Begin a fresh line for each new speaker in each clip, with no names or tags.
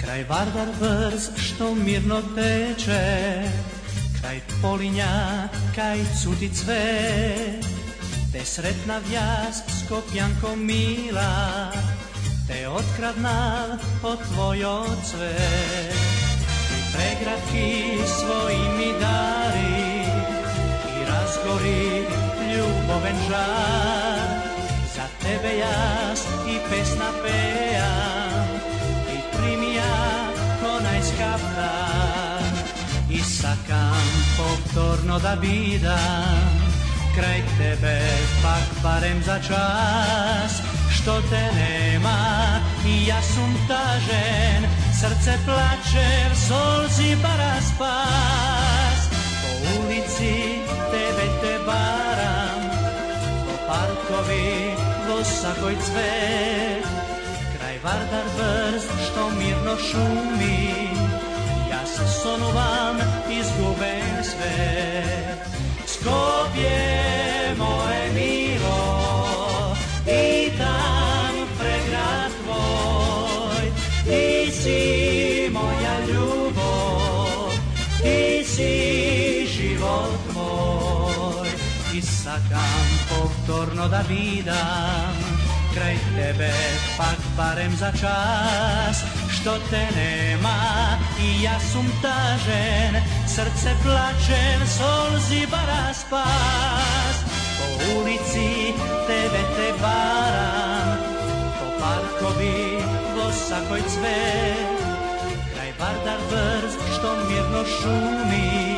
Kraj Vardar brz što mirno teče, kraj Polinja, kraj Cuticve, te sretna vjaz Skopjanko mila, te otkradna po tvojo cve. Pregradki svoji mi dari i razgori ljuboven žar, za tebe jaz i pesna pejam, i primija konajska ptar. I sakam povtorno da bidam, kraj tebe pak barem za čas, što te nema i ja sum tažen, srce plače, v solzi bara spas. Po ulici tebe te baram, po parkovi vosakoj cvet, kraj vardar brz što mirno šumi, ja se sonovan izgubem sve. Skopje moje milo i tam pregrad tvoj, ti si moja ljubav, ti si život moj. I sakam povtorno da vidam, kraj tebe pak barem za čas, što te nema i ja sum tažen, srce plačem, solzi bara spas. Po ulici tebe te varam, po parkovi vosakoj cvet, kraj vardar brz što mirno šumi,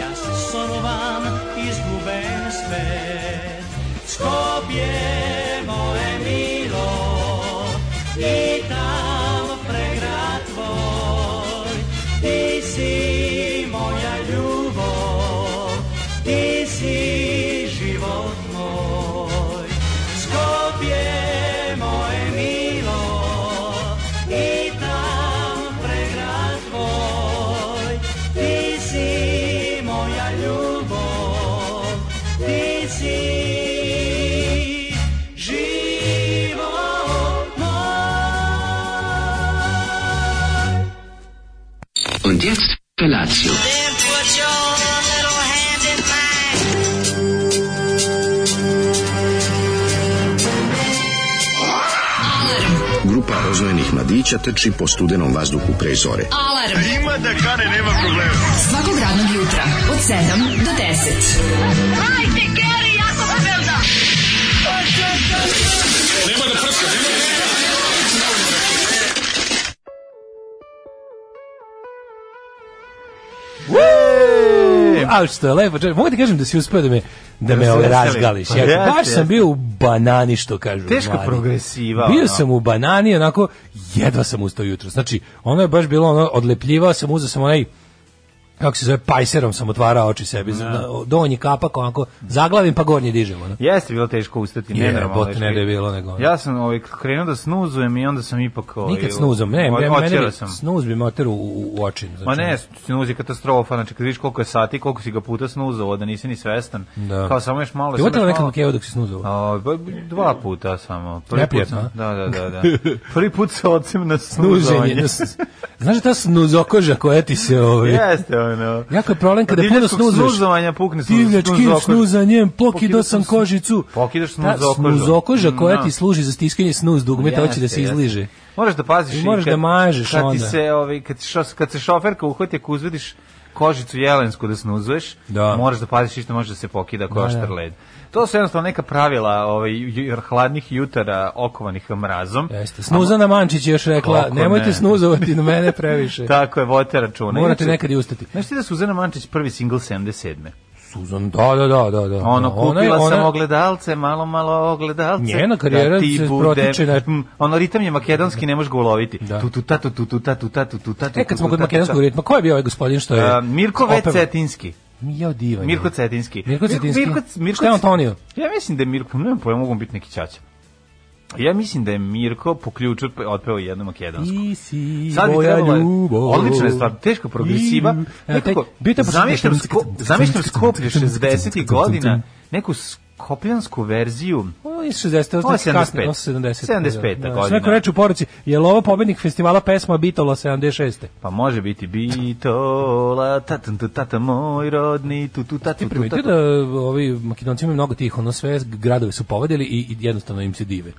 ja se sonovan izguben svet. Skopje moje milo i tam pregrad tvoj, ti si moja ljubav, ti si život moj. Skopje moje milo i tam pregrad tvoj, ti si moja ljubav, ti si život moj.
Und jetzt Felatio.
Then put your little hand in mine.
Grupa rozvojenih mladića trči po studenom vazduhu pre zore.
Alarm. Ima da kane, nema problema. Svakog radnog jutra, od 7 do 10. Hajde, Geri, jako se velda.
A što je lepo, čovječe. mogu ti kažem da si uspeo da me da me
E. Da se
razgališ.
veseli.
Ja,
Jeste,
baš sam
jeste.
bio u banani što kažu.
Teška
mladi.
progresiva,
Bio
ono.
sam u banani, onako jedva sam ustao jutro. Znači, ono je baš bilo ono odlepljivao sam, uzeo sam onaj kako se zove, pajserom sam otvarao oči sebi, no. donji kapak onako zaglavim pa gornji dižem. Ono.
Jeste bilo teško ustati,
Je,
nenormalno.
bote, ne da je bilo, nego-
Ja sam ovaj, krenuo da snuzujem i onda sam ipak... Ovaj,
Nikad snuzom, ne,
od-
ne mene
otjerao
bi,
sam.
snuz bi me oterao u, u, u oči. Znači,
Ma ne, snuz je katastrofa, znači kad vidiš koliko je sati, koliko si ga puta snuzao, da nisi ni svestan.
Da.
Kao samo još malo...
Ti
samo
otela
još
nekad
malo-
makeo dok si snuzao?
A, ba- dva puta samo. Prvi put
Neprijatno,
sam, da, da, da, da. Prvi put sa ocem na
Snuženje.
snuzovanje.
Znaš ta snuzokoža koja ti se... Ovaj,
Jeste ono. Pa
Jako je problem kada
Od
puno
divljačkog
snuzuješ.
snuzovanja pukne snuz-
Divljačkim
snuzokož.
snuzanjem pokidao
Pokidao
sam
sam-
kožicu. Ta
Pokidaš snuzokožu.
snuzokoža koja
Da.
ti služi za stiskanje snuz dugmeta, hoće da
Jeste,
se
jeste.
izliže.
Moraš da paziš
I moraš
kad-
da mažeš
kad
onda.
Ti se, ovaj, kad, šo, kad se šoferka uhvati, ako uzvediš kožicu jelensku da snuzuješ,
Da.
moraš da paziš isto može da se pokida ako je
Da, da.
oštar led. To su jednostavno neka pravila ovaj, ju- hladnih jutara okovanih mrazom.
Jeste. Snuzana Mančić je još rekla,
Kako
nemojte
ne?
snuzovati na mene previše.
Tako je, vodite računa.
Morate
Inače,
nekad i ustati.
Znaš ti da je Suzana Mančić prvi singl 77.
Suzan, da, da, da, da. da.
Ono,
Ona je-
kupila
ona-
sam ogledalce, malo, malo ogledalce. Da
Njena karijera
ti
se
bude-
protiče na-
Mm, Ono, ritam je makedonski, ne možeš ga uloviti.
Da.
Tu, tu, ta, tu, tu, tu, ta, tu, ta, tu, tu, ta, tu,
E, kad smo
tu,
kod
ta, tu, ta.
makedonskog ritma, ko je bio ovaj gospodin što je...
A, Mirko V.
opeva-
Cetinski.
Jao divan. je.
Mirko Cetinski.
Mirko
Mir-
Cetinski.
Mirko, Mirko,
Šta je Antonio?
Ja mislim da je Mirko, nemam pojma, mogu biti neki ćaća. Ja mislim da je Mirko po ključu pe- otpeo jednu makedonsku.
Ti si
Sad bi
moja
trebalo,
ljubav.
odlična je stvar, teško progresiva.
I- E,
Nekako,
taj- bio taj početak-
zamišljam, sko, zamišljam skoplje 60. godina, neku skopljansku verziju
O, je 60,
Ovo je 75.
70.
75.
Da, da.
godina.
Neko reče u poruci, je li ovo pobednik festivala pesma Bitola 76.
Pa može biti bitola, tatan tu tata moj rodni, tu tu tatu
Ti
tu
primetio da
tatu.
ovi Makedonci imaju mnogo tih, ono sve gradove su povedili i, i jednostavno im se dive.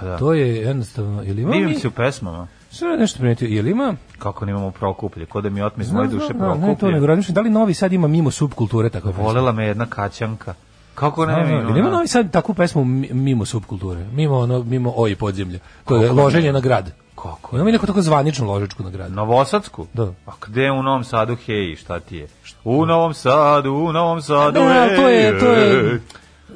Pa da.
To je jednostavno, je li ima mi,
Divim se u pesmama.
sve nešto primetio, je li ima,
Kako nemamo prokuplje, ko da mi otme iz moje duše
ne to
prokuplje.
nego razmišljam, da li Novi Sad ima mimo subkulture takve pesme?
Volela me jedna kaćanka. Kako ne,
Ne, ne,
mi
ne, nema Novi Sad takvu pesmu mi- mimo subkulture, mimo ono, mimo oji podzemlja, koje je loženje na grad. Kako? Imamo i neku tako zvaničnu ložičku na grad.
Novosadsku?
Da.
A gde u Novom Sadu, hej, šta ti je? U Novom Sadu, u Novom Sadu,
Ne, ali
ej,
Da, to je- to je-
ej.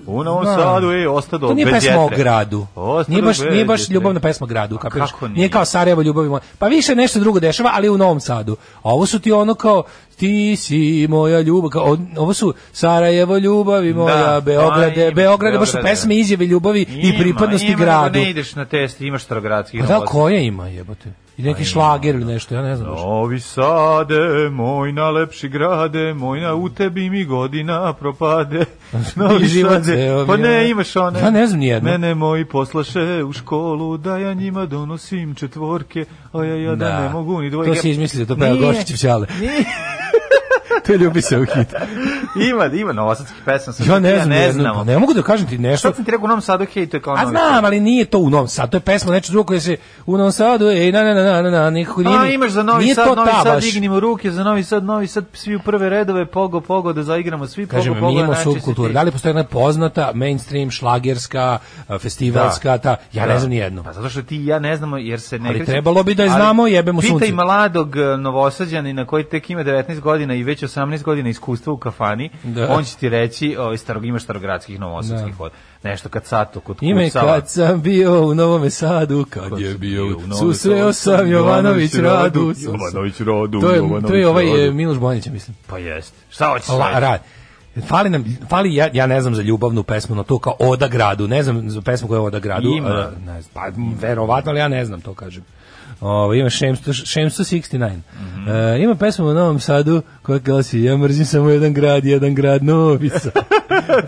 U Novom
Da.
Sadu, ej, ostado
To
bez
nije
jetre.
pesma o gradu.
Ostado
Nije baš,
bez
nije baš
jetre.
ljubavna pesma gradu, kapiraš?
kako
Nije?
nije?
kao Sarajevo ljubavi moja. Pa više nešto drugo dešava, ali u Novom Sadu. A ovo su ti ono kao ti si moja ljubav, kao, on- ovo su Sarajevo ljubavi moja,
Da,
Beograde,
pa ima,
Beograde, baš su
Beograde.
pesme izjave ljubavi i
Ima,
pripadnosti
ima, nego
gradu.
Ne ideš na test, imaš starogradski.
Pa da, koje ima jebote? I neki šlager
da.
ili nešto, ja ne znam. baš.
Novi Sade, moj najlepši grade, moj na u tebi mi godina propade.
I
Novi
život
Sade,
ceo
pa
mi
ne
je-
imaš one.
Ja ne znam nijednu.
Mene moji poslaše u školu, da ja njima donosim četvorke, a ja, ja da,
Da.
ne mogu ni dvojke.
To si izmislio, to pa peva
Nije.
Gošić Pčale.
Nije.
to je ljubi se u hit.
ima, ima novosadskih pesama. sad
Ja ne znam,
ja ne
nijednu, pa
znam.
ne mogu da kažem ti nešto.
Sad sam ti rekao u Novom Sadu, hej, to je kao
A
Novi
znam,
Sad.
ali nije to u Novom Sadu, to je pesma nešto drugo koje se u Novom Sadu, ej, na, na, na, na, na, na, nikako nije.
A
ni-
imaš za Novi
nije to
Sad, Novi
ta
Sad,
baš.
dignimo ruke za Novi Sad, Novi Sad, svi u prve redove, pogo, pogo, da zaigramo svi, pogo,
Kažem,
pogo,
mimo
naći se ti.
subkulture. Da li postoji jedna poznata, mainstream, šlagerska, a, festivalska, ta, ja ne znam nijednu.
Da. Pa zato što ti i ja ne znamo jer se ne
Ali
krećem.
trebalo bi da je znamo, jebemo sunce.
Pitaj mladog e, novosađanina koji tek ima 19 godina i već 18 godina iskustva u kafani,
Da.
on će ti reći, ovaj starog imaš starogradskih novosađskih da. Nešto kad sato kod
Ime
kucava.
kad sam bio u Novom Sadu, kad je bio,
bio u Novom
susreo
Sadu,
sam Jovanović Radu.
Jovanović Radu,
To je, to
Jovanović
je ovaj e,
Radu.
Miloš Bonić, ja mislim.
Pa jeste. Šta hoćeš?
La,
raditi?
ra, fali nam, fali, ja, ja ne znam za ljubavnu pesmu, no to kao Oda gradu, ne znam za pesmu koja je Oda gradu.
Ima.
a, ne znam, pa, verovatno, ali ja ne znam to, kažem. Ovo, ima Šemsto, Šemsto 69.
Mhm.
E, ima pesmu u Novom Sadu koja glasi Ja mrzim samo jedan grad, jedan grad Novi Sad.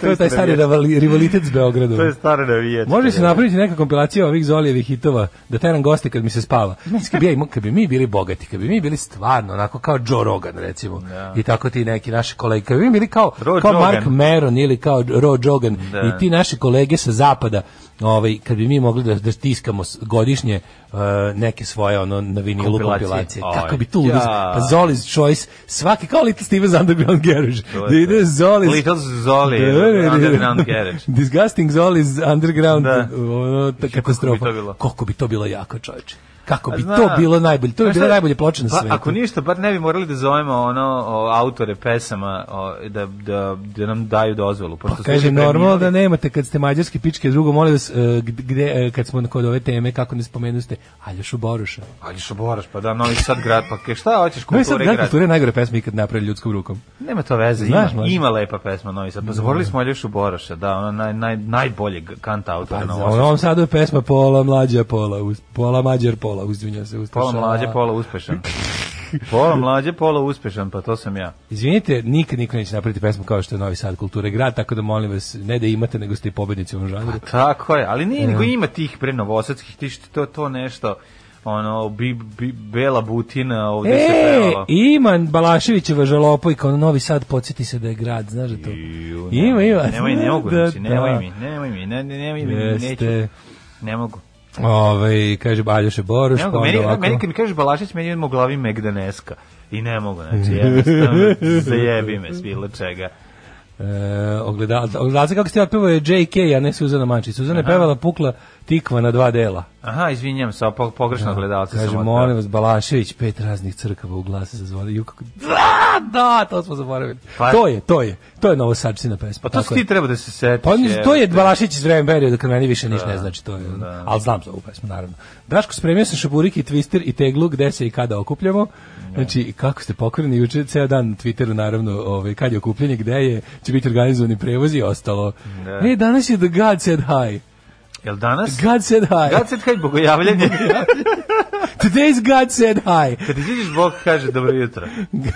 to je taj stari rivali- rivalitet s Beogradom.
To je stara navijačka.
Može se napraviti neka kompilacija ovih Zolijevih hitova da teram goste kad mi se spava. Mislim, Kad bi, ja imao- kad bi mi bili bogati, kad bi mi bili stvarno onako kao Joe Rogan recimo i tako ti neki naši kolege, kad bi mi bili kao,
Da. Ro
kao
Jogan.
Mark Maron ili kao Ro Jogan
Da.
i ti naši kolege sa zapada ovaj, kad bi mi mogli da, da stiskamo s- godišnje eh, neke svoje ono na vinilu
Kompilacije.
kompilacije. Kako
Aj,
bi tu uliz,
ja.
pa Zoli's Choice, svaki kao Little Steven's Underground Garage.
To je
Da
to.
ide Da, Zoli's
Little Zoli, Underground Garage.
Disgusting Zoli's Underground
Da.
ono, ta katastrofa.
kako bi to bilo?
Koliko bi to bilo jako, čoveče. Kako
A
bi
znam.
to bilo najbolje. To bi
Pa Znaš
bilo
šta?
najbolje ploče na
pa,
svetu.
Ako ništa, bar ne bi morali da zovemo ono, o, autore pesama o, da, da, da nam daju dozvolu.
Pa
pošto su
kaže,
ljudi
normalno da
preminuli.
nemate kad ste mađarski pičke, drugo, molim vas, e, gde, e, kad smo kod ove teme, kako ne spomenuste, Aljošu Boruša.
Ali što boraš, pa da, Novi Sad grad, pa ke, šta hoćeš
Novi
kulture
Sad grad
grad?
kulture je najgore pesma ikad napravili ljudskom rukom.
Nema to veze,
Znaš,
ima,
mlađe.
ima lepa pesma Novi Sad. Pa zaboravili smo Aljošu Boraša, da, ona naj, naj, najbolje kant autora.
Pa,
na
za-
ovom
u Novom Sadu je pesma pola mlađa, pola, us, pola mađar, pola, uzvinja se. Ustaša.
Pola mlađe, pola uspešan. Pola mlađe, pola uspešan, pa to sam ja.
Izvinite, nikad niko neće napraviti pesmu kao što je Novi Sad kulture grad, tako da molim vas, ne da imate, nego ste i pobednici u ovom žanru.
Tako je, ali nije, nego ima tih pre novosadskih, ti što to, to nešto, ono, bi, bi, bela butina ovde se
E,
pevala.
ima Balaševićeva žalopojka, ono Novi Sad, podsjeti se da je grad, znaš da to?
Iju,
Ima,
nemoj,
ima.
Nemoj, ne mogu,
Da,
znači, nemoj
da.
mi, nemoj mi, ne, ne, nemoj mi, neću.
Jeste.
Ne mogu.
Ove, Ovaj, kaže Baljoše Boruš,
Ne
pa
mogu.
onda
Meni,
ovako.
meni kad mi kažeš Balašić, meni idemo u glavi Megdaneska. I ne mogu, znači, jednostavno, zajebi me s bilo čega.
E, ogledal, ogledalce kako ste otpevao je JK, a ne Suzana Mančić. Suzana je pevala pukla tikva na dva dela.
Aha, izvinjam se, a po, pogrešno gledalce sam
Da, Kaže,
otkrio.
molim vas, Balašević, pet raznih crkava u glasu se zvoli. Ju, kako... Da, da, to smo zaboravili.
Pa-
To je, to je. To je novosadčina pesma.
Pa to
tako
si
je.
ti treba da se setiš.
Pa on-
evo.
to je Balašić iz vremena perioda kad meni više ništa ne
Da,
znači to je. Ali znam za ovu pesmu naravno. Daško spremio sam šaburik i twister i teglu gde se i kada okupljamo. Znači kako ste pokorni juče ceo dan na Twitteru naravno ovaj kad je okupljanje gde je će biti organizovani prevoz i ostalo.
Da.
E danas je the god said hi.
Jel danas?
God said hi.
Gad se kaj bogojavljanje.
Today's God said hi.
Kad iziđeš, Bog kaže dobro jutro.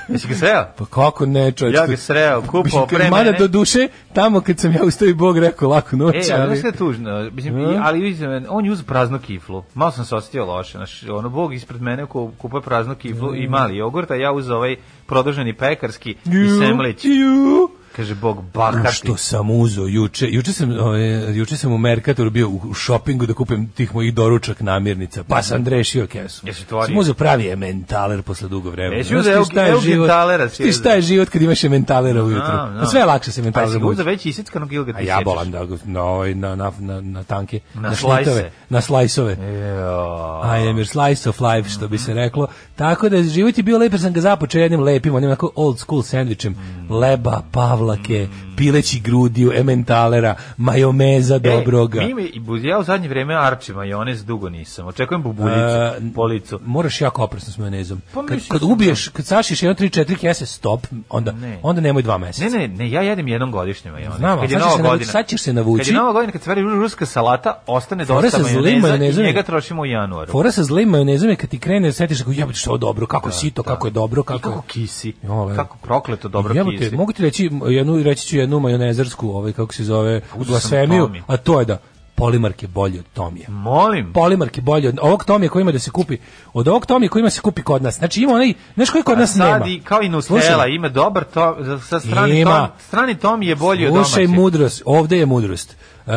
Jesi ga sreo?
Pa kako ne, čovječ?
Ja ga sreo, kupao pre
Mada
mene.
do duše, tamo kad sam ja ustao i Bog rekao laku noć,
E, ali
ali...
znaš šta je tužno, mislim, i- ali vidim, on je uz praznu kiflu, malo sam se ostio loše, znaš, ono, Bog ispred mene ko, kupuje praznu kiflu
Mm.
i mali jogurt, a ja uz ovaj produženi pekarski i
Ju,
semlić,
ju.
kaže Bog,
Na
bakati.
što sam uzo juče, juče sam, ove, juče sam u Mercatoru bio u u šopingu da kupim tih mojih doručak namirnica, pa sam drešio kesu.
Jesi otvorio?
Sam uzo pravi ementaler posle dugo vremena.
Jesi
Znaš
uzeo
ti šta je
Eug-
život-
Eugentalera si
Ti šta je život kad imaš ementalera ujutru?
A,
Pa
da.
sve je lakše se
Pa
ementalera
si ga uzeo već isjeckanog ili ga ti
A ja bolam da ga- na, ovaj- na, na, na, na tanke,
Na
na,
slajse.
šnitove, na slajsove. I am your slice of life, što bi se reklo. Tako da život je bio lep, jer sam ga započeo jednim lepim, onim onako old school sandvičem, leba, pavlake, pileći grudiju, ementalera, majomeza dobroga.
E, mi, mi- i buz- ja u zadnje vreme arči majonez dugo nisam, očekujem bubuljicu,
E,
policu.
Moraš jako opresno s majonezom.
Pa
kad,
mislim
kad
da-
ubiješ, kad sašiš jedno, tri, četiri kese, stop, onda,
Ne.
onda nemoj dva meseca.
Ne, ne, ne, ja jedem jednom godišnje majonez.
Znam, ali
kad je
sad ćeš
nova
se navući-
godina.
sad ćeš se navući.
Kad je nova godina, kad se veri ruska salata, ostane
Fora
dosta
sa zlim
majoneza i
majonezom je-
njega trošimo u januaru.
Fora sa zlim majonezom je kad ti krene, da setiš kako jebate što je ovo dobro, kako je sito, kako je dobro,
Da, I
kako
kako kisi.
Jo, le.
Kako prokleto dobro
Jebote,
kisi.
mogu ti reći jednu reći ću jednu majonezarsku, ovaj kako se zove,
Pa Uzeo sam
blasfemiju,
Tomi.
a to je da polimark je bolji od Tomija.
Molim.
Polimark je bolji od ovog Tomija koji ima da se kupi. Od ovog Tomija koji ima se kupi kod nas. Znači ima onaj, znaš koji kod
A
nas nema.
sad i kao i Nutella,
Slušaj,
ima dobar to, za- sa strani
Ima.
tom, strani tom je bolji od
Slušaj
domaćeg.
mudrost, ovde je mudrost. Uh,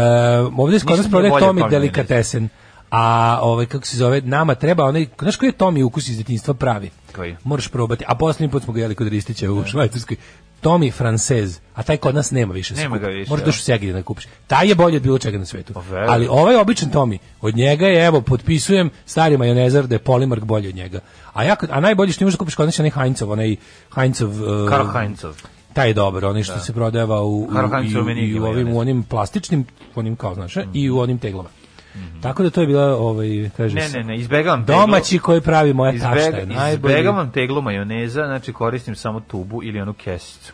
ovde je kod nas prodaje
nije bolje od
Tomi
Tomija,
delikatesen. A ovaj kako se zove, nama treba onaj, znaš koji je Tomi ukus iz detinjstva pravi?
Koji? Da.
Moraš probati. A poslednji put smo ga jeli kod Ristića u Švajcarskoj. Tomi Francez, a taj kod nas nema više.
Nema
skup.
ga više,
Možeš
da.
doći u Segedin da kupiš. Taj je bolji od bilo čega na svetu.
Pa verujem.
Ali ovaj običan Tomi, od njega je, evo, potpisujem stari majonezar da je Polimark bolji od njega. A, ja, kad- a najbolji što imaš da kupiš kod nas je onaj Heinzov, onaj Heinzov... Uh,
Karl Heinzov.
taj je dobar, onaj
Da.
što se prodava u, u,
Karl Heinz
i, u,
Rummenigge
i u
ima
ovim
jedan.
u onim plastičnim, onim kao znaš,
Mhm.
i u onim teglama. Tako da to je bila, ovaj, kaže
Ne,
se,
ne, ne, izbegavam teglu.
domaći koji pravi moja tašta je
Izbega,
najbolji.
izbegavam teglu majoneza, znači koristim samo tubu ili onu kesicu.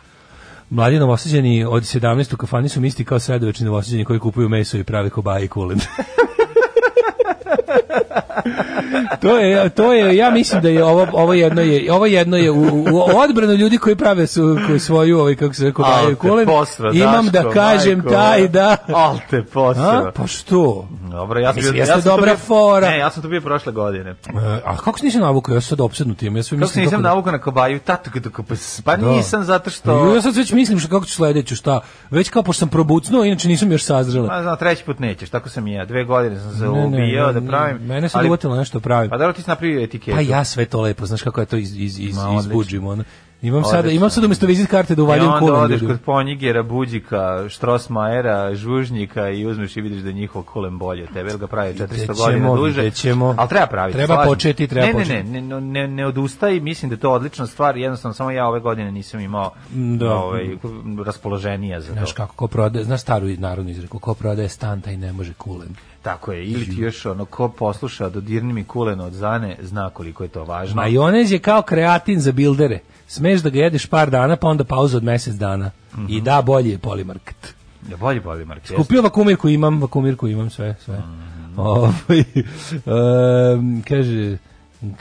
Mladi novosađeni od 17. u kafani su isti kao sredovečni novosađeni koji kupuju meso i prave kobaje i kulen. to je to je ja mislim da je ovo ovo jedno je ovo jedno je u, u, u odbranu ljudi koji prave su koji svoju ovaj kako se zove kobaje i
Al te
kulen.
posra,
Imam da
Daško,
kažem
majko,
taj
ono.
da
Al te
A?
posra.
Pa što?
Dobro, ja sam
Mislim,
bio, ja
jeste
sam to
dobra
bio-
fora.
Ne, ja sam to bio prošle godine.
E, a kako se nisi navukao? Ja sam sad opsednut tim. Ja sve
Kako se
mislim
nisam
kako da-
navukao na kabaju, tato kada kupas. Pa
Da.
nisam zato
Jo,
što...
Ja sad već mislim što kako ću sledeću, šta? Već kao pošto sam probucnuo, inače nisam još sazrela.
Ma znam, Pa treći put nećeš, tako sam i ja. Dve godine sam se
Ne, ne,
ubijao
ne,
da pravim.
Mene se
ali-
dovotilo nešto da pravim.
Pa dobro, ti si napravio etiketu.
Pa ja sve to lepo, znaš kako ja to iz, iz, iz,
Ma, odlično.
izbuđim. Ono. Imam sada,
Odlično.
imam sad umjesto vizit karte da
I
uvaljam
E, onda
kulen
odeš
ljudima.
kod Ponjigera, Buđika, Štrosmajera, Žužnjika i uzmeš i vidiš da je njihov kulen bolje od tebe, jer ga pravi 400
ćemo,
godina duže.
vidjet ćemo.
Ali treba praviti.
Treba
slažem.
početi, treba
ne,
početi.
Ne, ne, ne, ne, ne odustaj, mislim da je to odlična stvar, jednostavno samo ja ove godine nisam imao
da.
ovaj, raspoloženija za to.
Znaš kako ko prodaje, znaš staru narodnu izreku, ko prodaje stan taj ne može kulen.
Tako je, ili ti još ono, ko posluša Dodirni mi kulen od Zane, zna koliko je to važno.
Majonez je kao kreatin za bildere. Smeš da ga jedeš par dana, pa onda pauza od mesec dana.
Mhm.
I da, bolji je polimarket.
Ja bolje boli Mark, jeste. Mhm.
Kupio vakumirku imam, vakumirku imam, sve, sve. Ovaj, em, kaže,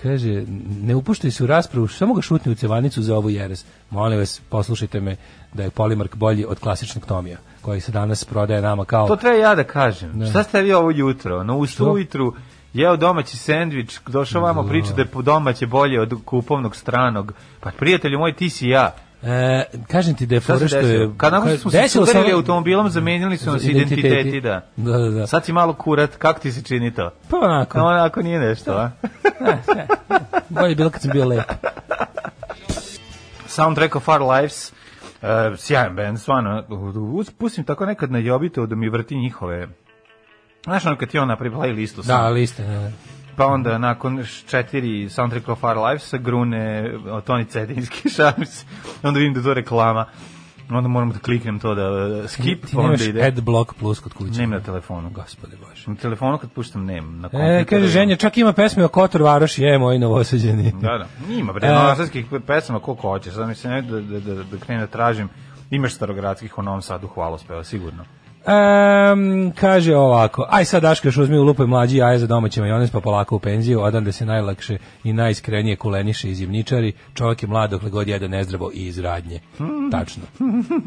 kaže, ne upuštaj se u raspravu, samo ga šutni u cevanicu za ovu jeres. Molim vas, poslušajte me da je polimark bolji od klasičnog Tomija, koji se danas prodaje nama kao...
To treba ja da kažem. Šta ste vi ovo jutro? No, u ujutru jeo domaći sendvič, došao vamo priča da je po domaće bolje od kupovnog stranog. Pa prijatelju moj, ti si ja.
E, kažem ti da je
Šta se
fora što je...
desilo? Kad nakon što smo se
desilo se
sudarili
ono-
automobilom, zamenili su nas
Identiteti.
identiteti, da.
Da, da, da.
Sad si malo kurat, kako ti se čini to?
Pa onako.
No, onako nije nešto, a?
Da. Bolje je bilo kad sam bio lep.
Soundtrack of Our Lives, uh, sjajan band, stvarno, Uz- pustim tako nekad na Jobito da mi vrti njihove Znaš ono kad ti on napravi playlistu sam,
Da, liste. Da, da.
pa onda nakon š- četiri Soundtrack of Our Lives sa grune o, Toni Cetinski šams, onda vidim da je to reklama, onda moram da kliknem to da e, skip,
Ti nemaš
onda ide.
Adblock Plus kod kuće.
Nemam na telefonu.
Gospode Bože.
Na telefonu kad puštam nemam, na
E,
kompjuteru
kaže,
imam.
ženja, čak ima pesme o e, Kotor Varoš, je moj novoseđeni.
Da, da. Ima bre,
E.
novosadskih pesama koliko hoćeš. Sad mi se ne da da da, da krenem da tražim. Imaš starogradskih u Novom Sadu, hvalospeva sigurno.
Em, kaže ovako, aj sad Daška još uzmi u lupaj mlađi jaje za domaći majonez pa polako u penziju, odam da se najlakše i najiskrenije kuleniše iz jivničari, čovjek je mlad dokle god jede nezdravo i iz radnje. Tačno,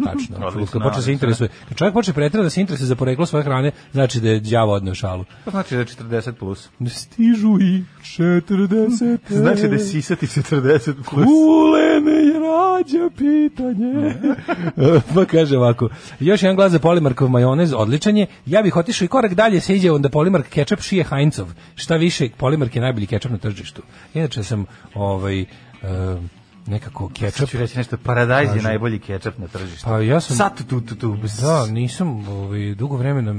tačno.
Hmm. Odlično,
Kad počne da se
odlično.
interesuje, kad čovjek počne pretjerano da se interesuje za poreklo svoje hrane, znači da je đavo odneo šalu.
To znači da je 40 plus.
Stižu i 40.
Znači da je sisati 40 plus.
Kulene je rađa pitanje. pa kaže ovako, još jedan glas za polimarkov majonez, odličan je. Ja bih otišao i korak dalje, se ide onda polimark kečap šije Heinzov. Šta više, polimark je najbolji kečap na tržištu. Inače sam ovaj, e, nekako kečap...
Ću reći nešto, paradajz je najbolji kečap na tržištu.
Pa ja sam...
Sat tu tu tu.
Da, nisam, ovaj, dugo vremena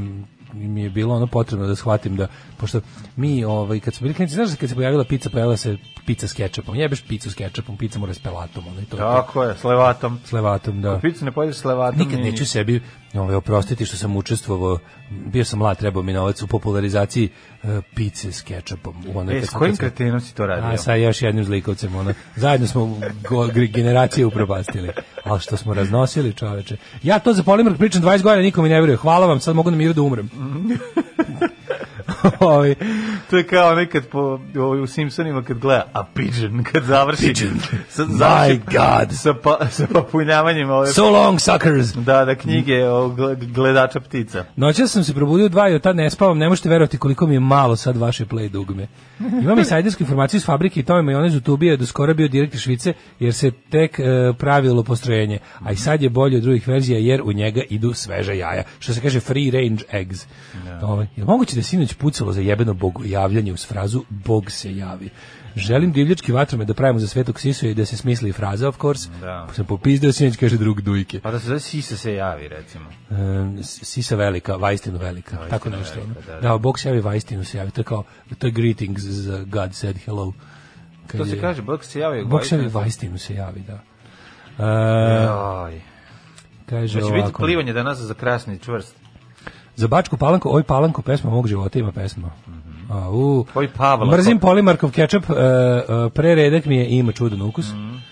mi je bilo ono potrebno da shvatim da pošto mi ovaj kad su bili klinci znaš kad se pojavila pica pojavila se pica s kečapom jebeš picu s kečapom pica mora s pelatom ono, i to je to.
Tako je, s levatom.
s levatom da
Picu ne pojedeš s levatom.
nikad
i-
neću sebi ovaj oprostiti što sam učestvovao bio sam mlad trebao mi novac u popularizaciji e, pice s kečapom u onoj
E,
kad
s
sam-
kojim
kad sam-
kretenom si to radio?
a sa još jednim zlikovcem ono. Zajedno smo go- gre- generacije upropastili. Al što smo raznosili, čoveče. Ja to za polimer pričam 20 godina, niko mi ne veruje. Hvala vam, sad mogu na miru da umrem.
Mhm.
Ovaj,
To je kao nekad po, ovaj, u Simpsonima kad gleda A Pigeon, kad završi
Pigeon.
sa,
My
završi
God.
sa, pa, sa popunjavanjem ove,
so long, suckers.
da, da knjige o gle- gledača ptica.
Noćas sam se probudio u dva i od tad ne spavam, ne možete verovati koliko mi je malo sad vaše play dugme. Imam i sajdersku informaciju iz fabrike i tome majonez u tubi je do skoro bio direktor Švice jer se tek e, pravilo postrojenje, a i sad je bolje od drugih verzija jer u njega idu sveža jaja, što se kaže free range eggs. Ovaj, je li moguće da je sinoć pucalo za jebeno bogojavljanje uz frazu Bog se javi? Želim divljački vatrome da pravimo za svetog sisu i da se smisli i fraza, of course.
Da.
Sam popizdeo sinoć, kaže drug dujke.
Pa da se zove Sisa se javi, recimo.
E, Sisa velika, Vajstinu velika, tako nešto. ono.
velika, da, da.
Da, Bog se javi, Vajstinu se javi, to je kao, to je greetings za God said hello. Kad
To se
je-
kaže, Bog se javi.
Bog se javi, Vajstinu se javi, da. E,
Aj.
kaže
Da Će
ovako,
biti Da. Znači, plivanje danas za krasni čvrst.
za Bačku Palanku, oj Palanku, pesma mog života ima pesma. A, u,
Mhm. Oj, Pavla. pa-
Mrzim polimarkov kečap, e, e, preredak mi je i ima čudan ukus.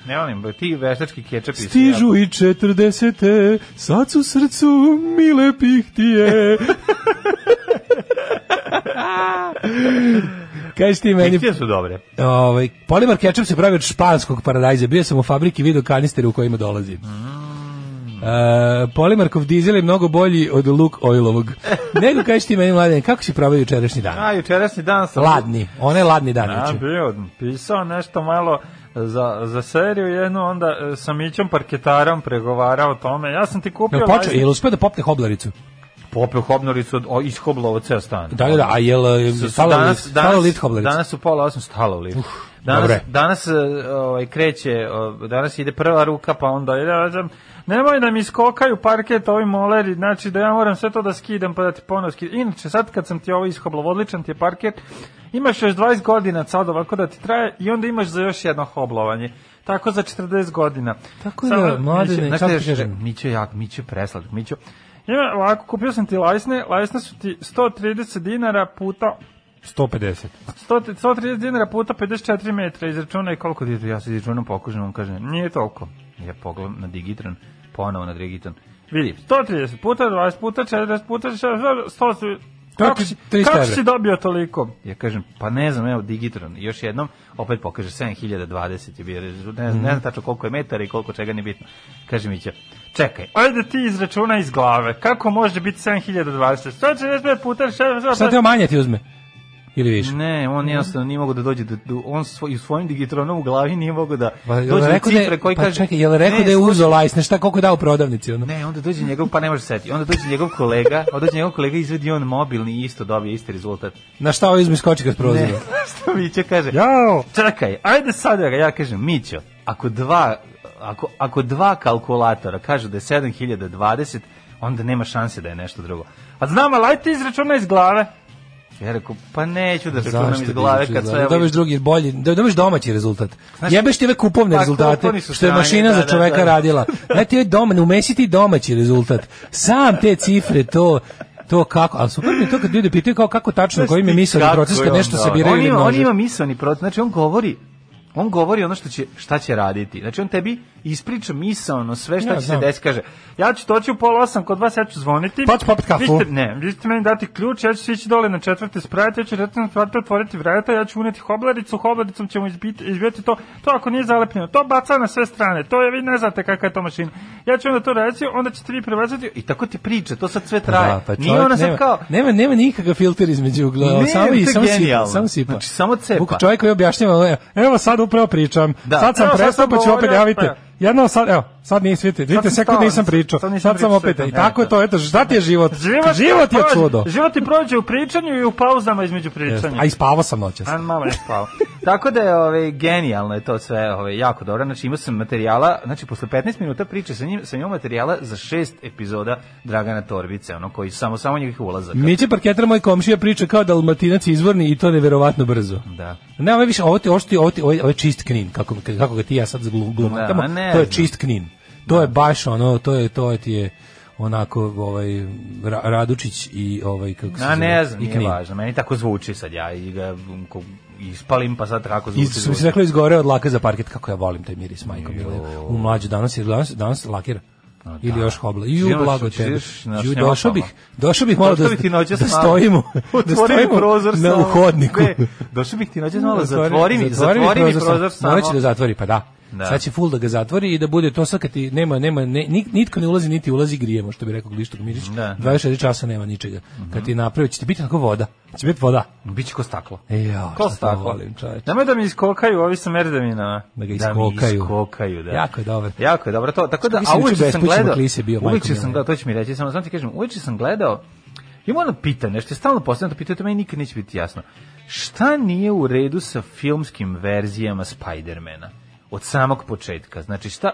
Ne volim, ba, ti veštački kečap i
Stižu i četrdesete, sad su srcu mile pihtije. Kaži ti meni,
Pihtije su dobre.
ovaj, polimar kečap se pravi od španskog paradajza. Bio sam u fabriki i video kanistere u kojima dolazi. E, polimarkov dizel je mnogo bolji od luk oilovog. Nego kaži ti meni, mladen, kako si probao jučerašnji dan?
A, jučerasni dan sam...
Ladni, onaj ladni dan. znači.
A,
juče.
bio, pisao nešto malo za, za seriju jednu, onda e, sa Mićom Parketarom pregovarao o tome. Ja sam ti kupio...
Jel počeo,
vajst-
jel uspeo da popne hoblaricu?
Popio hobnoricu od, o, iz Hoblova ceo stan.
Da, da, da, a jel e,
Su- su
stala lift, stala lift hoblarica?
Danas u pola osam stalo lift. danas,
dobro je.
danas e, ovaj, kreće, o, danas ide prva ruka, pa onda ide, ja znam, nemoj da mi skokaju parket ovi moleri, znači da ja moram sve to da skidam, pa da ti ponovo skidam. Inače, sad kad sam ti ovo ishoblov, odličan ti je parket, imaš još 20 godina sad ovako da ti traje i onda imaš za još jedno hoblovanje. Tako za 40 godina.
Tako da, mladene,
Mićo, znaš
kako
šta
ti
još,
kažem?
Mićo je jak, Mićo je presladak, Mićo. Ima, ovako, kupio sam ti lajsne, lajsne su ti 130 dinara puta
150.
100 130 dinara puta 54 metra, izračunaj koliko ti je to, ja se izračunam pokužem, on kaže, nije toliko. Ja pogledam na Digitron, ponovo na Digitron. Vidi, 130 puta, 20 puta, 40 puta, 60, 100, kako si,
300
kako
evra.
si dobio toliko? Ja kažem, pa ne znam, evo Digitron, još jednom, opet pokaže 7020 je bio, rezultat, ne znam,
Mhm.
ne znam tačno koliko je metara i koliko čega nije bitno. Kaže Mića, čekaj, ajde ti izračunaj iz glave, kako može biti 7020? 145 puta, 60,
Šta te manje ti uzme? Ili više?
Ne, on jednostavno nije mogao da dođe do, do on svoj, u svojim digitronom u glavi nije mogao da
Pa jel
dođe do
rekao da je,
cifre koji
pa
kaže...
čekaj, jel rekao
Ne,
da je
slušaj,
uzo lajsne, šta koliko je dao u prodavnici ono?
Ne, onda dođe njegov, pa ne može seti. Onda dođe njegov kolega, onda dođe njegov kolega izvedi on mobilni i isto dobije isti rezultat.
Na šta ovo izme skoči kroz prozor?
Što Mićo kaže?
Jao!
Čekaj, ajde sad da ga ja kažem, Mićo, ako dva, ako, ako dva kalkulatora kažu da je 7020, onda nema šanse da je nešto drugo. A znam, ali ajde ti izračuna iz glave. Ja rekao, pa neću da računam iz glave kad sve...
Da dobiješ drugi bolji, da dobiješ domaći rezultat.
Znaš-
Jebeš ti ove kupovne
Pa,
rezultate
kupovni su
što je
strani,
mašina
da,
za
da,
čoveka
da.
radila. Ne ti joj doma, umesi ti domaći rezultat. Sam te cifre to to kako, ali super mi je to kad ljudi pitaju kao kako tačno, koji mi je misleni
Kako
proces
je
kad
on
nešto
dobar?
sabiraju
on
ili
ima, on
množe.
ima misleni proces, znači on govori on govori ono što će, šta će raditi. Znači on tebi ispriča misaono sve šta
Ja,
će se
znam.
desiti, kaže, ja ću doći u pola osam kod vas, ja ću zvoniti.
Pa ću popit kafu.
Vi ćete- ne, vi ćete meni dati ključ, ja ću sići dole na četvrte sprate, ja ću recimo na četvrte otvoriti vrata, ja ću uneti hoblaricu, hoblaricom ćemo izbiti, izbiti to, to ako nije zalepljeno, to baca na sve strane, to je, vi ne znate kakva je to mašina. Ja ću onda to reći, onda ćete vi prebaciti i tako ti priča, to sad sve traje.
Da, pa
nije
čovjek
ona sad
nema-
kao,
nema nema nikakav filter između uglova,
Ne,
samo
to je
i samo sipa,
genijalno.
samo sipa.
Znači, samo cepa.
Vuk čovjek koji objašnjava, ono, "E, evo sad upravo pričam.
Da.
Sad sam
Evo, sad
prestao
sam
pa ću opet
govorio,
javite. Jedno sad, evo, sad nisi vidite, vidite
sam
sve kad
stao,
nisam pričao.
sad
Sad,
nisam
sam
pričao,
opet.
sve
I
to,
tako
eto.
je to, eto, šta ti je život?
Život,
život je
prođe-
čudo.
Život ti prođe u pričanju i u pauzama između pričanja.
A ispavao sam noćas.
A malo je spao. Tako da je ovaj genijalno je to sve, ovaj jako dobro. Znači imao sam materijala, znači posle 15 minuta priče sa njim, sam imao materijala za šest epizoda Dragana Torbice, ono koji samo samo njegovih ulazaka.
Miće parketar moj komšija priča kao da dalmatinac izvorni i to neverovatno brzo.
Da.
Ne, ovo je više, ovo ti, ovo ti, ovo ti, ovo je, ovo je čist knin, kako, kako ga ti i ja sad
Da,
zglumatamo,
a ne
to je
znam. Da.
čist knin. To je baš ono, to je, to ti je onako, ovaj, Ra- Radučić i ovaj, kako se
Na
zove,
ne znam,
i
nije važno. Meni tako zvuči sad ja i ga um, ko- ispalim pa sad kako zvuči.
Iz, što bi se
zvuči.
reklo, izgore od laka za parket, kako ja volim taj miris, majko mila. U mlađu danas, jer danas, danas lakira. ili još hobla. Ju,
Idemo,
blago
ideš
tebe.
da. na
Ju,
snjema
došao
tamo.
bih, došao bih malo da,
Došao bih ti noćas
da
malo.
stojimo, da
Otvori
stojimo
prozor
na
samo.
uhodniku.
Ne, došao bih ti noćas malo, zatvori mi, zatvori mi prozor
samo.
samo.
Moraće da zatvori, pa da.
Da.
Sad će full da ga zatvori i da bude to sad kad ti nema, nema, ne, nik- nitko ne ulazi, niti ulazi grijemo, što bi rekao Glištog Mirić.
Da.
24 časa nema ničega. Kad ti napravi, će ti biti onako voda. Će biti voda. E,
Biće ko staklo.
Ja,
Ko
šta to
staklo?
volim, čoveče.
Nemoj da mi iskokaju ovi sa merdevina.
Da ga
Da mi
iskokaju.
iskokaju, da.
Jako je dobar.
Jako je dobro to. Tako da,
Mislim
a
da
uveče
čujem
sam
Bespućima
gledao.
Klisi bio, majko
Uveče
mila.
sam gledao, to će mi reći, samo znam ti kažem, uveče sam gledao, ima ono pitanje, nešto je stalno postavljeno to pitanje, to meni nikad neće biti jasno. Šta nije u redu sa filmskim verzijama Spidermana? Od samog početka. Znači šta,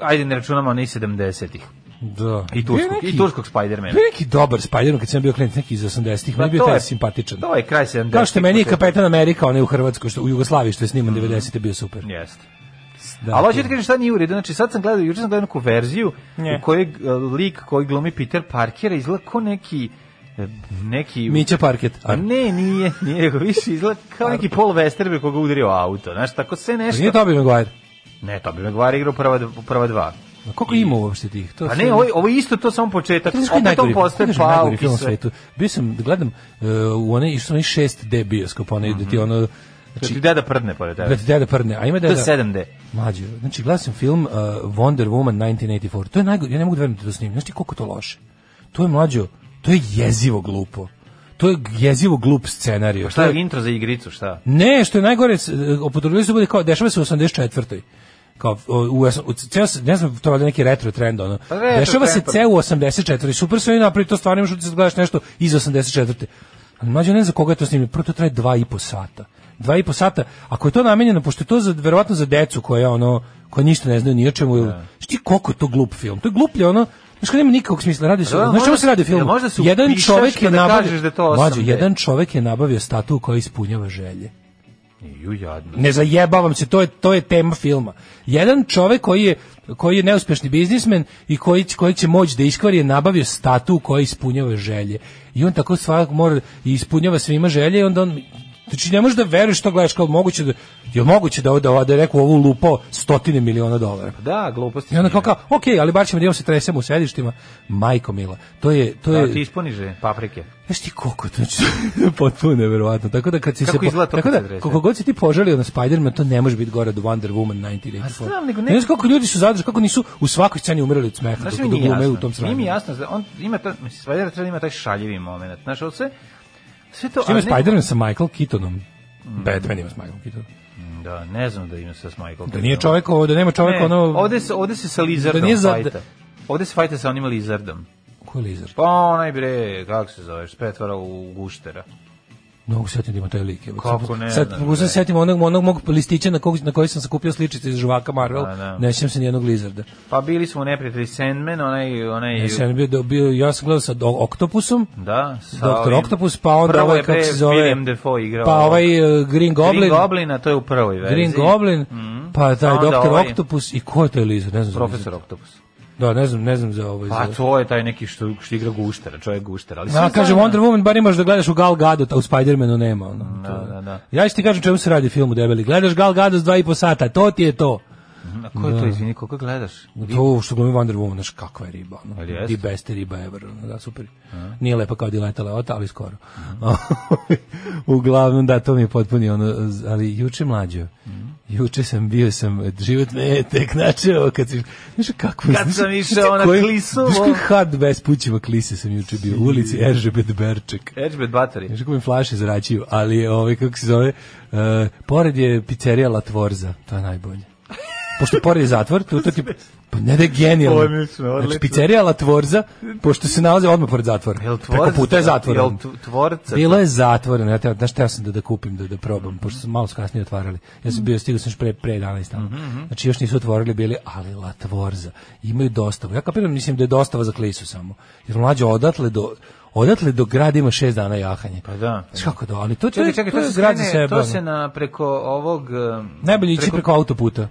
ajde ne računamo ne 70-ih.
Da. Bio
I
je
turskog, i
neki-
turskog Spidermana. Pa
Bio je neki dobar Spider-Man kad sam bio klient, neki iz 80-ih, meni je bio taj simpatičan.
To je kraj 70-ih.
Kao što je meni i
početak.
Kapetan Amerika, onaj u Hrvatskoj, što, u Jugoslaviji što je sniman 90-te bio super.
Jeste.
Da,
Ali hoću
to-
ti kažem šta nije u redu, znači sad sam gledao, juče sam gledao neku verziju
Ne.
u kojoj e, lik koji glumi Peter Parkera izgleda ko neki e, neki
Da. Mića Parket.
A ne, nije, nije, nego više izgleda kao neki Paul Westerby koga udario auto, znaš, tako sve
Pa
nešto.
Nije Tobey Maguire.
Ne, to bi Maguire igrao prva, d- prva dva.
A Koliko ima uopšte tih? To
A
sve-
Pa ne, ovo, je- ovo je isto to samo početak,
Znaš koji je
opet on
da najgori,
postaje
koji je najgori
pauk
film
i
na
sve.
svetu? Bio sam, gledam, e, u onaj, išao sam onaj 6D bioskop, onaj, gde ti ono,
Znači, ti
znači,
deda prdne pored
da
tebe.
ti deda prdne, a ima
To
deda...
je 7D.
Mlađe, znači gledao sam film uh, Wonder Woman 1984. To je najgore, ja ne mogu da verujem da to snimim. Znaš ti koliko to loše? To je mlađo, to je jezivo glupo. To je jezivo glup scenarijo.
Šta
To
je intro za igricu, šta?
Ne, što je najgore, s- upotrebili su da bude kao, dešava se u 84. Kao, o, u, u, ceo, se- ne znam, to je valjda neki retro trend, ono.
Pa retro
dešava se
trend, pa-
ceo u 84. Super su oni napravili, to stvarno imaš utisak da gledaš nešto iz 84. Ali mlađe, ne znam za koga je to snimljeno. Prvo to traje dva i po sata. Dva i po sata. Ako je to namenjeno, pošto je to za, verovatno za decu koja, ono, koja ništa ne znaju ni o čemu.
Da.
Znaš ti koliko je to glup film? To je gluplje, ono, Znaš kada nema nikakvog smisla, radi se,
Da,
znaš čemu
možda-
se radi film?
jel možda se
jedan
upišeš
čovek
pa
je
da
nabavio,
kažeš da je to
mlađe,
8D.
jedan čovek je nabavio statu koja ispunjava želje.
Ju, jadno.
Ne zajebavam se, to je to je tema filma. Jedan čovek koji je koji je neuspešni biznismen i koji će, koji će moći da iskvari je nabavio statu koja ispunjava želje. I on tako svak mora i ispunjava svima želje i onda on Znači ne možeš da veruješ što gledaš kao moguće da je moguće da ovo da, ovo- da je rekao ovo lupao stotine miliona dolara.
Da, gluposti.
I onda kao,
nije.
kao ok, ali bar ćemo da idemo se tresemo u sedištima. Majko mila, to je... To je
Da, ti ispuniže paprike.
Znaš ti koliko to znači, potpuno neverovatno. Tako da kad si
Kako
se po-
izgleda to
tako
kad
da
se drese?
koliko god si ti požalio na Spider-Man, to ne može biti gore od Wonder Woman 1984.
A znam, nego ne-
ne znaš koliko ljudi su zadržali, kako nisu u svakoj sceni umirali od smeha
Znaš
dok
mi
dok
Pa nije
glume
jasno.
u tom
Nije mi
sranju.
jasno, zna- on ima ta, mislim, Spider-Man treba da ima taj šaljivi moment. Znaš, ovo sve, sve to...
Šta ima
ali Mm. ne-
Znači, Spider-Man sa Michael Keatonom? Batman ima s Michael Keatonom.
Da, ne znam da ima sa s Michael.
Da nije čovek ovo, da nema čovek
ne,
ono...
Ovde se, ovde se sa Lizardom
Da nije za-
fajta. Ovde se fajta sa onim Lizardom.
Ko je Lizard?
Pa onaj bre, kako se zoveš, petvara u guštera.
Mnogo setim da ima taj lik. evo.
Kako
Sad-
ne
Sad
znam,
mogu se
bre.
setim onog, onog mog listića na, kog, na koji sam sakupio sličice iz žvaka Marvel.
A, da.
Ne sjećam se nijednog Lizarda.
Pa bili smo neprijatelji Sandman, onaj... onaj
Ja sam bio, bio, ja sam gledao sa Do- Octopusom,
Da, sa
Doktor
ovim-
Octopus, pa onda
Prvo
ovaj,
je
kako
bre
se zove,
William Defoe igrao.
pa ovaj
Green
e, Green Goblin,
Goblina, to je u prvoj verziji.
Green Goblin,
Mhm.
pa taj
onda
Doktor
ovaj-
Octopus i ko je taj Lizard, ne znam. za
Profesor
Lizard.
Octopus.
Da, ne znam, ne znam za ovaj.
Pa
za-
to je taj neki što, što igra guštera, čovjek guštera. Ali
A,
sve
kaže
zajedno-
Wonder Woman, bar imaš da gledaš u Gal Gadot, a u Spider-Manu nema. Ono,
Da, da, da.
Ja ću ti kažem čemu se radi film u debeli. Gledaš Gal Gadot s dva i po sata, to ti je to.
znam, a ko je to, izvini, koliko gledaš?
To što glumi Wonder Woman, znaš kakva je riba. Ono.
Ali jest?
Di beste riba ever, ono, da, super. Nije lepa kao Dileta Leota, ali skoro. Uglavnom, da, to mi je potpuni, ono, z- ali juče mlađo.
Mm.
Juče sam bio sam, život me je tek načeo, kad si, znaš kako...
Kad sam išao na Klisovo.
Znaš koji had bez pućima klise sam juče bio, u ulici Eržebet Berček.
Edgebet Battery.
Znaš kako mi flaše zračiju, ali ovaj, kako se zove, e, pored je pizzerija Latvorza, to je najbolje. Pošto pored je zatvor, tu to ti... Pa ne da je genijalno.
Odlično, odlično.
Znači, pizzerija Latvorza, pošto se nalaze odmah pored zatvora.
Jel
Preko
tvorca-
puta je
Jel
zatvoren.
tu- tvorca?
Bilo je zatvoreno, ja teo, znaš, teo sam da, da kupim, da, da probam, pošto su malo su kasnije otvarali. Ja
Mhm.
sam bio, stigao sam još pre, pre 11 tamo. Znači, još nisu otvorili bili, ali Latvorza. Imaju dostavu. Ja kapiram, mislim da je dostava za klisu samo. Jer mlađe odatle do... Odatle do grada ima šest dana jahanje.
Pa da.
Znaš kako da, ali to,
Čekaj,
čekaj,
čekaj,
to,
to
je
se
zgrad za
skrene,
sebe.
to se
ono.
na preko ovog... um,
Najbolje ići preko autoputa.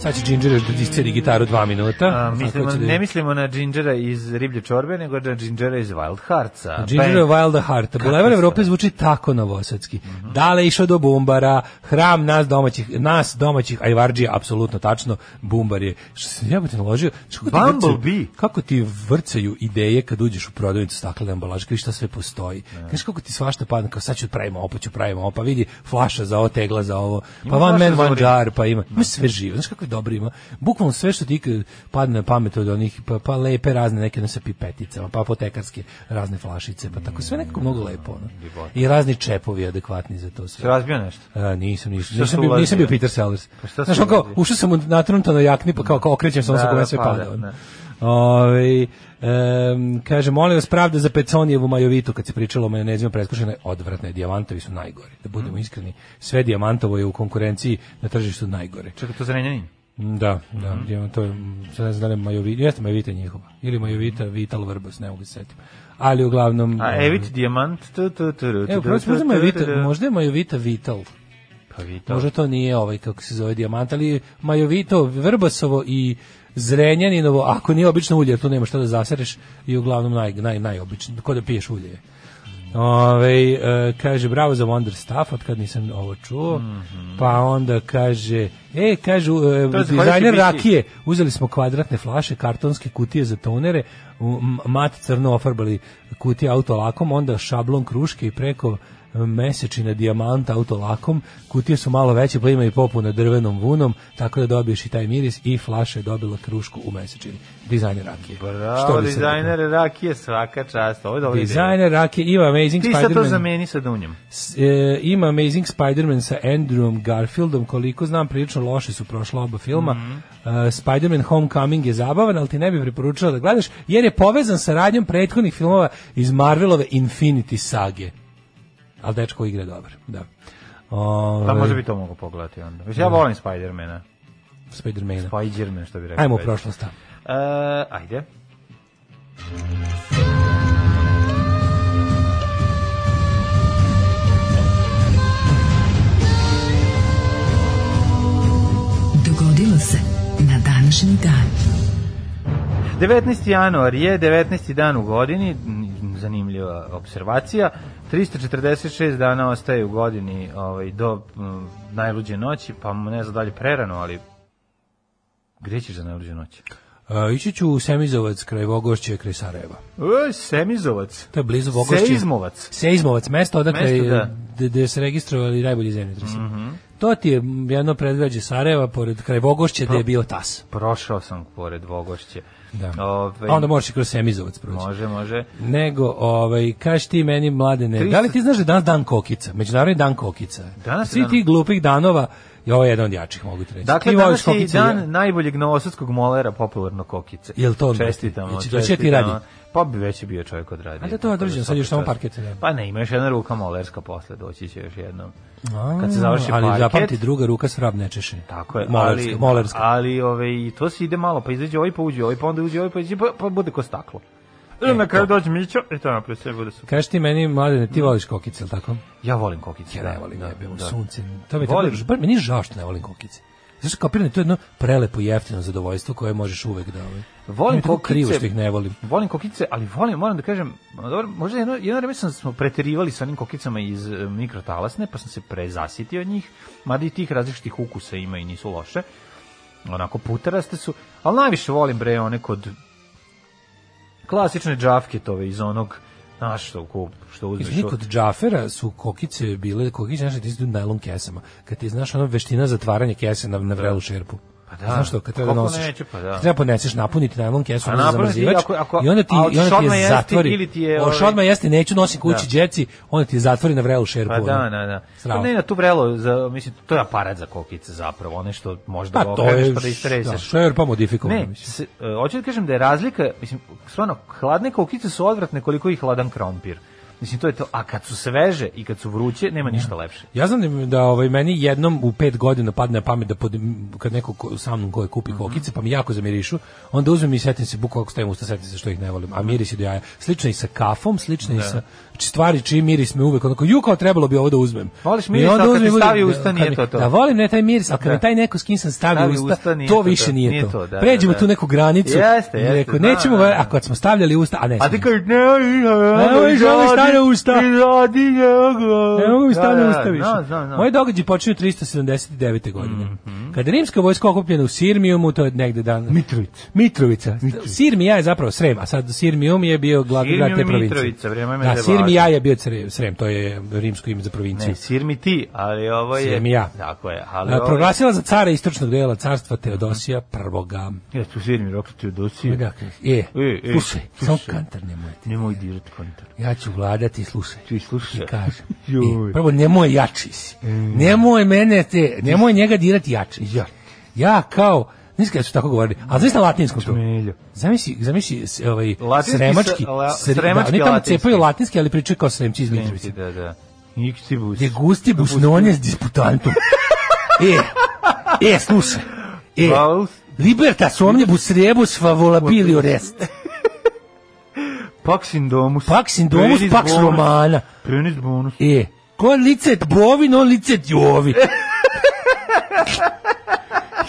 Sad će Ginger još da disceri gitaru dva minuta.
A,
Sad
mislimo,
hoće da-
ne mislimo na džinđera iz riblje čorbe, nego na džinđera iz Wild Heartsa.
Ginger
Bang.
Wilda Harta. Bulevar Evrope zvuči tako novosadski. Dale išao do Bumbara, hram nas domaćih, nas domaćih ajvarđija, apsolutno tačno, Bumbar je. Što se jebote naložio? Znaš Kako ti
Bumblebee.
vrcaju, kako ti vrcaju ideje kad uđeš u prodavnicu staklene ambalaže, kao šta sve postoji. Znaš kako ti svašta padne, kao sad ću pravimo ovo, pa ću pravimo ovo, pa vidi flaša za ovo, tegla za ovo, pa one
flaša
man,
za
one
ovo.
jar, pa ima, ima sve živo. Znaš kako je dobro ima? Bukvalno sve što ti ikad padne na pamet od onih, pa, pa lepe razne neke ono sa pipeticama, pa apotekarske razne flašice, pa tako sve nekako mnogo lepo. Ono. I razni čepovi adekvatni za to
Se
sve.
razbio nešto.
A, nisam, nisam,
Šta
nisam,
se
bio,
ulazi,
nisam bio
ne?
Peter Sellers.
Pa šta se
Znaš, ono kao,
ulazi?
ušao sam u natrnuto na jakni, pa kao, kao okrećem se, ono
Da,
sa
da,
koga sve
pada,
pada. ono.
da.
Ovaj, em, kaže, molim vas pravda za Peconijevu majovitu, kad se pričalo o majonezima preskušena je odvratna, je, dijamantovi su najgori. Da budemo
Mm.
iskreni, sve dijamantovo je u konkurenciji na tržištu najgore.
Čekaj, to zrenjanin.
Da, da,
Mm-hmm.
mm. to je, sad ne znam da li je Majovita, jeste Majovita njihova, ili Majovita Vital Vrbas, ne mogu se setiti. Ali uglavnom...
Mm-hmm. A
em,
Evit, Dijamant, tu, tu, tu, tu,
Evo,
tu,
prosim,
tu,
možda,
tu,
je Majovita,
tu, tu.
možda je Majovita Vital,
Pa Vital.
možda to nije ovaj, kako se zove, dijamant, ali Majovito, Vrbasovo i Zrenjaninovo, ako nije obično ulje, jer tu nema šta da zasereš, i uglavnom naj, naj, najobično, ko da piješ ulje. je. Ove, e, kaže, bravo za Wonder Stuff, od kad nisam ovo čuo. Pa onda kaže, e, kaže, e,
Mhm. To je zahvaljujući
dizajner
Bici.
rakije, uzeli smo kvadratne flaše, kartonske kutije za tonere, u- m- mat crno ofarbali kutije autolakom, onda šablon kruške i preko e, mesečina dijamanta autolakom, kutije su malo veće, pa ima i popu na drvenom vunom, tako da dobiješ i taj miris i flaša je dobila krušku u mesečini. Dizajner rakije.
Bravo,
bi se reklo?
dizajner rakije, svaka čast. Ovo je dobro
Dizajner rakije, ima Amazing
Ti sad to
Spider-Man.
zameni sa dunjom.
S- e, ima Amazing Spider-Man sa Andrewom Garfieldom, koliko znam prilično loše su prošla oba filma.
Mhm.
E, Spider-Man Homecoming je zabavan, ali ti ne bi preporučila da gledaš, jer je povezan sa radnjom prethodnih filmova iz Marvelove Infinity sage. Ali dečko igra dobro, da.
Pa
Ove,
možda bi to mogu pogledati onda. Mislim, ja volim Spidermana.
Spidermana.
Spiderman, što bi rekao.
Ajmo u
Spider.
prošlost. a.
E, ajde.
Dogodilo se na današnji dan.
19. januar je 19. dan u godini, m, zanimljiva observacija. 346 dana ostaje u godini ovaj, do m, najluđe noći, pa mu ne znam dalje prerano, ali gdje ćeš za najluđe noći?
E, ići ću u Semizovac kraj Vogošće, kraj Sarajeva.
E, Semizovac.
To je blizu Vogošće.
Seizmovac.
Seizmovac, mesto odakle
Mesto,
je-
da. Mhm.
gde gde se registrovali najbolji zemljotresi. To ti je m, jedno predgrađe Sarajeva, pored kraj Vogošće, gde je bio tas.
Prošao sam pored Vogošće.
Da.
Ovaj,
A onda možeš i kroz Semizovac proći.
Može, može.
Nego, ovaj, kaš ti meni, mladene,
Tri-
da li ti znaš da je danas dan kokica? Međunarodni dan kokica.
Danas je
Svi
dan-
ti glupih danova, i ovo je jedan od jačih, mogu ti reći.
Dakle,
ti voliš
danas je i
kokice,
dan
ja?
najboljeg novosadskog molera popularno kokice.
Jel to odmah?
Čestitamo,
Znači,
čestitamo.
doći ti radi?
Pa bi već je bio čovjek odradio.
A da to
tako
određeno, sad
svaka
još samo
čast.
parket, da.
Pa ne, ima još jedna ruka molerska posle, doći će još jednom.
A,
Kad se završi
ali
parket-
zapamti, druga ruka svrab ne češe.
Tako je,
Molerska,
ali,
molerska.
ali ove, i to se ide malo, pa izađe ovaj, pa uđe ovaj, pa onda uđe ovaj, pa, izađe, pa, pa bude ko staklo. E, na kraju dođe Mićo i to napred sve bude super.
Kaš ti meni, mladene,
Mm.
ti voliš kokice, jel tako?
Ja volim kokice.
Ja ne
da,
volim,
da,
jebe, u
da.
sunce. To mi je
Volim.
tako, bar meni je žao što ne volim kokice. Znaš, kapirane, to je jedno prelepo jeftino zadovoljstvo koje možeš uvek da... Ovaj.
Volim
Meni je tako
kokice.
krivo što ih ne volim.
Volim kokice, ali volim, moram da kažem, ma dobro, možda jedno, jedno vreme sam smo preterivali sa onim kokicama iz e, mikrotalasne, pa sam se prezasitio od njih, mada i tih različitih ukusa ima i nisu loše, onako putaraste su, ali najviše volim bre one kod klasične džafketove iz onog, znaš, što, ko- što uzmeš
Izvini, kod džafera su kokice bile, kokice znaš, ti su u najlon kesama. Kad ti znaš ona veština zatvaranja kese na, na vrelu šerpu.
Pa da.
Znaš što, kad treba
Kako
da nosiš.
neću, pa da.
Kad Treba poneseš, napuniti najlon kesu,
A
onda
napuniti,
zamrzivač.
ako- ako-
I onda ti,
a hoćeš
i onda ti
odmah
je
jesti
zatvori.
ili ti je,
Hoćeš
ovaj-
odmah jesti, neću nosim kući
Da.
djeci, onda ti je zatvori na vrelu šerpu.
Pa da,
ono.
da, da. Pa
Strava.
ne na tu vrelo, za, mislim, to je aparat za kokice zapravo, one što možda
Pa
ga
to
okreneš
je,
pa da istreseš.
da, šerpa modifikovana,
Ne,
mislim.
s, e, hoću da kažem da je razlika, mislim, stvarno, hladne kokice su odvratne koliko i hladan krompir. Mislim, to je to. A kad su sveže i kad su vruće, nema ništa lepše.
Ja znam da, da ovaj, meni jednom u pet godina padne na pamet da pod, m, kad neko ko, sa mnom koje
Mhm.
kupi kokice, pa mi jako zamirišu, onda uzmem i setim se, bukvalno ako stavim u usta, setim se što ih ne volim, a miris je do jaja. Slično i sa kafom, slično
Da.
i sa znači, stvari čiji miris me uvek, onako, ju kao trebalo bi ovo da uzmem.
Voliš
I
miris,
onda
ali kad
uzmem
ti
i budem-
stavi u usta,
da,
nije
kad mi-
to to.
Da, volim ne taj miris, ali kad
Da.
mi taj neko s kim sam stavio
Stavi
u usta,
nije
to
da.
više nije,
Nije
to.
to, da, da,
Pređemo
da.
tu neku granicu.
Jeste, jeste,
Rekao,
da,
nećemo,
da, da.
a kad smo stavljali u usta, a ne.
A ti
smem.
kao, ne, ne,
Nemoj, žali, stane usta.
Ne, radi, ne, go.
Pa Ne mogu mi stane
Da, da,
usta više.
Znam, znam, Mhm. znam.
Moje događaje počinju 379. godine. Kada je rimska vojska okupljena u Sirmijumu, to je negde dan... Mitrovica. Mitrovica. Sirmija je zapravo Srem, a sad Sirmijum je bio glavni
Sirmijum
grad te
i
provincije.
Mitrovica, vrijeme me
Da,
ne
Sirmija je bio cre- Srem, to je rimsko ime za provinciju.
Ne, sirmi ti, ali ovo je...
Sirmi ja.
Tako je, ovaj- ali
A,
ovo je...
proglasila za cara istočnog dela carstva Teodosija prvoga.
Ja ću sirmi, rok ti odosio.
Dakle, E,
E, e,
slušaj,
slušaj.
samo kantar nemoj ti.
Nemoj dirat kontar.
Ja ću vladati, slušaj.
Ti slušaj.
I kažem.
Joj. E.
I prvo, nemoj jači si. Nemoj mene te, nemoj njega dirati jači. Ja. Ja kao, znaš kada su tako govorili, ali znaš na latinskom to?
Čmeljo.
Zamisli, zamisli s- ovaj,
Latinski
sremački,
sa- la-
sre- da,
sremački,
oni tamo
latinski.
cepaju latinski, ali pričaju kao sremci iz Mitrovice.
Da, da. Iktibus.
De gustibus nones disputantum. e, e, slušaj. E,
Paus.
libertas omnibus rebus favolabilio rest.
Pax in domus.
Pax in domus,
Prenis
pax
bonus.
romana.
Prenis bonus.
E, ko licet bovin, on licet jovi.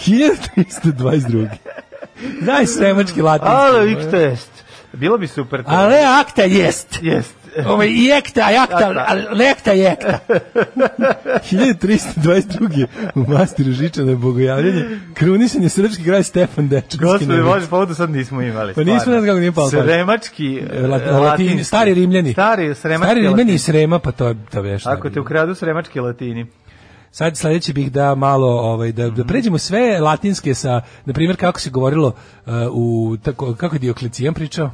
1322. Daj sremački latinski.
Alo, X test. Bilo bi super. to.
Ale akta jest.
Jest.
Ove, i ekta, i akta, ale ekta i ekta. 1322. U mastiru Žiča na bogojavljenje krunisan je srpski kraj Stefan Dečkovski.
Gospode, može povodu pa sad nismo imali.
Pa nismo,
stvarno.
ne znam kako nije palo.
Sremački,
La-
eh,
latini,
latinski.
stari rimljani.
Stari, sremački
Stari rimljani
latini.
i srema, pa to je to veš.
Ako te ukradu sremački latini.
Sad sledeći bih da malo ovaj da,
Mhm.
da pređemo sve latinske
Mhm.
sa na primjer kako se govorilo uh, u tako kako je Dioklecijan pričao.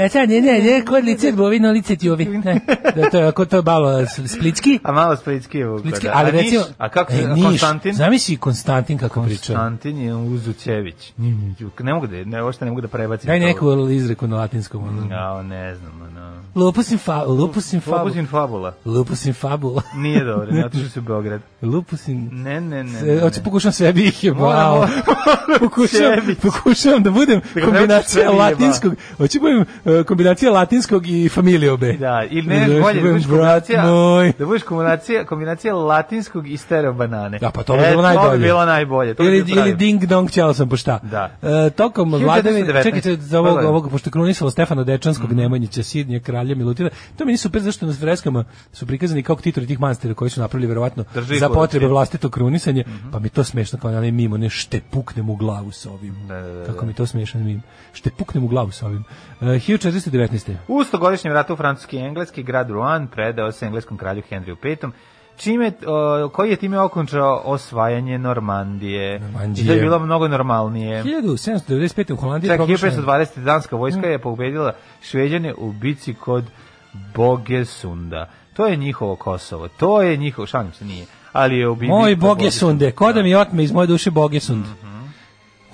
E sad, ne, ne, ne, kod lice bovino, lice ti ovi. Ne, da, to, je, ako to je malo splitski.
A malo splitski je Vukovar.
Splitski,
da.
ali
a, Niš?
recimo...
a kako
E,
se,
Niš,
Konstantin?
Zamisli Konstantin kako priča.
Konstantin da. je Uzućević. Ne mogu da, ne, uopšte ne mogu da prebacim.
Daj
to.
neku izreku na latinskom. ono.
Ja, ne znam, ono.
Lupus in, fa, lupus in fabula.
Fabula. Fokusin fabula.
Lupus in fabula.
Nije dobro, ne otišao se u Beograd.
Lupus in...
Ne, ne, ne. ne,
Se, hoću
ne.
pokušam sebi ih je
Moramo-
bao. pokušam,
sebi.
pokušam da budem
Da ga naučiš sve
kombinacija
jeba.
latinskog. Hoću budem e, kombinacija latinskog i familiobe.
Da, ili ne,
Hoću
bolje da
budem
budeš
brat
kombinacija,
moj.
da budeš kombinacija, kombinacija latinskog i stereo banane.
Da, pa to bi bilo
E, To
najbolje.
bi bilo najbolje. To bi
ili,
bilo
ili
pravilno.
ding dong ćao sam pošta.
Da.
E, tokom
1419.
vladavine, čekajte za ovog,
Pogledaj. Mhm.
ovog pošto je krunisalo Stefana Dečanskog, Nemanjića, Sidnja, Kralja, Milutina, to meni super zašto na freskama su prikazani kao titori tih manastira koji su napravili verovatno
Drži ih
za
u ruci. Mhm.
potrebe vlastito krunisanje, pa mi to smešno kao na onaj mimo, ne šte puknem u glavu sa ovim.
Da, da, da,
Kako
da.
mi to smešan mim. Šte puknem u glavu sa ovim. E, 1419.
U stogodišnjem ratu Francuski i Engleski grad Rouen predao se engleskom kralju Henriju V. Čime, o, koji je time okončao osvajanje Normandije.
Normandije.
I to je bilo mnogo normalnije.
1795. u Holandiji je
Čak
proglašena-
1520. danska vojska
Mm.
je pobedila Šveđane u bici kod Bogesunda. To je njihovo Kosovo. To je njihovo, šalim se, nije. Ali je u bici
Moj
kod
Bogesunde, ko da mi otme iz moje duše Bogesund.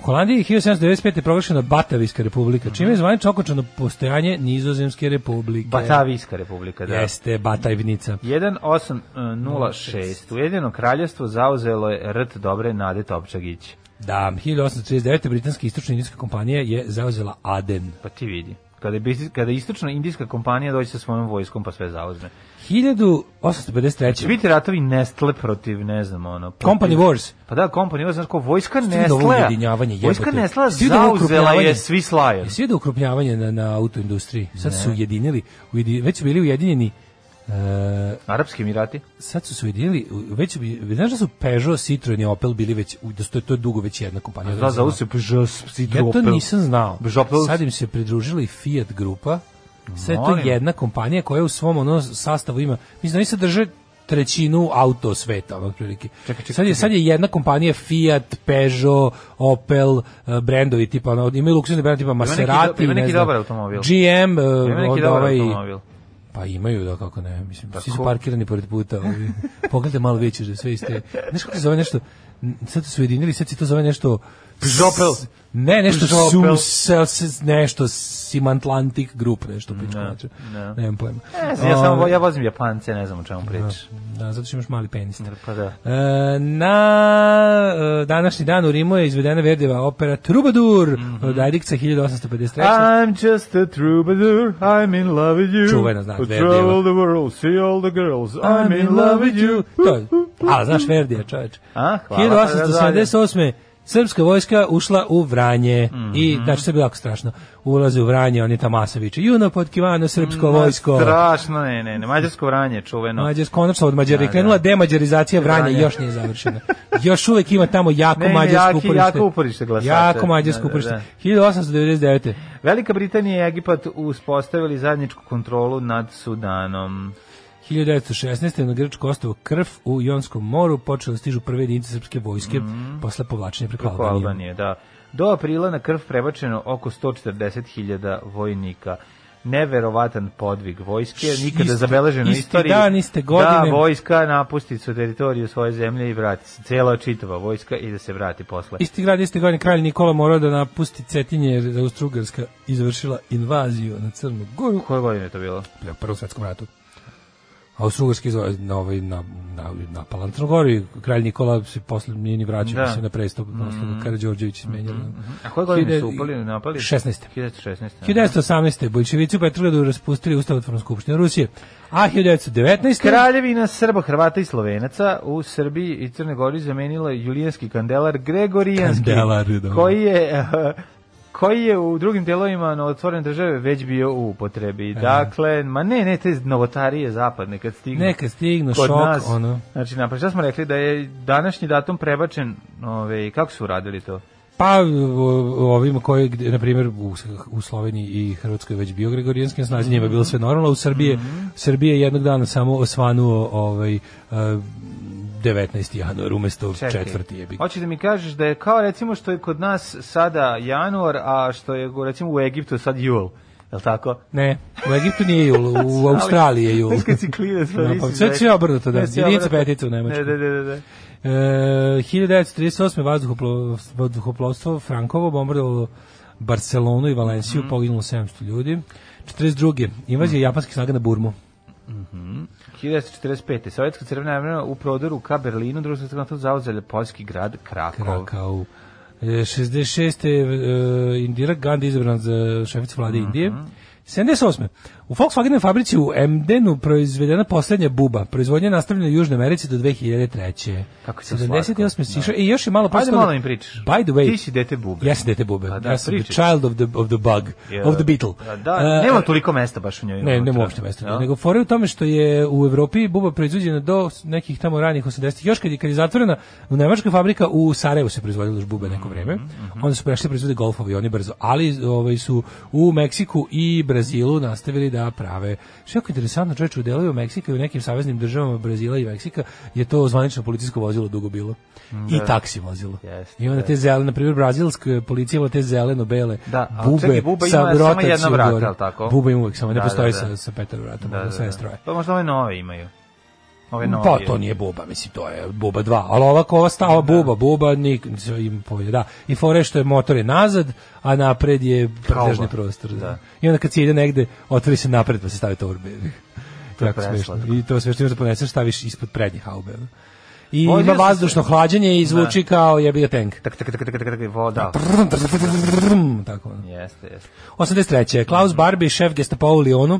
U Holandiji je 1795. proglašena Batavijska republika, čime je zvanično okončano postojanje Nizozemske republike.
Batavijska republika, da. e,
Jeste, Batajvnica.
1806. Ujedinjeno kraljevstvo zauzelo je rt dobre Nade Topčagić.
Da, 1839. britanska istočna indijska kompanija je zauzela Aden.
Pa ti vidi. Kada, je bis- kada istočno indijska kompanija dođe sa svojom vojskom pa sve zauzme.
1853.
Će biti ratovi Nestle protiv, ne znam, ono... protiv-
Company Wars.
Pa da, Company Wars, znaš ko, vojska
Stiglo ovo
Nestle.
ujedinjavanje,
Vojska
jebote.
Nestle
Stiglo ovo
zauzela je
ukrupnjavanje.
svi slajem.
Jesi vidio ukrupnjavanje na, na autoindustriji? Sad su ujedinili, ujedinili, već su bili ujedinjeni e,
Arapski Emirati.
sad su se ujedinili, u- već su bi, znaš da su Peugeot, Citroen i Opel bili već, u- da su to, to je dugo već jedna kompanija.
Dva za usip, žas,
Ja to nisam znao.
Žopel.
Sad im se pridružila i Fiat grupa. Sve je to
Molim.
jedna kompanija koja u svom ono sastavu ima, mislim, oni se drže trećinu auto sveta, ono, otprilike. sad, je, sad je jedna kompanija Fiat, Peugeot, Opel, eh, brendovi tipa, ono, imaju luksuzni brend tipa
neki do-
Maserati,
ima neki
ne znam,
dobar automobil.
GM, eh,
Ima neki
onda
dobar
ovaj,
automobil.
pa imaju, da kako ne, mislim, svi su
Tako.
parkirani pored puta. ovi. Pogledajte malo veće, da je sve iste. Znaš kako se zove nešto, N- sad su ujedinili, sad se to zove nešto...
Žopel.
S- Ne, nešto
Žopel.
sum, sel, se- nešto Simantlantic Group, nešto pičko. Ne, ne. E, Nemam pojma.
Ne znam, ja,
Ovaj-
samo, ja vozim Japance, ne znam o čemu pričaš.
Da, zato što imaš mali penis.
Pa da.
E, na e, današnji dan u Rimu je izvedena Verdijeva opera Trubadur od Ajdikca 1853.
I'm just a troubadour, I'm in love with you.
Čuvena, znaš,
I
Verdijeva.
travel the world, see all the girls, I'm, in love with you.
To je, a, znaš Verdija, čoveč.
A, hvala, pa da
1878. Srpska vojska ušla u Vranje
Mhm.
i, znači, sve je bilo jako strašno. Ulaze u Vranje, oni Tamasevići. Juno pod Kivano,
Pa,
srpsko
Mhm,
vojsko.
Strašno, ne, ne, ne, mađarsko vranje, čuveno.
Mađars, konačno od Mađara je
Da,
krenula demađarizacija Vranja i
Vranja.
još nije završena. Još uvek ima tamo jako
Ne, ne,
mađarsko
jaki-
uporište.
jako uporište glasača.
Jako mađarsko
Da, da,
uporište.
da.
1899.
Velika Britanija i Egipat uspostavili zajedničku kontrolu nad Sudanom.
1916. na Grčko ostavu Krv u Jonskom moru počeli da stižu prve jedinice srpske vojske posle povlačenja preko
Kako
Pa, Albanije.
Mhm. Albanije, da. Do aprila na krv prebačeno oko 140.000 vojnika. Neverovatan podvig vojske,
Š-
nikada
isti-
zabeležen u
isti
istoriji.
dan, iste godine.
Da, vojska napusti su teritoriju svoje zemlje i vrati se. Cela čitava vojska i da se vrati posle.
Isti grad, isti godin, kralj Nikola morao da napusti Cetinje jer je Austro-Ugarska izvršila invaziju na Crnu Goru
Koje godine je to bilo?
u Prvom svetskom ratu. Austro-Ugarska izva- na, ovaj, na, na, napala na Crnu Goru i kralj Nikola se posle nije ni vraćao
Da.
da. Mhm. se na prestup, posle mm. Karadžorđević smenjali.
A koje godine su
Hiljad-
upali, napali? da.
16.
1916.
1918. Bolševici u Petrogradu raspustili Ustavotvornu skupštinu Rusije, a 1919.
Kraljevina Srba, Hrvata i Slovenaca u Srbiji i Crnoj Gori zamenila julijanski kandelar Gregorijanski,
Kandelar, da.
koji je koji je u drugim delovima na otvorene države već bio u upotrebi. Dakle, ma ne, ne, te novotarije zapadne kad stignu.
Neka stignu,
kod
šok,
nas.
ono.
Znači, napravo, šta smo rekli, da je današnji datum prebačen, ove, kako su radili to?
Pa o- ovima koji, gde, na primjer, u, u Sloveniji i Hrvatskoj je već bio gregorijanski na snazi, njima je bilo sve normalno, u Srbiji,
Mhm.
Srbije je jednog dana samo osvanuo ovaj, e, 19. januar umesto
Čekaj.
četvrti je bi.
Hoćeš da mi kažeš da je kao recimo što je kod nas sada januar, a što je recimo u Egiptu sad jul. Jel tako?
Ne, u Egiptu nije jul, u Australiji je jul.
Znaš kad si klinac, pa
Da, pa
nisi
sve
zaista-
si obrnuto, da.
Sve si
Jedinica
obrnuto.
petica u Nemačkoj.
Da, da, da, da.
E, 1938. vazduhoplovstvo, vazduhoplovstvo Frankovo bombardovalo Barcelonu i Valenciju,
Mhm.
poginulo 700 ljudi. 42. Invazija japanskih snaga na Burmu.
1945. Sovjetska crvena armija u prodoru ka Berlinu, drugo svjetsko NATO zauzele poljski grad Pa Krakov.
Krakau. E, 66. je, e, Indira Gandhi izabran za šeficu vlade
Mhm.
Indije. 78. U Volkswagen fabrici u Emdenu proizvedena poslednja buba. Proizvodnja je nastavljena u Južnoj Americi do 2003.
Kako je to
78.
slatko,
sišao i još je malo
Ajde
postalo-
da malo mi pričaš.
By the way,
Ti si dete bube.
Jesi dete bube.
Pa da,
ja sam the
pričaš.
child of the, of the bug,
Je-
of the beetle.
Da, da,
E,
nema toliko mesta baš u njoj.
Ne,
unutra.
nema uopšte mesta.
Jel?
Nego fora je u tome što je u Evropi buba proizvođena do nekih tamo ranih 80-ih. Još kad je, kad je zatvorena nemačka fabrika u Sarajevu se proizvodila još bube neko vreme.
Mhm,
Onda su prešli da proizvode golfovi, oni brzo. Ali ovaj, su u Meksiku i Brazilu nastavili da prave. Što je jako interesantno, čovječe, u delovima Meksika i u nekim saveznim državama Brazila i Meksika je to zvanično policijsko vozilo dugo bilo. I taksi vozilo.
Mm, da. Jeste,
I onda te zelene, na primjer, brazilska policija ima te zeleno-bele
Da, a čekaj,
bube,
buba
sa
ima samo
rotacijom
jedna vrata,
gore.
jel tako?
Buba ima uvek samo, ne
Da, da,
postoji
da.
sa, sa Petar vratom, da, sve stroje.
Pa možda ove nove imaju. Ove nove.
Pa to nije buba, mislim, to je buba 2, ali ovako ova stava buba, buba, nik, sve im povije, da. I fore što je motor je nazad, a napred je prdežni
Kauba.
prostor. Da.
Da.
I onda kad se ide negde, otvori se napred pa se stavi torbe.
To je
Jako smešno.
preslatko.
I to sve što imaš da poneseš staviš ispod prednje haube. ono. I
Vozio
ima
sam se-
vazdušno hlađenje i zvuči kao jebi ga tank.
Tak, tak, tak, tak, tak, tak, voda.
Da, Tako ono.
Jeste, jeste.
83. Klaus Barbie, šef gestapa u Lionu,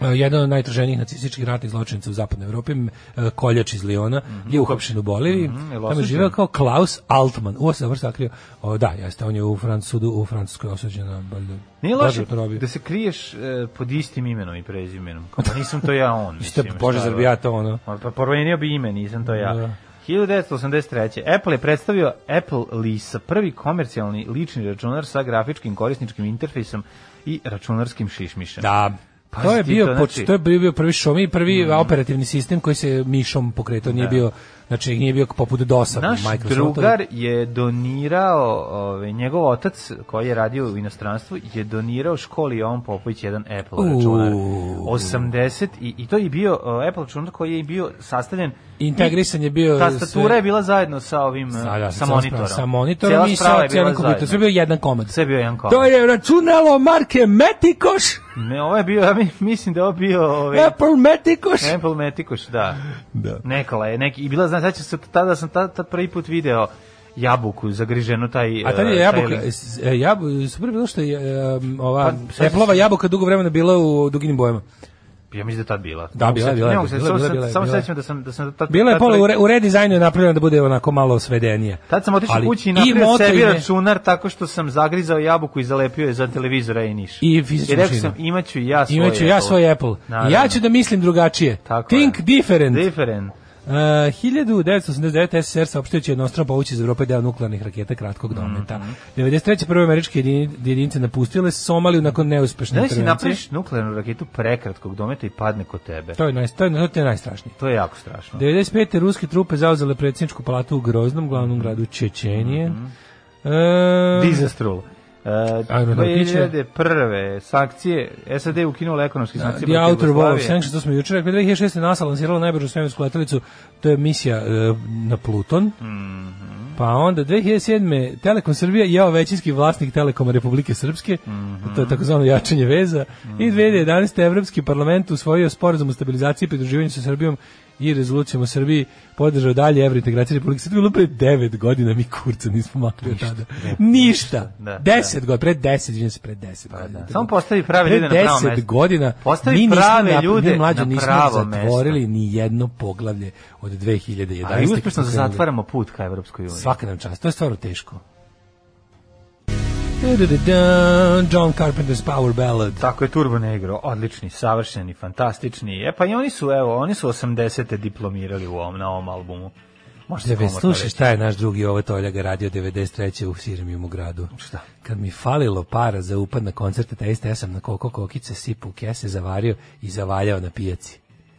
e, jedan od najtraženijih nacističkih ratnih zločinaca u zapadnoj Evropi, m, e, koljač iz Liona, je uhapšen u Boliviji.
Mhm, jel
Tamo je
osuđen?
živeo kao Klaus Altman. Uo, se vrsta krio. O, da, jeste, on je u Francudu, u Francuskoj osuđen na valjda,
Nije loše
doživotno robije.
da se kriješ e, pod istim imenom i prezimenom. Kao, pa nisam to ja on.
Isto,
mislim,
Bože,
šta da
zar
je
bi ja to ono?
Pa pa promenio bi ime, nisam to
Da.
ja. 1983. Apple je predstavio Apple Lisa, prvi komercijalni lični računar sa grafičkim korisničkim interfejsom i računarskim šišmišem.
Da.
Pazi
to je
ti
bio
to,
poč-
znači- Mhm.
to je bio bio prvi šomi i prvi operativni sistem koji se mišom pokretao, nije bio znači nije bio poput DOS-a
Da. Naš
Microsofta.
drugar je donirao, ovaj, njegov otac koji je radio u inostranstvu, je donirao školi Jovan Popović jedan Apple računar.
Uuu.
80 i, i to je bio uh, Apple računar koji je bio sastavljen
Integrisan je bio
Tastatura
sve-
je bila zajedno sa ovim uh,
Sa, da,
sa monitorom.
Sa monitorom
Cijela
i
sprava
sa
je bila
cijelim kompjuterom. Sve je
zajedno.
bio jedan komad.
Sve je bio jedan komad.
To je računalo marke Metikoš,
Ne, ovo je bio, ja mi- mislim da je ovo bio ovaj,
Apple Metikoš.
Apple Metikoš, da.
Da.
Nekala je, neki, i bila, znaš, sad ću se, tada sam tad, tad prvi put video jabuku zagriženu, taj...
A tad
eh,
je
taj
jabuka,
link.
s- e, jabu, super je bilo što je e, ova
Pa, sad-
Appleova jabuka dugo vremena bila u duginim bojama.
Ja mislim da je tad bila.
Da, bila je, bila je,
Ne mogu se-
bila je, bila je,
samo sam-
bila je,
Samo
bila je.
sećam da sam... Da sam tad,
Bila je
tad
pola
prvi-
u, re, u redizajnu je napravljena da bude onako malo svedenija.
Tad sam otišao
Ali
kući i
i
napravio
moto i
sebi
ne-
računar tako što sam zagrizao jabuku i zalepio je za televizora i niš.
I fizičnu
I rekao
mašinu.
sam, imaću ja svoj
Imaću ja svoj Apple.
Naravno.
Ja ću da mislim drugačije.
Tako je.
Think different.
Different.
Uh, 1989. SSR saopštio će jednostrano povući iz Evrope deo nuklearnih raketa kratkog dometa.
Mhm.
93. prve američke jedini- jedinice napustile Somaliju nakon neuspešne
Znaš Da si
intervencije.
napraviš nuklearnu raketu prekratkog dometa i padne kod tebe.
To je, naj, to, je, to je najstrašnije.
To je jako strašno.
95. ruske trupe zauzele predsjedničku palatu u Groznom, glavnom gradu Čečenije.
Mhm.
Mm
Dizastrul. Uh,
Aeronautiče.
2001. sankcije, SAD je ukinula ekonomske
Da, The
sankcije. protiv
Outer Wall
Jugoslavije.
of Sanctions, to smo jučer rekli, 2006. NASA lansirala najbržu svemirsku letelicu, to je misija e, na Pluton.
Mhm.
Pa onda 2007. Telekom Srbija jeo većinski vlasnik Telekoma Republike Srpske,
Mhm.
to je takozvano jačanje veza. I 2011. Evropski parlament usvojio sporazum o stabilizaciji i pridruživanju sa Srbijom i rezolucijom o Srbiji podržao dalje evro integracije Republike Srbije. Bilo pre 9 godina mi kurca nismo makli od tada. Ništa.
Da, Pa
10 godina, pre 10, izvinjam se, pre 10 godina.
Samo postavi prave
Pre
ljude na pravo mesto.
10 godina
Postavi
mi nismo
prave
nap-
ljude
mi mlađo
na
nismo
pravo
zatvorili ni jedno poglavlje od 2011.
Ali
kad
uspešno da
smo krenuli.
zatvaramo put ka Evropskoj uniji.
Svaka nam čast, to je stvarno teško. John Carpenter's Power Ballad.
Tako je Turbo Negro, odlični, savršeni, fantastični. E pa i oni su, evo, oni su 80. diplomirali u ovom, na ovom albumu. Možete
Da već
komotno
slušaj
reći.
šta je naš drugi ovo toljaga radio 93. u Sirmijem u gradu.
Šta?
Kad mi falilo para za upad na koncerte, te iste, ja sam na koko kokice sipu u kese zavario i zavaljao na pijaci.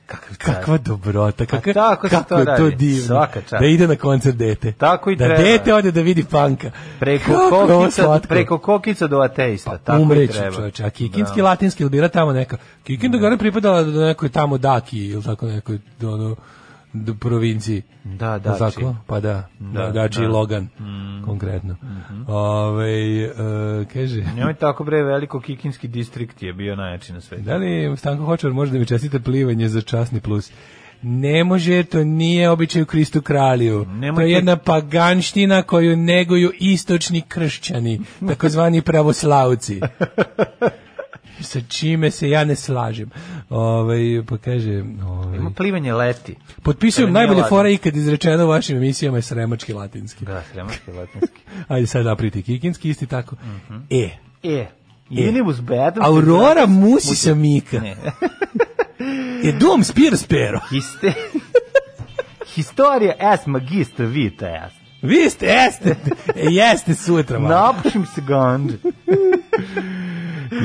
Kakav car.
Kakva dobrota, kakva,
tako se
kako
to
je to
radi.
divno.
Svaka čast.
Da ide na koncert dete.
Tako i
da
treba.
dete ode da vidi panka.
Preko
Kako je ovo
kokica,
slatko. Pa,
preko kokica do ateista, tako i
Umreći
treba. Da.
čoveče, a kikinski latinski ili bira tamo neka. Kikinda gore pripadala do nekoj tamo daki ili tako nekoj do, do, do provinciji.
Da,
Jel
da,
tako? Pa da, da, da, Dači i Logan,
Mm.
konkretno.
Mhm.
Ovaj, e, kaže,
Njoj tako bre veliko kikinski distrikt je bio najjači na svetu.
da li Stanko Hočar može da mi čestite plivanje za časni plus? Ne može, to nije običaj u Kristu kralju.
Nemojte-
To je jedna paganština koju neguju istočni kršćani, takozvani pravoslavci. sa čime se ja ne slažem. Ovaj, pa kaže... Ovaj,
Ima plivanje leti.
potpisujem
to nije
najbolje
lažno.
fore ikad izrečeno u vašim emisijama je sremački latinski.
Da, sremački latinski.
Ajde sad napriti kikinski, isti tako. E,
E, jedini uz bedom.
Aurora musi sa Mika.
Ne.
E dom spir spero.
Histe... Historija es magistra vita es.
Vi ste, jeste, e, jeste sutra. malo.
Napušim se ganđe.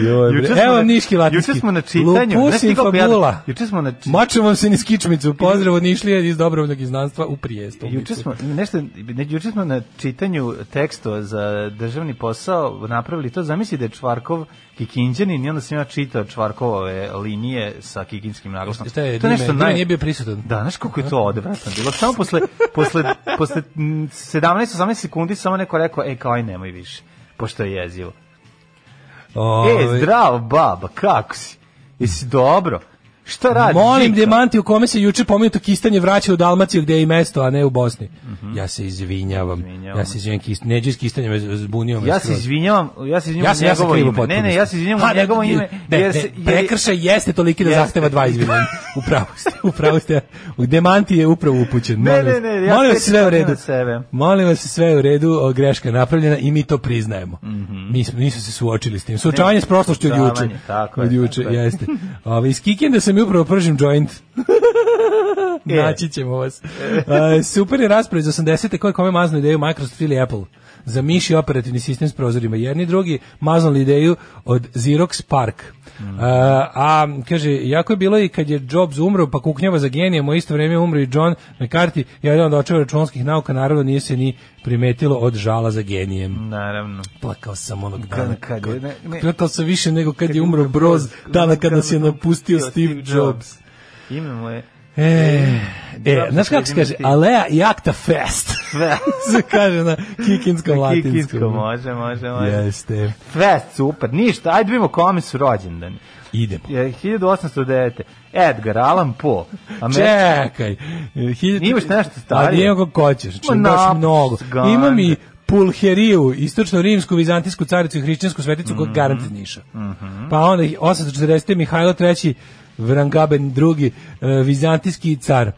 Joj, bre.
Juče smo
Evo
na-
Niški latinski.
Juče smo na čitanju. znaš
Lupusi
ti kako ja-
fabula.
Juče smo na či-
Mačem vam se niz kičmicu. Pozdrav od Nišlija iz dobrovnog iznanstva u prijestolnicu.
Juče smo, nešto, ne, juče smo na čitanju tekstova za državni posao napravili to, zamisli da je Čvarkov kikinđanin i onda sam ja čitao Čvarkovove linije sa kikinskim naglasom.
Šta je,
to
to
je nešto
naj...
naj...
nije bio prisutan.
Da, znaš kako je to odvratno bilo. Samo posle, posle, posle mm, 17-18 sekundi samo neko rekao, e, kao aj nemoj više, pošto je jezivo. E,
Ovaj,
zdravo, baba, kako si? Jesi dobro? Šta radiš?
Molim
Žika?
dijamanti u kome se juče pomenuto kistanje vraća u Dalmaciju gdje je i mesto, a ne u Bosni. Ja se izvinjavam.
Mhm. Izvinjavam.
Ja se izvinjam kist, neđu iz kistanja me zbunio me
Ja se
skroz.
izvinjavam, ja se izvinjavam
Ja se ja
u
sam
njegovo
krivo
ime. Ne, ne,
potpuno.
ja se izvinjavam
Ha, da,
u
ne,
njegovo
ne,
ime.
Ne,
jer
ne,
se- jer-
da, prekršaj jeste toliki da
Jeste.
zahteva dva izvinjanja. Upravo ste, upravo ste. U demanti je upravo upućen.
Ne,
Molim
ne,
vas-
ne, ja
molim
sve
vas sve u
čitam
redu.
od sebe.
Molim vas sve je u redu, o, greška je napravljena i mi to priznajemo. Mi smo nisu se suočili s tim. Suočavanje s prošlošću od juče.
Mhm. Suočavanje, tako je,
Od juče,
tako je.
jeste. Ove, iz Kikinde sam i upravo pržim joint.
E.
Naći ćemo vas. E, super je rasprava iz 80. koje kome maznu ideju Microsoft ili Apple za miši operativni sistem s prozorima. Jedni i drugi maznuli ideju od Xerox Park. Mm. a, a, kaže, jako je bilo i kad je Jobs umro, pa kuknjava za genijem, u isto vrijeme umro i John McCarthy, jedan od očeva računskih nauka, naravno nije se ni primetilo od žala za genijem.
Naravno.
Plakao sam onog dana.
kad je-
Mm. kad-
ne, ne.
plakao sam više nego kad je umro Broz, dana kad nas je napustio Steve Jobs.
Ime mu je...
E, e,
Jobs
znaš kako se
jedini
kaže,
ti.
Alea i Akta Fest. se kaže na kikinskom
Kikinsko,
latinskom.
može, može, može.
Jeste,
Fest, super, ništa, ajde vidimo kome su rođendani.
idemo.
Je, 1809. Edgar Allan Poe. Amer-
Čekaj. hiljadu-
Imaš nešto
A
starije?
nije kako hoćeš, čim
Ma,
baš
napusti
mnogo.
ga,
Imam i
ne.
Pulheriju, istočno-rimsku, vizantijsku caricu i hrišćansku sveticu
Mhm.
kod garant iz Niša. Pa onda 840. Mihajlo III. Vrangaben II. e, vizantijski car.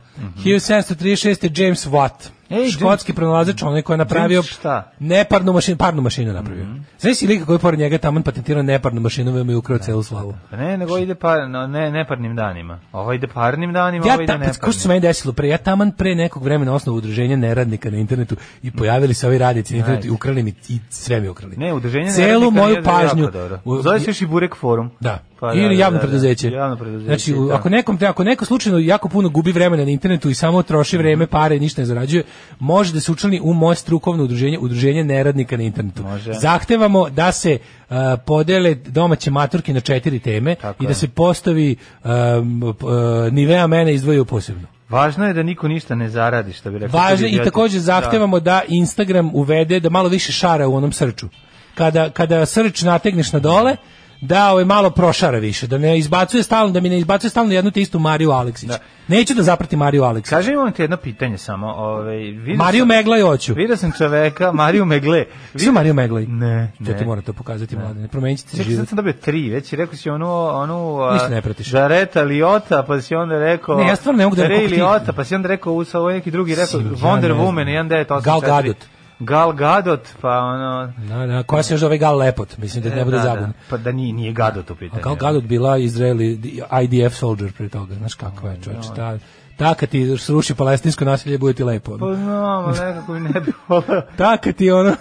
1736. James Watt.
Mhm. Ej,
škotski pronalazač, onaj koji je napravio
James šta? Mhm.
neparnu mašinu, parnu mašinu je napravio. Znaš da si lika koji je pored njega tamo patentirao neparnu mašinu, veoma je ukrao celu slavu.
Pa Ne, nego ide par, no, ne, neparnim danima. Ovo ide parnim danima, ovo
Ja
ide
ta,
neparnim.
ko što se meni desilo pre, ja taman pre nekog vremena osnovu udruženja neradnika na internetu i pojavili se ovi radnici na internetu i ukrali mi i sve mi ukrali.
Ne, udruženje
Celu
neradnika
moju
je
pažnju.
jako dobro.
u-
Zove se još i Burek forum.
Da.
Pa
Ili
da,
javno
da, da.
preduzeće.
Javno preduzeće,
Znači, u-
da.
ako nekom treba, ako neko slučajno jako puno gubi vremena na internetu i samo
Mhm.
troši vreme, pare, ništa ne zarađuje, može da se učlani u moje strukovno udruženje, udruženje neradnika na internetu.
Može.
Zahtevamo da se uh, podele domaće maturke na četiri teme
Tako
i da
je.
se postavi um, p- uh, nivea mene izdvoji u posebno.
Važno je da niko ništa ne zaradi, što bi rekao.
Važno
Kad
i
idioti-
takođe zahtevamo da. Instagram uvede da malo više šara u onom srču. Kada, kada srč nategneš na dole, da ovaj malo prošara više, da ne izbacuje stalno, da mi ne izbacuje stalno jednu te istu Mariju Aleksić. Neću da zaprati Mariju Aleksić.
Kaži, imam ti jedno pitanje samo. Ovaj, vidio
Mariju
sam-
Meglaj hoću.
Vidio sam čoveka, Mariju Megle.
Svi Mariju Meglaj.
Ne,
To ti
ne.
moram to pokazati, mlade. Ne promenit ćete
Čekaj, sad
život.
sam dobio tri, već i rekao si onu, onu a,
Ništa ne pratiš.
Žareta Liota, pa si onda rekao...
Ne, ja stvarno ne mogu da
Ray
rekao ti-
Liotta, pa si onda rekao, usa, ovo je neki drugi, rekao
Sigurno, ja ne
Wonder
znam.
Woman, 1984.
Gal Gadot.
Gal Gadot, pa ono...
Da, da, koja se još zove Gal Lepot, mislim da ne bude
da, E,
zabavno.
Da, pa da nije, nije Gadot u pitanju.
A Gal Gadot bila Izraeli IDF soldier pre toga, znaš kakva je čovječ. Ta, ta kad ti sruši palestinsko nasilje, bude ti lepo. ono.
Pa znam, ali nekako mi ne bi volio.
Taka ti ono,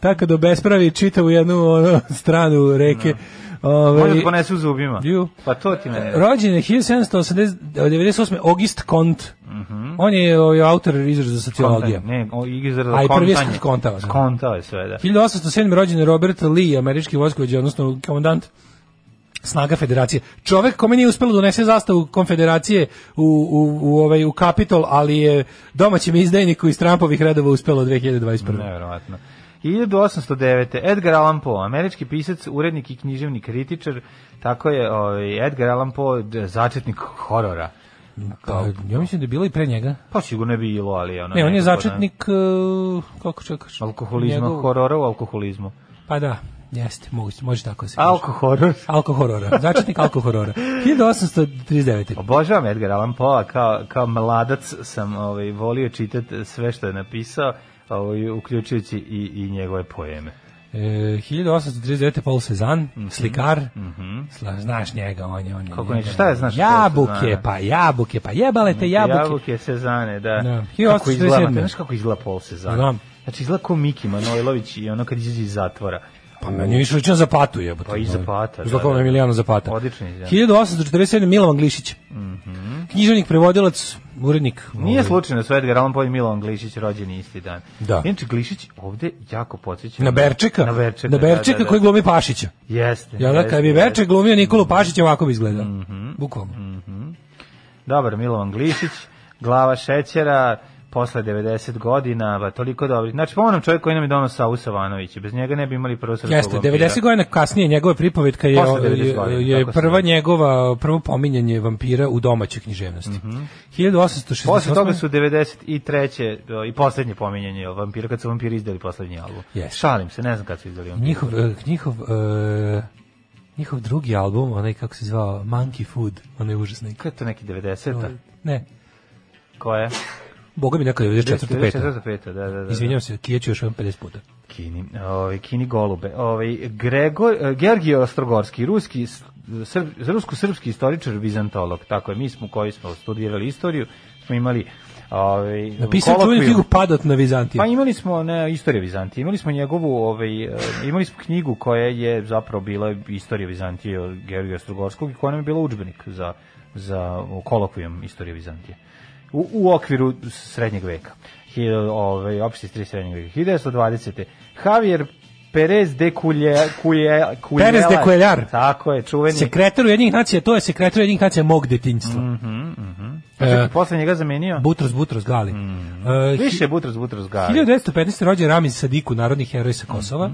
tako da obespravi čitavu jednu ono, stranu reke. Ove,
Može da ponese u zubima.
Ju. E,
Pa to ti mene.
Rođen je 1798. eh, August Kont. On je ovaj, autor izraza sociologija.
Ne, o, izraz
A i prvi je
kontanje.
skontao, da.
Skontao je sve, da.
1807. rođen je Robert Lee, američki vojskovođa, odnosno komandant snaga federacije. Čovek kome nije uspelo da donese zastavu konfederacije u, u, u, ovaj, u kapitol, ali je domaćem izdajniku iz Trumpovih redova uspelo 2021.
Neverovatno. 1809. Edgar Allan Poe, američki pisac, urednik i književni kritičar, tako je ovaj, Edgar Allan Poe d- začetnik horora.
Pa, ja mislim da je bilo i pre njega.
Pa sigurno je bilo, ali ono...
Ne, on je
nekako,
začetnik, e, kako čekaš?
da, Alkoholizma,
Njegov-
horora u alkoholizmu.
Pa da, jeste, moguće, može tako da se kaže.
Alkohoror.
Alkohorora, začetnik alkohorora. 1839.
Obožavam Edgar Allan Poe, a kao, kao mladac sam ovaj, volio čitati sve što je napisao, ovaj, uključujući i, i njegove poeme.
E, 1839. Paul Cezanne, slikar. Sla, znaš njega, on je... On je
Mhm, Kako
njega-
neće, šta je znaš Paul
Jabuke,
Cezanne?
pa jabuke, pa jebale te jabuke.
Jabuke Sezane, da.
Da.
Kako
1837.
izgleda, znaš kako izgleda Paul Sezane?
Znam.
Znači izgleda ko Miki Manojlović i ono kad izađe iz zatvora.
Pa meni više lično zapatu jebote.
Pa i Zapata, da,
Zlakovo
da.
Emiliano Zapata.
Odlični izjava.
1847. Milovan Glišić. Književnik, prevodilac, urednik.
Mhm. Nije
ovaj,
slučajno sve Edgar Allan Poe i Milan Glišić rođeni isti dan.
Da.
Inače, Glišić ovde jako podsjeća.
Na Berčeka?
Na Berčeka,
Na Berčeka
da, da, da.
koji glumi Pašića.
Jeste.
Ja da,
jeste,
kad bi
jeste. Mhm.
Berček glumio Nikolu Pašića, ovako bi izgledao. Bukvalno.
Dobar, Milovan Glišić, glava šećera, posle 90 godina, ba, toliko dobri. Znači, pomenem čovjek koji nam je donos Savu Savanović. Bez njega ne bi imali prvo srpskog
Jeste,
vampira.
90 godina kasnije njegova pripovetka je,
da. Posle 90 godina,
je, je
tako se
prva
zove.
njegova, prvo pominjanje vampira u domaćoj književnosti. 1868.
Mhm. Posle toga su 93. do- i poslednje pominjanje jel, vampira, kad su vampiri izdali poslednji album.
Yes.
Šalim se, ne znam kad su izdali vampira.
njihov, eh, njihov, eh, njihov drugi album, onaj kako se zvao, Monkey Food, onaj užasni.
Kada je to neki 90-a?
Ne,
Koje?
boga mi neka 94. 5.
94. Da, da, da.
Izvinjam se, kijeću još vam 50 puta.
Kini, ovaj, Kini golube. Ovaj, Gregor, eh, Gergije Ostrogorski, ruski, s- srb, rusko-srpski istoričar, vizantolog. Tako je, mi smo koji smo studirali istoriju, smo imali ovaj,
Napisao čuvenu
kolokvijum.
knjigu Padot na Vizantiju.
Pa imali smo ne istorija Vizantije, imali smo njegovu ovaj e, imali smo knjigu koja je zapravo bila istorija Vizantije od Georgija Strugorskog i koja nam je bila udžbenik za za kolokvijum istorije Vizantije. U, u okviru srednjeg veka. Hi, ovaj opšti stri srednjeg veka. 1920. Javier Perez de Kulje, Kulje, Kuljelar.
Perez de Cuellar.
Tako je, čuveni.
Sekretar Ujedinjenih nacija, to je sekretar Ujedinjenih nacija mog detinjstva.
Mhm,
E,
Posle njega zamenio.
Butros, Butros, Gali. E,
Više Butros Butros Gali.
1915. rođen Ramiz Sadiku, narodni heroj sa Kosova.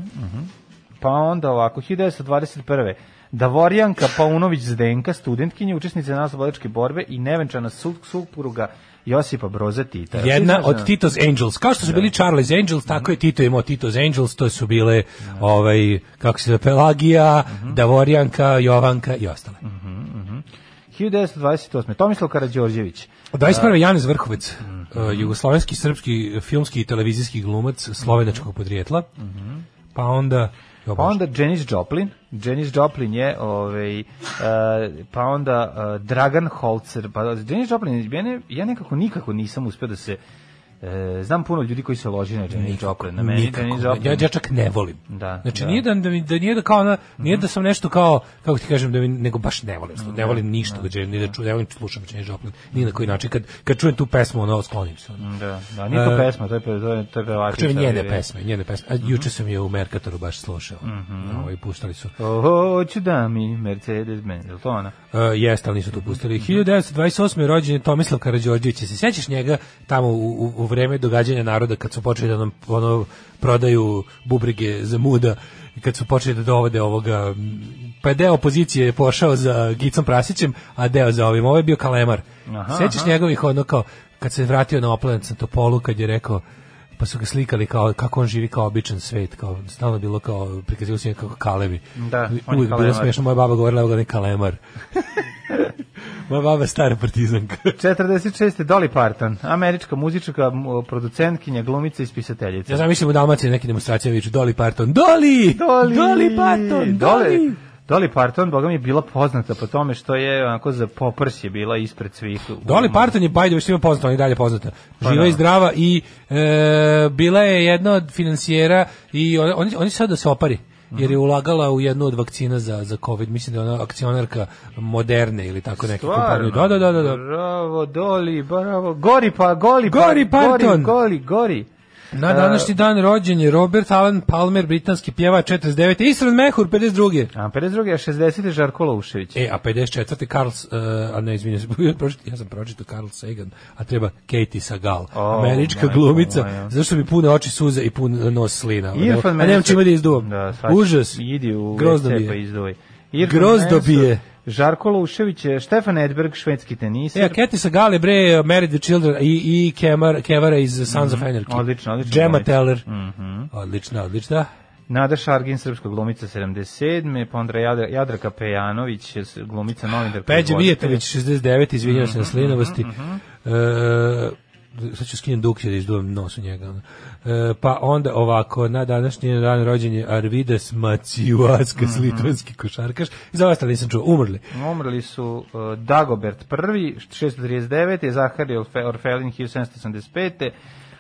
Pa onda ovako, 1921. Davorjanka Paunović Zdenka, studentkinja, učesnica naslobodičke borbe i nevenčana su- supruga Josipa Broza Tita.
Jedna
Znaš,
od
znaš,
Tito's Angels. Kao što su bili Charlie's Angels, tako je Tito imao Tito's Angels, to su bile ovaj, kako se zove, Pelagija, Davorjanka, Jovanka i ostale.
1928. Tomislav Karađorđević.
21. Janez Vrhovec, e, jugoslovenski, srpski, filmski i televizijski glumac slovenačkog podrijetla. Pa onda... jo,
Pa
bože.
onda Janis Joplin. Janis Joplin je, ovaj, e, pa onda e, Dragan Holzer. Pa Janis Joplin, ja, ne, ja nekako nikako nisam uspio da se... e, znam puno ljudi koji se loži na Janis Joplin. Na meni
Nikako.
Janis
Ja,
Joplin.
ja čak ne volim.
Da,
znači,
da. Mhm.
nije da, da, mi, da nije da kao ona, nije da sam nešto kao, kako ti kažem, da mi, nego baš ne volim. Ne volim ništa, da, Jane- ni da, ču, ne volim slušam Janis Joplin, ni na koji način. Kad, kad čujem tu pesmu, ono, sklonim se. Ono.
Da, da, nije to
E,
pesma, to je, pe- to je, to je Mhm. pevačica.
Čujem njene
ali-
pesme, njene pesme. A juče sam je u Merkatoru baš slušao.
Mhm.
Ovo, i puštali su.
Hoću da mi Mercedes Benz, je li to ona?
Uh, jeste, ali nisu to pustili.
Mhm.
1928. je rođen je Tomislav Karađorđević. Se sećaš njega tamo u, u, u vreme događanja naroda kad su počeli da nam ono, prodaju bubrige za muda i kad su počeli da dovode ovoga m, pa je deo opozicije je pošao za Gicom Prasićem, a deo za ovim. Ovo je bio Kalemar.
Aha,
sećaš
aha.
njegovih ono kao kad se vratio na Oplanac na Topolu kad je rekao pa su ga slikali kao kako on živi kao običan svet, kao stalno je bilo kao prikazivao se kao Kalevi.
Da, on je
Uvijek bilo
Kalemar.
smešno, moja baba govorila, evo ga ne Kalemar. Moja baba je stara partizanka.
46. Dolly Parton, američka muzička, m, producentkinja, glumica i spisateljica.
Ja znam, mislim u Dalmaciji na nekim demonstracijama viču Dolly Parton. Dolly! Dolly Parton! Dolly!
Dolly, Dolly Parton, boga mi je bila poznata po tome što je onako za poprs je bila ispred svih.
Dolly Parton je Bajde, što ima poznata, ona je dalje poznata.
Pa
Živa
da.
i zdrava i e, bila je jedna od financijera i oni, oni, oni sad da se opari. jer
Mhm.
je ulagala u jednu od vakcina za, za COVID, mislim da je ona akcionarka moderne ili tako neke kompanije. Da, da, da, da. da.
Bravo, doli, bravo. Gori pa, goli pa.
Gori Parton.
Gori, goli, gori.
Na današnji dan rođen je Robert Alan Palmer, britanski pjevač 49. Isran Mehur 52.
A 52. a 60. je Žarko Loušević.
E, a 54. Karl, S- e, a ne, izvinjam se, pročit- ja sam pročito Karl Sagan, a treba Katie Sagal,
O,
američka
majko
glumica,
moja.
zašto bi pune oči suze i pun nos slina. Irfan a nemam
Mensur-
čime da izduvam.
Da, sad
Užas.
Idi u
Grozno mi
WC
je.
pa izduvaj.
Grozno
Mensur,
mi je.
Žarko Loušević, je Štefan Edberg, švedski teniser.
E, a Katie Sagal je bre Married with Children i, i Kemar, Kevara iz Sons of Anarchy.
Mhm. odlično, Mhm. odlično
Gemma
glumica.
Teller. da. Odlična, odlična.
Nada Šargin, srpska glumica 77. Pa onda Jadra, Jadraka Pejanović, s- glumica novinar.
Peđa
prevoditelj.
Mijatović, 69, izvinjam se na slinovosti. E, sad ću skinem dukće da izduvam nos u njega. ono. E, pa onda ovako, na današnji dan rođen je Arvidas Macijuaskas, litvanski košarkaš. Za ostale nisam čuo, umrli.
Umrli su uh, Dagobert I, 639. Zaharij Orfe- Orfelin, 1785.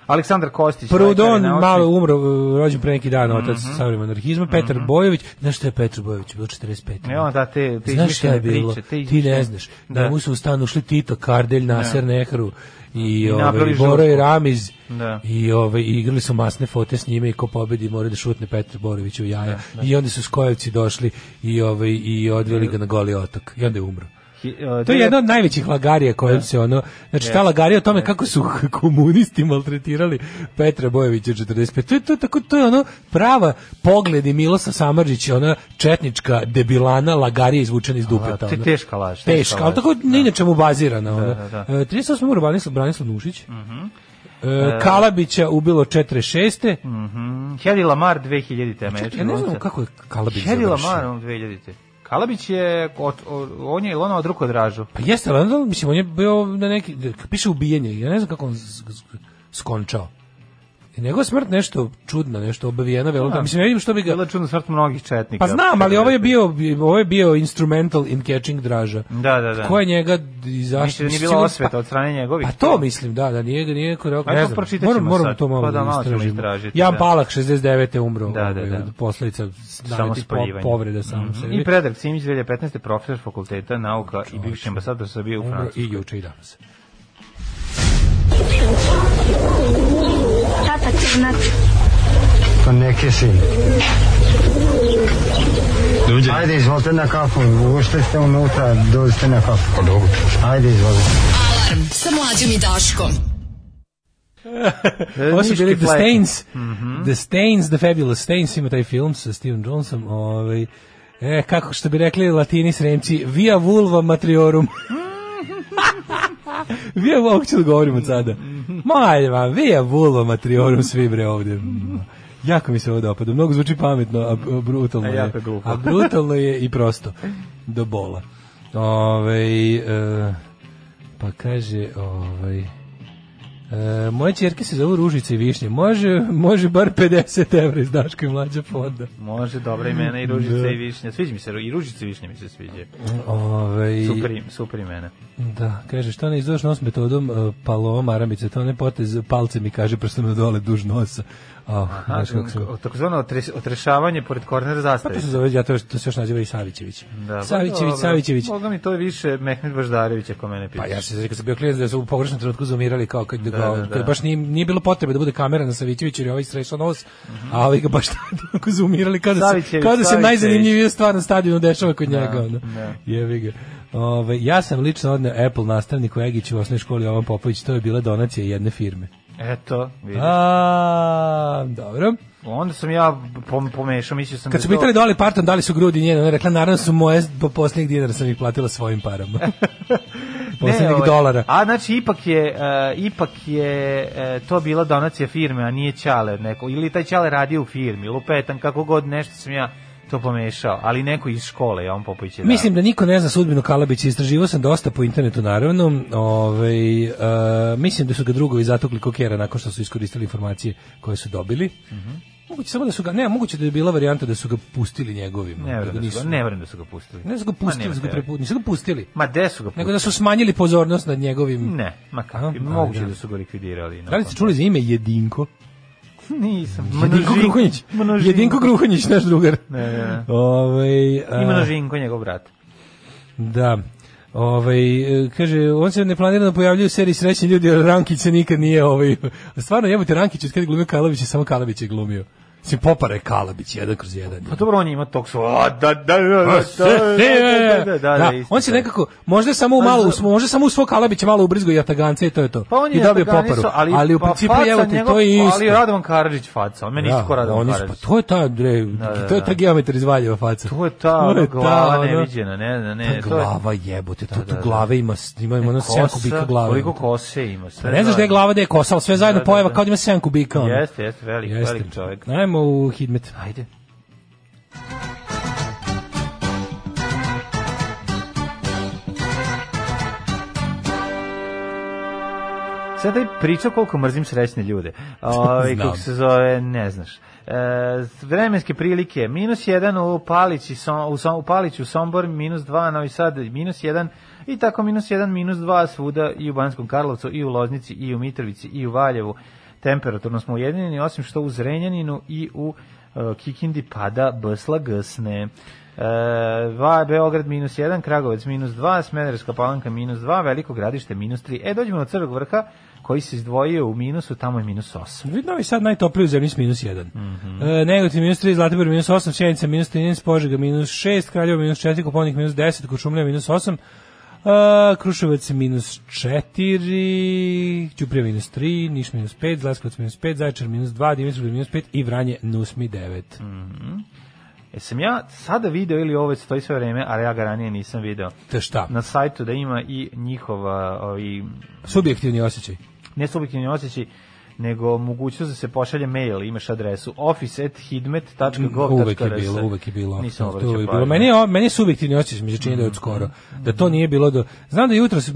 Aleksandar Kostić.
Prudon,
lekar i
da
naučnik.
malo umro, e, rođen pre neki dan, otac mm anarhizma. Petar Bojović, znaš šta je Petar Bojović, bilo 45.
E, onda te, te
Znaš šta je
izmišljene
bilo?
priče, te
Ti ne
izmišljene- Da.
znaš. Da, mu su u stan ušli Tito, Kardelj, Nasser, Nehru i,
I
ovaj,
napravili
Boro i
žurku.
Ramiz.
Da.
I ovaj, igrali su masne fote s njime i ko pobedi mora da šutne Petar Borović u jaja.
Da,
I onda su Skojevci došli i, ovaj, i odveli ga na goli otok. I onda je umro.
Hi- uh,
To je
devet-
jedna od najvećih lagarija kojom se ono, znači ta lagarija o tome kako su komunisti maltretirali Petra Bojevića 45. To je to je tako to je ono prava pogledi Milosa Samardžića, ona četnička debilana lagarija izvučena iz dupeta.
A, te-
ono.
teška laž, teška
Teška, ali
laž,
tako ni na čemu bazirana ona.
da, Mhm. da.
E, 38. umro Branislav Branislav Nušić. E, Kalabića ubilo 46.
Mhm. Hedy Lamar 2000-te američki.
Ja ne znam
glumica.
kako je Kalabić
Hedy
završio.
Lamar on 2000-te. Kalabić je, od, od, on je ili ona od rukodražu.
Pa jeste, ali onda, mislim, on je bio na neki, piše ubijenje, ja ne znam kako on z- z- skončao. I njegova smrt nešto čudna, nešto obavijena, velo, da, mislim, ja vidim što bi
Bila
ga...
je čudna smrt mnogih četnika.
Pa znam, ali ovo je bio, ovo je bio instrumental in catching draža.
Da, da, da.
Ko je njega i zašto?
Mislim da nije
Mislim,
bila
sigurno-
osveta od strane njegovih.
Pa to mislim, da, da nije ga nije koreo.
Ajde,
Ne
to
znam,
pročitat
moram,
ćemo
moram
sad,
to malo
pa da,
da,
malo ćemo
istražimo.
istražiti,
Jan
da.
Palak 69. umro.
Da, da,
ovaj,
da.
od Posledica nametih da, po,
Samospaljivanjem.
povreda samo sebi.
Mhm. I Predrag Simić 2015. profesor fakulteta nauka i bivši ambasador Srbije u
Umro
Francusku.
i juče i danas.
Tata Crnac,
Pa neke si. Dođe. Ajde, izvolite na kafu. Ušli ste unutra, dođite na kafu. Pa dobro. Ajde, izvolite.
Alarm sa mlađom i Daškom.
Ovo su
E, Niški
bili The
flajte.
Stains. The Stains, The Fabulous Stains, ima taj film sa Steven Johnsonom. Ovaj, e, kako što bi rekli latini sremci, via vulva matriorum. via vulva, ovo ću da govorim od sada. Ma, ajde vam, via vulva matriorum svi bre ovde. Jako mi se ovo dopada, mnogo zvuči pametno, a a brutalno
A
je.
jako je glupo.
A brutalno je i prosto. Do bola. Ove, e, pa kaže, ovaj... E, moje čerke se zovu Ružica i Višnje. Može, može bar 50 evra iz Daška i mlađa fonda.
Može, dobra imena i
Da.
ružica i višnja. Sviđa mi se, i ružica i višnja mi se sviđa.
Ove,
Super, im- super imena.
Da, kaže, što ne izdoš nos metodom e, paloma maramice, to ne potez palce mi kaže prstom na dole duž nosa. Oh, znaš kako se...
O- Takozvano otres, otrešavanje pored korner
Pa
zastave.
to se zove, ja to, to se još naziva i Savićević.
Da, pa
Savićević,
dobro.
Savićević.
Boga mi to je više Mehmet Baždarević ako mene pitaš.
Pa ja se rekao sam bio klijent da su u pogrešnom trenutku zoomirali kao kad, da, ga-
da, da.
kad baš nije, nije bilo potrebe da bude kamera na Savićeviću jer je ovaj srešao nos, a ovaj ga baš tako zoomirali kao da se,
Savićević,
kao da se
Savićević.
najzanimljivija stvar na stadionu dešava kod njega. ono.
da.
Jebi ga. Ove, ja sam lično odneo Apple nastavniku Egiću u osnovnoj školi Ovan Popović, to je bila donacija jedne firme.
Eto, vidiš.
Da. A, dobro.
Onda sam ja pom- pomešao, mislio sam
Kad
da
su
je to-
pitali Dolly Parton da li su grudi njene, ona je rekla naravno su moje, po posljednjeg dinara sam ih platila svojim parama.
Ne,
posljednjeg
ovaj,
dolara.
A znači ipak je e, ipak je e, to bila donacija firme, a nije Ćale od nekog ili taj Ćale radio u firmi, lupetan kako god nešto sam ja to pomešao, ali neko iz škole, ja on Popović je. dao.
Mislim da niko ne zna sudbinu Kalabića, istraživao sam dosta po internetu naravno, ovaj, e, mislim da su ga drugovi zatukli kokera nakon što su iskoristili informacije koje su dobili.
Mhm.
Moguće samo da su ga, ne, moguće da je bila varijanta da su ga pustili njegovim.
ne
da
verujem
ga
da su
nisu-
ga, ne verujem da su ga pustili.
ne su ga
Ma,
pustili, da
nema
su ga
teorije.
prepu- nisu ga pustili,
Ma gde su ga pustili?
nego da su smanjili pozornost nad njegovim...
Ne, ma
A,
kako,
a,
moguće
da.
da su ga likvidirali.
Da li ste čuli za ime Jedinko?
Nisam.
Jedinko
Množin-
Gruhonjić.
Množinko.
Jedinko Gruhonjić, naš drugar.
Ne, ne, ne.
Ovaj, a,
I Množinko, njegov brat.
Da. Ovaj e, kaže on se neplanirano pojavljuje u seriji Srećni ljudi, jer Rankić se nikad nije ovaj stvarno jebote Rankić od kad je glumio Kalabić, samo Kalabić je glumio. Si popare Kalabić jedan kroz jedan.
Pa dobro, on ima tog svoj... Da, da,
Da,
da, da, da, da, da,
on se nekako možda samo u malo u- možda samo u svog Kalabića malo ubrizgo i Atagance i to je to.
Pa on je
I dobio
Afganiso,
poparu. Ali, u
pa
principu
faca
evo ti
njegov-
to je isto.
Ali Radovan Karadžić faca, on meni isto ko Radovan
on je-
Karadžić.
Da, pa to je ta bre,
da,
to je ta
da.
geometar izvaljeva faca.
To je ta ono, glava
ono-
neviđena, ne, ne, ne.
Ta
to je-
glava jebote, tu, tu
da, da.
glave ima, ima, ima ono 7
Kosa,
kubika glave.
Koliko kose ima? Sve
Ne znaš da je
zajedno.
glava, da je kosa, ali sve zajedno
Da, da,
pojava
da.
kao da ima 7 kubika. ono.
Jeste, jeste, velik, velik čovjek.
Ajmo u Hidmet.
Ajde. Sada je pričao koliko mrzim srećne ljude. Ovaj
Znam.
kako se zove, ne znaš. E, vremenske prilike, minus jedan u Palići, Som- u, Som- u Paliću, Sombor, minus dva, Novi Sad, minus jedan, i tako minus jedan, minus dva svuda i u Banskom Karlovcu, i u Loznici, i u Mitrovici, i u Valjevu. Temperaturno smo ujedinjeni, osim što u Zrenjaninu i u e, Kikindi pada bsla gsne. E, va, Beograd minus 1, Kragovec minus 2, Smederevska palanka minus 2, Veliko gradište minus 3. E, dođemo do Crvog vrha, koji se izdvojio u minusu, tamo je minus 8.
Vidno je sad najtopliji u zemlji s minus 1. Mm -hmm. e, Negotin minus 3, Zlatibor minus 8, Sjenica minus 13, Požega minus 6, Kraljevo minus 4, Koponik minus 10, Kočumlja minus 8, e, Kruševac minus 4, Ćuprija minus 3, Niš minus 5, Zlatskovac minus 5, Zaječar minus 2, Dimitrovgrad minus 5 i Vranje nusmi 9.
Jesam E, ja sada video ili ovo stoji sve vreme, ali ja ga ranije nisam video.
Te šta?
Na sajtu da ima i njihova, ovi,
Subjektivni osjećaj.
ne subjektivni osjećaj, nego mogućnost da se pošalje mail, imaš adresu
Mm,
office@hidmet.gov.rs.
Uvek je bilo, uvek je bilo.
Nisam
To je
obraćao
uvek bilo.
pažnju. Mhm,
Meni je, meni je subjektivni osjećaj mi se čini da je od skoro. Da to nije bilo do Znam da jutros e,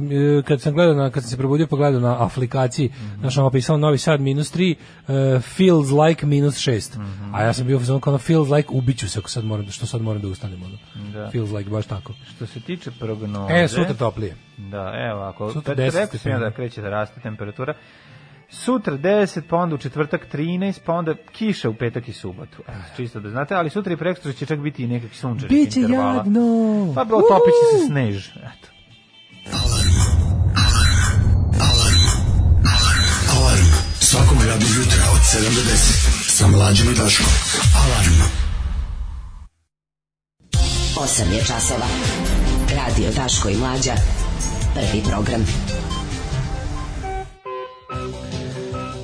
kad sam gledao na kad sam se probudio pogledao na aplikaciji,
Mhm.
znači ono pisalo Novi Sad minus 3, e, feels like minus 6.
Mhm.
A ja sam bio u fazonu kao ono, feels like ubiću se ako sad moram, što sad moram da ustanem ono.
Da.
Feels like baš tako.
Što se tiče prognoze...
E, sutra toplije.
Da, evo ako
Sutra
Sutra
10
rekao sam ja
stepeni.
da kreće da raste temperatura. Sutra 10, pa onda u četvrtak 13, pa onda kiša u petak i subotu. Evo, čisto da znate, ali sutra i prekstra će čak biti i nekakvih sunčanih
Biće
intervala.
jadno.
Pa bilo topit će se snež. Eto.
Alarm svakog radnog jutra od 7 do 10 sa mlađom i Daškom. Alarm.
8 je časova. Radio Daško i Mlađa. Prvi program.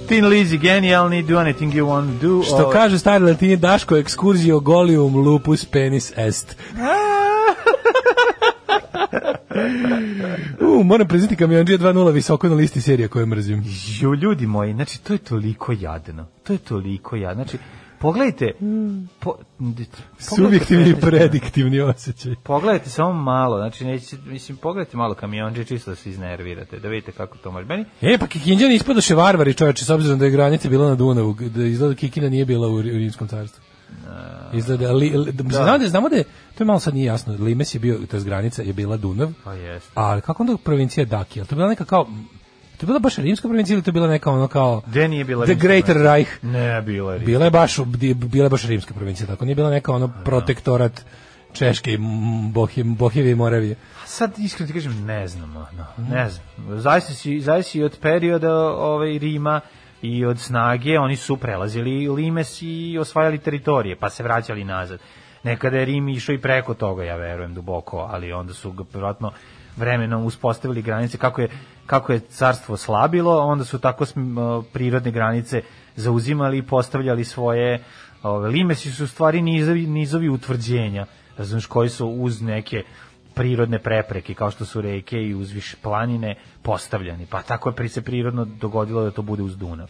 Tin Lizzy, genijalni, do anything you want to do.
Što
Ovaj,
kaže stari latini Daško ekskurzio golium lupus penis est. U, moram priznati kamionđija 2.0 visoko na listi serija koje mrzim.
Jo, ljudi moji, znači to je toliko jadno. To je toliko jadno. Znači, pogledajte... Po, pogledajte
Subjektivni i
pretežno.
prediktivni osjećaj.
Pogledajte samo malo, znači neće, mislim, pogledajte malo kamionđe, čisto da se iznervirate, da vidite kako to može. Meni,
E, pa Kikinđani ispadoše varvari čoveče, s obzirom da je granica bila na Dunavu, da izgleda Kikina nije bila u, Ri- u Rimskom carstvu. Izgleda, li, li, da. Znamo, da, znamo da je, to je malo sad nije jasno, Limes je bio, to je granica, je bila Dunav,
pa jeste.
ali kako onda provincija Daki, je li to bila neka kao, to je bila baš rimska provincija ili to je bila neka ono kao,
Gde nije bila
The
rimska
Greater
provincija?
Reich.
Ne, bila je rimska.
Bila je baš u- di- bila je baš rimska provincija, tako nije bila neka ono protektorat Češke i mm, Bohim, Bohjevi i Moravije.
A Sad iskreno ti kažem, ne znam, ono, ne znam. Zaista si, zaista si od perioda ovaj, Rima i od snage, oni su prelazili Limes i osvajali teritorije, pa se vraćali nazad. Nekada je Rim išao i preko toga, ja verujem, duboko, ali onda su ga vjerojatno vremenom uspostavili granice kako je, kako je carstvo slabilo, onda su tako sm- o, prirodne granice zauzimali i postavljali svoje ove, limesi su u stvari nizovi, nizovi utvrđenja, razumiješ, koji su uz neke prirodne prepreke kao što su reke i uzviš planine postavljeni. Pa tako je pri se prirodno dogodilo da to bude uz Dunav.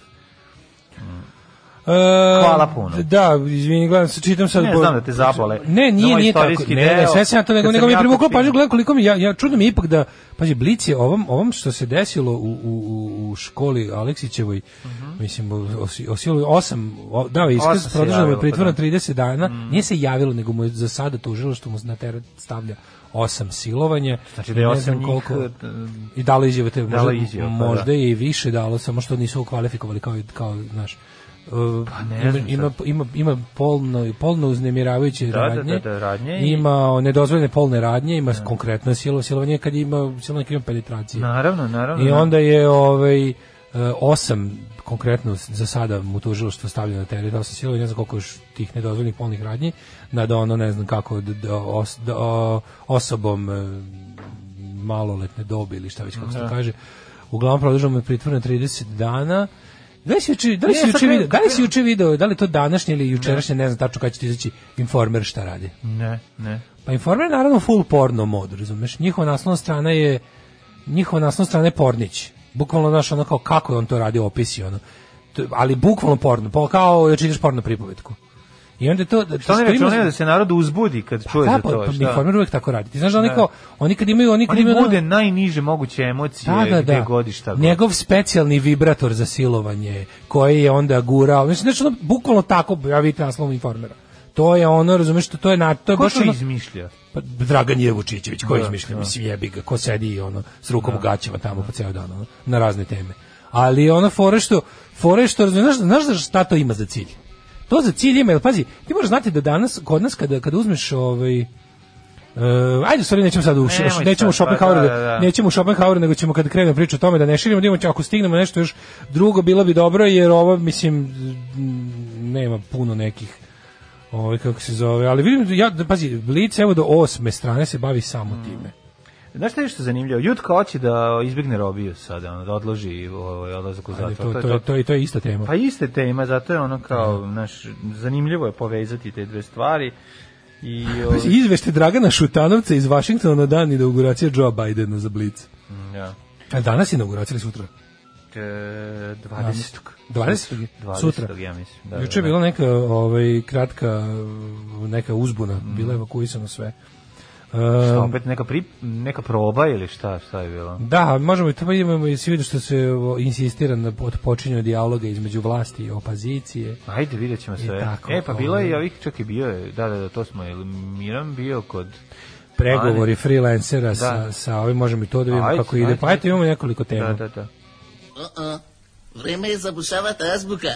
E,
Hvala puno.
Da, izvini, gledam, se, čitam sad.
Ne,
po-
znam da te zabole.
Ne, nije,
Za ovaj
nije tako.
istorijski
Ne, ne,
deo,
sve sam ja to nego,
kad
nego
sam
mi je
ja
privuklo
počinio.
pažnju, gledam koliko mi, ja, ja čudno mi je ipak da, pazi, Blic je ovom, ovom što se desilo u, u, u- u školi Aleksićevoj, mislim, osilo osam, o, dao je
Mhm. Osam
iskaz,
se
produženo je
javilo,
pritvor
pa
na
da.
30 dana, nije se javilo, nego mu je za sada tužilo što mu na teret stavlja osam silovanja.
Znači da je
Ne
osam
znam
njih,
koliko-
e,
i dalo izjave te
Dalo
možda,
izjave, pa
možda
da.
je i više dalo samo što nisu kvalifikovali kao kao naš Uh,
Pa ne znam
ima, ima, ima polno, polno uznemiravajuće
Da, da,
radnje,
da, da, radnje i- Da.
ima nedozvoljene polne radnje, ima konkretno silo, silovanje kad ima, silovanje kad ima penetracije.
Naravno, naravno. da.
I onda je ovaj e, osam konkretno za sada mu tužilaštvo stavlja na teret osam sila, ne znam koliko još tih nedozvoljenih polnih radnji, nad ono ne znam kako d- d- os- d- o- osobom e, maloletne dobi ili šta već kako se
Da.
to kaže. Uglavnom produžujemo pritvor na 30 dana. Da li si juče, da li
Ne,
si
sad
juče
ne-
video, da li si juče video, da li je to današnje ili jučerašnje, ne znam tačno kada će ti izaći informer šta radi.
Ne, ne.
Pa informer je naravno full porno mod, razumeš? Njihova naslovna strana je njihova naslovna strana je Pornić. Bukvalno znaš ono kao kako je on to radi opisi ono. To- ali bukvalno porno, pa kao da čitaš porno pripovetku. I onda je to da
Šta ne
što ima-
računaju da se narod uzbudi kad čuje
Da,
za
pa,
to?
pa
šta?
informer uvek tako radi. Ti znaš da oni
Da.
kao oni kad imaju oni kad
Oni
imaju ono-
bude najniže moguće emocije
da, da,
gde
da.
godi šta god.
Njegov specijalni vibrator za silovanje, koji je onda gurao. Mislim, znači, ono, bukvalno tako, ja vidite naslov informera. To je ono, razumeš, to, to je, na, to je
Ko
baš
to
ono,
izmišlja?
Pa Dragan je Vučićević, ko
Da,
izmišlja,
da.
mislim jebi ga, ko sedi ono s rukom u gaćama tamo po ceo dan ono, na razne teme. Ali ono fore što, fore što, znaš, znaš za šta to ima za cilj? To za cilj ima, jer pazi, ti moraš znati da danas, kod nas kada, kada uzmeš ovaj, Uh, ajde, sorry, nećemo sad u,
Nemoj
š- nećemo u
sad, pa
Schopenhaueru,
da, da, da.
nećemo u Schopenhaueru, nego ćemo kad krenemo priču o tome da ne širimo, da imamo, ako stignemo nešto još drugo, bilo bi dobro, jer ovo, mislim, m, nema puno nekih ovaj kako se zove, ali vidim da ja da pazi, Blic evo do osme strane se bavi samo
Mm.
time.
Znaš šta je što zanimljivo? Jutka hoće da izbjegne robiju sada, ono, da odloži ovaj odlazak u
Ali
zatvor.
to, to, je, to, je, to je ista tema.
Pa iste tema, zato je ono kao,
Da.
naš, zanimljivo je povezati te dve stvari. I, ovaj,
Pazi, izvešte Dragana Šutanovca iz Vašingtona na dan inauguracije Joe Bidena za Blic.
da.
A danas je inauguracija ili sutra?
E, 20.
20.
20.
Sutra.
ja mislim. Da,
Juče je
da.
bila neka ovaj, kratka neka uzbuna,
Mm.
bila je evakuisano sve.
Šta,
Um,
opet neka, pri, neka proba ili šta, šta je bilo?
Da, možemo i to vidimo i svi vidu što se o, insistira na od počinju dijaloga između vlasti i opozicije.
Ajde, vidjet ćemo sve.
tako,
e, pa bilo je i
ovaj.
ovih, čak i bio je, da, da, da, to smo, jel Miran bio kod...
pregovori freelancera
Da.
sa, sa ovim, možemo i to da vidimo
Ajde,
kako ide.
ajde.
Pa eto imamo nekoliko tema.
Da, da, da.
Uh-uh. Vreme je zabušavati azbuka.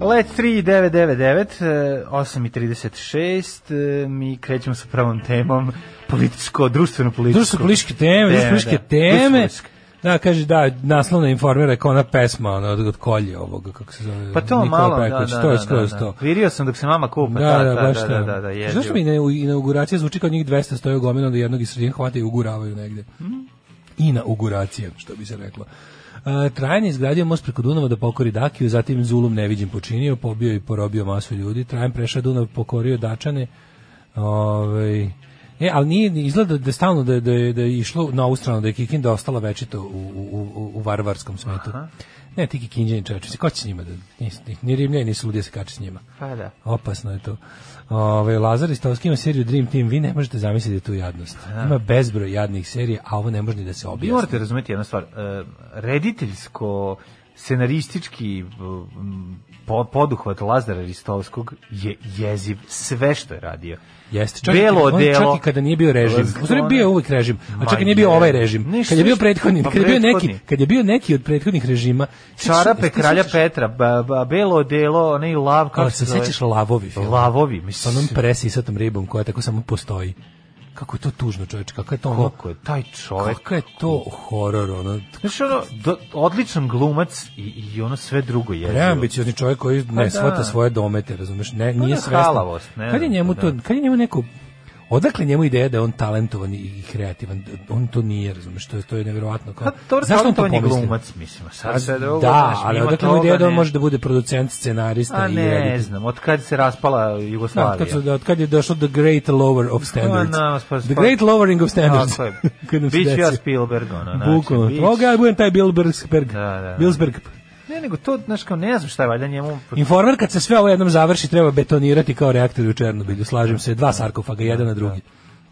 Let 3999, 8.36, uh, mi krećemo sa pravom temom, političko, društveno-političko.
Društvo političke teme, društvo političke
da.
teme.
društveno-političke.
Da, kaže, da, naslovna informira je kao ona pesma, ona od, od kolje ovoga, kako se zove.
Pa to
Nikola
malo, da, da,
Peković,
da,
to je
da,
skroz
da.
to.
Virio sam dok se mama kupa,
Da, da,
da,
baš
da,
to.
da, da, da, jezivo.
Znaš što mi ina- inauguracija zvuči kao njih 200 stoje gomilom da jednog iz sredine hvate i uguravaju negde. Inauguracija, što bi se reklo. E, Trajan je izgradio most preko Dunava da pokori Dakiju, zatim Zulum neviđen počinio, pobio i porobio masu ljudi. Trajan prešao Dunav, pokorio Dačane. Ovaj E, ali nije, ni- izgleda da je stalno da je, da je, da je išlo na ovu stranu, da je Kikinda ostala večito u, u, u, u varvarskom smetu. Ne, ti Kikinđani čovječe, ko će s njima? Da, ni, ni, ni Rimljani, ni Suludija se kače s njima.
Pa da.
Opasno je to. Ove, Lazar Istovski ima seriju Dream Team, vi ne možete zamisliti tu jadnost. Ima bezbroj jadnih serija, a ovo ne može ni da se
Vi
objasni.
morate razumeti jednu stvar, e, rediteljsko, scenaristički m, po- poduhvat Lazara Ristovskog je jeziv sve što je radio.
Jeste, čak,
Belo
i, kada- on čak
odelo.
i kada nije bio režim. U stvari bio je uvijek režim, a čak i
Ma
nije bio ovaj
je.
režim.
Ne,
Kad je bio
što-
prethodni,
pa
kad je bio neki,
prethodni.
kad je bio neki od prethodnih režima.
Čarape kralja Petra, ba, ba, belo odelo, onaj lav, kako
Kako
se
se
zove?
sećaš lavovi film?
Lavovi,
Sa
mislim.
onom presisatom ribom koja tako samo postoji. Kako je to tužno, čoveče, kako je to ono...
Koliko je taj čovek?
Kako je to horor, ono...
Znaš, ono, do- odličan glumac i, i ono sve drugo je.
preambiciozni čovjek koji ne
da.
shvata svoje domete, razumeš? Ne,
da,
nije svestan.
halavost, ne
Kad je
znam,
njemu to,
da.
kad je njemu neko Odakle njemu ideja da je on talentovan i kreativan? On to nije, razumeš, to je, to je nevjerovatno. Kao,
Pa, dobro,
zašto on to
talentovan
pomisli?
je glumac, mislim, a
A,
sad sve drugo,
da,
znaš,
ali
mimo
odakle mu
toga
ideja da on
ne-
može da bude producent, scenarista
A
i
ne
reditelj?
znam, od kad se raspala
Da,
Jugoslavija.
od kad, su, da, od kad je došlo The Great Lower of Standards.
na, pa-
the Great Lowering of Standards.
Tako je.
Kad nam se
Bić
desi.
ja Spielberg, ono, znači,
Bukvalno.
bić.
Oga, ja budem taj Bilbergsberg.
Da, da, da.
Bilsberg.
Ne, nego to, znaš, kao ne znam šta je, valjda njemu...
Informer kad se sve ovo jednom završi treba betonirati kao reaktor u Černobilju. Slažem se, dva sarkofaga, jedan na drugi.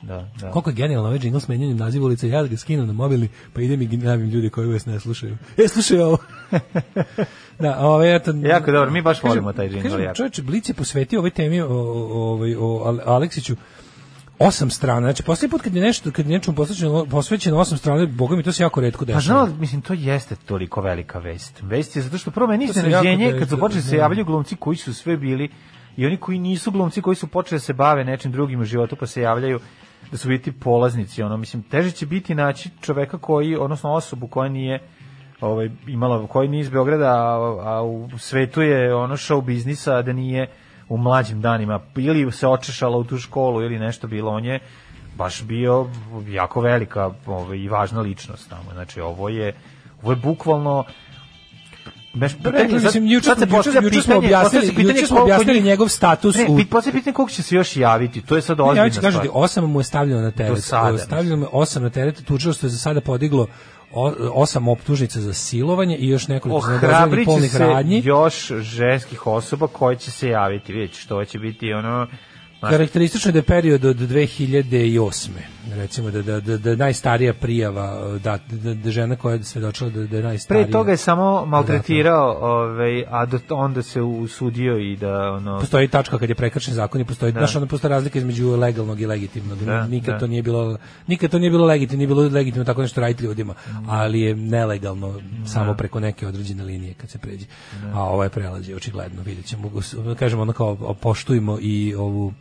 Da, da.
Koliko je genijalno ovaj jingle s menjanjem naziva ulice, ja ga skinem na mobilni, pa idem i gnjavim ljudi koji vas ne slušaju. E, slušaj ovo. da, ovaj, eto...
Jako dobro, mi baš volimo taj jingle,
Kažem,
jako.
čovječe, Blic je posvetio ovoj temi o, o, o, ovaj, o Al- Aleksiću osam strana. Znači, posljednji put kad je nešto, kad je nečemu posvećeno, posvećeno osam strana, boga mi to se jako redko dešava.
Pa znao, mislim, to jeste toliko velika vest. Vest je zato što prvo meni
To se
iznenađenje
jako
kad su
da-
počeli se
da.
javljaju glumci koji su sve bili i oni koji nisu glumci, koji su počeli da se bave nečim drugim u životu pa se javljaju da su biti polaznici, ono, mislim, teže će biti naći čoveka koji, odnosno osobu koja nije ovaj, imala, koji nije iz Beograda, a, a u svetu je ono show biznisa, a da nije u mlađim danima, ili se očešala u tu školu ili nešto bilo, on je baš bio jako velika ovaj, i važna ličnost tamo, znači ovo je, ovo je bukvalno Beš,
Rekli, mislim, juče smo- juče- juče smo objasnili- juče smo objasnili njegov status
ne,
u-
pit- postavlja se pitanje koliko će se još javiti, to je sad
Ne,
ozbiljna
ja ću kažem
stvar.
ti, osam mu je stavljeno na teret.
Do sada,
Stavljeno mu je osam na teret, tužilaštvo je za sada podiglo o- osam optužnica za silovanje i još nekoliko za nedozvoljenih
Ohrabrit će
polnih
se
radnji.
još ženskih osoba koje će se javiti, vidjet ćeš, to će biti ono... znaš,
Karakteristično je da je period od 2008. Recimo da, da, da, da je najstarija prijava, da, da, da žena koja je svedočila da, da je najstarija.
Pre toga je
Da,
samo maltretirao, ovaj, a do, onda se usudio i da ono...
postoji tačka kad je prekršen zakon i postoji znaš onda postoji razlika između legalnog i legitimnog
Da,
nikad
da.
to nije bilo nikad to nije bilo legitimno nije bilo legitimno tako nešto raditi ljudima
Mm.
ali je nelegalno
Da.
samo preko neke određene linije kad se pređe a ovaj prelazi očigledno videćemo kažemo ono kao poštujmo i ovu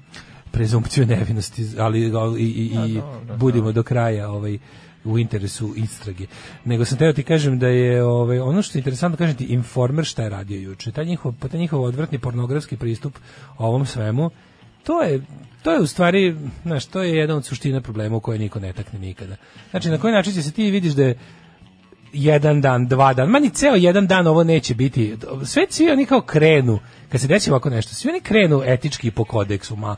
prezumpciju nevinosti ali i, i,
Da,
i budimo do kraja ovaj u interesu istrage. Nego sam teo ti kažem da je ovaj ono što je interesantno kažem ti informer šta je radio juče. Taj njihov pa taj njihov odvratni pornografski pristup ovom svemu to je to je u stvari, znaš, to je jedan od suština problema u koje niko ne takne nikada. Znači, na koji način će se ti vidiš da je jedan dan, dva dan, ma ni ceo jedan dan ovo neće biti. Sve svi oni kao krenu, kad se desi ovako nešto, svi oni krenu etički po kodeksu, ma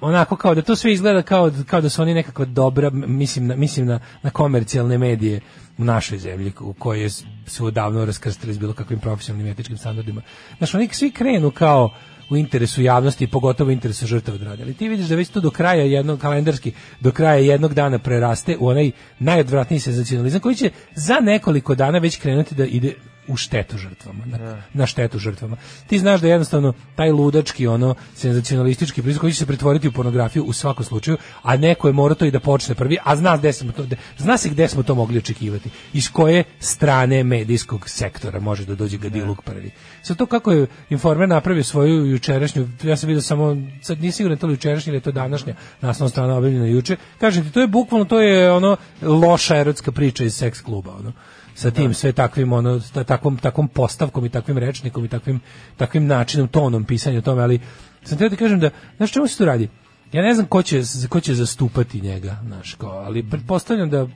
onako kao da to sve izgleda kao, kao da su oni nekakva dobra, mislim na, mislim na, na komercijalne medije u našoj zemlji u kojoj su odavno raskrstili s bilo kakvim profesionalnim etičkim standardima. Znaš, oni svi krenu kao u interesu javnosti i pogotovo u interesu žrtava droge. Ali ti vidiš da već to do kraja jednog kalendarski, do kraja jednog dana preraste u onaj najodvratniji senzacionalizam koji će za nekoliko dana već krenuti da ide u štetu žrtvama, na, na štetu žrtvama. Ti znaš da jednostavno taj ludački, ono, senzacionalistički prizor koji će se pretvoriti u pornografiju u svakom slučaju, a neko je morao to i da počne prvi, a zna, gde smo to, gde- zna se gde smo to mogli očekivati, iz koje strane medijskog sektora može da dođe gadiluk prvi. Sad to kako je informer napravio svoju jučerašnju, ja sam vidio samo, sad nisam siguran da je to li jučerašnja ili je to današnja naslovna strana objavljena juče, kažem ti, to je bukvalno, to je ono loša erotska priča iz seks kluba, ono sa tim sve takvim ono sa takvom takvom postavkom i takvim rečnikom i takvim takvim načinom tonom pisanja o tome ali sam teo da kažem da znaš čemu se tu radi ja ne znam ko će ko će zastupati njega znaš kao ali pretpostavljam da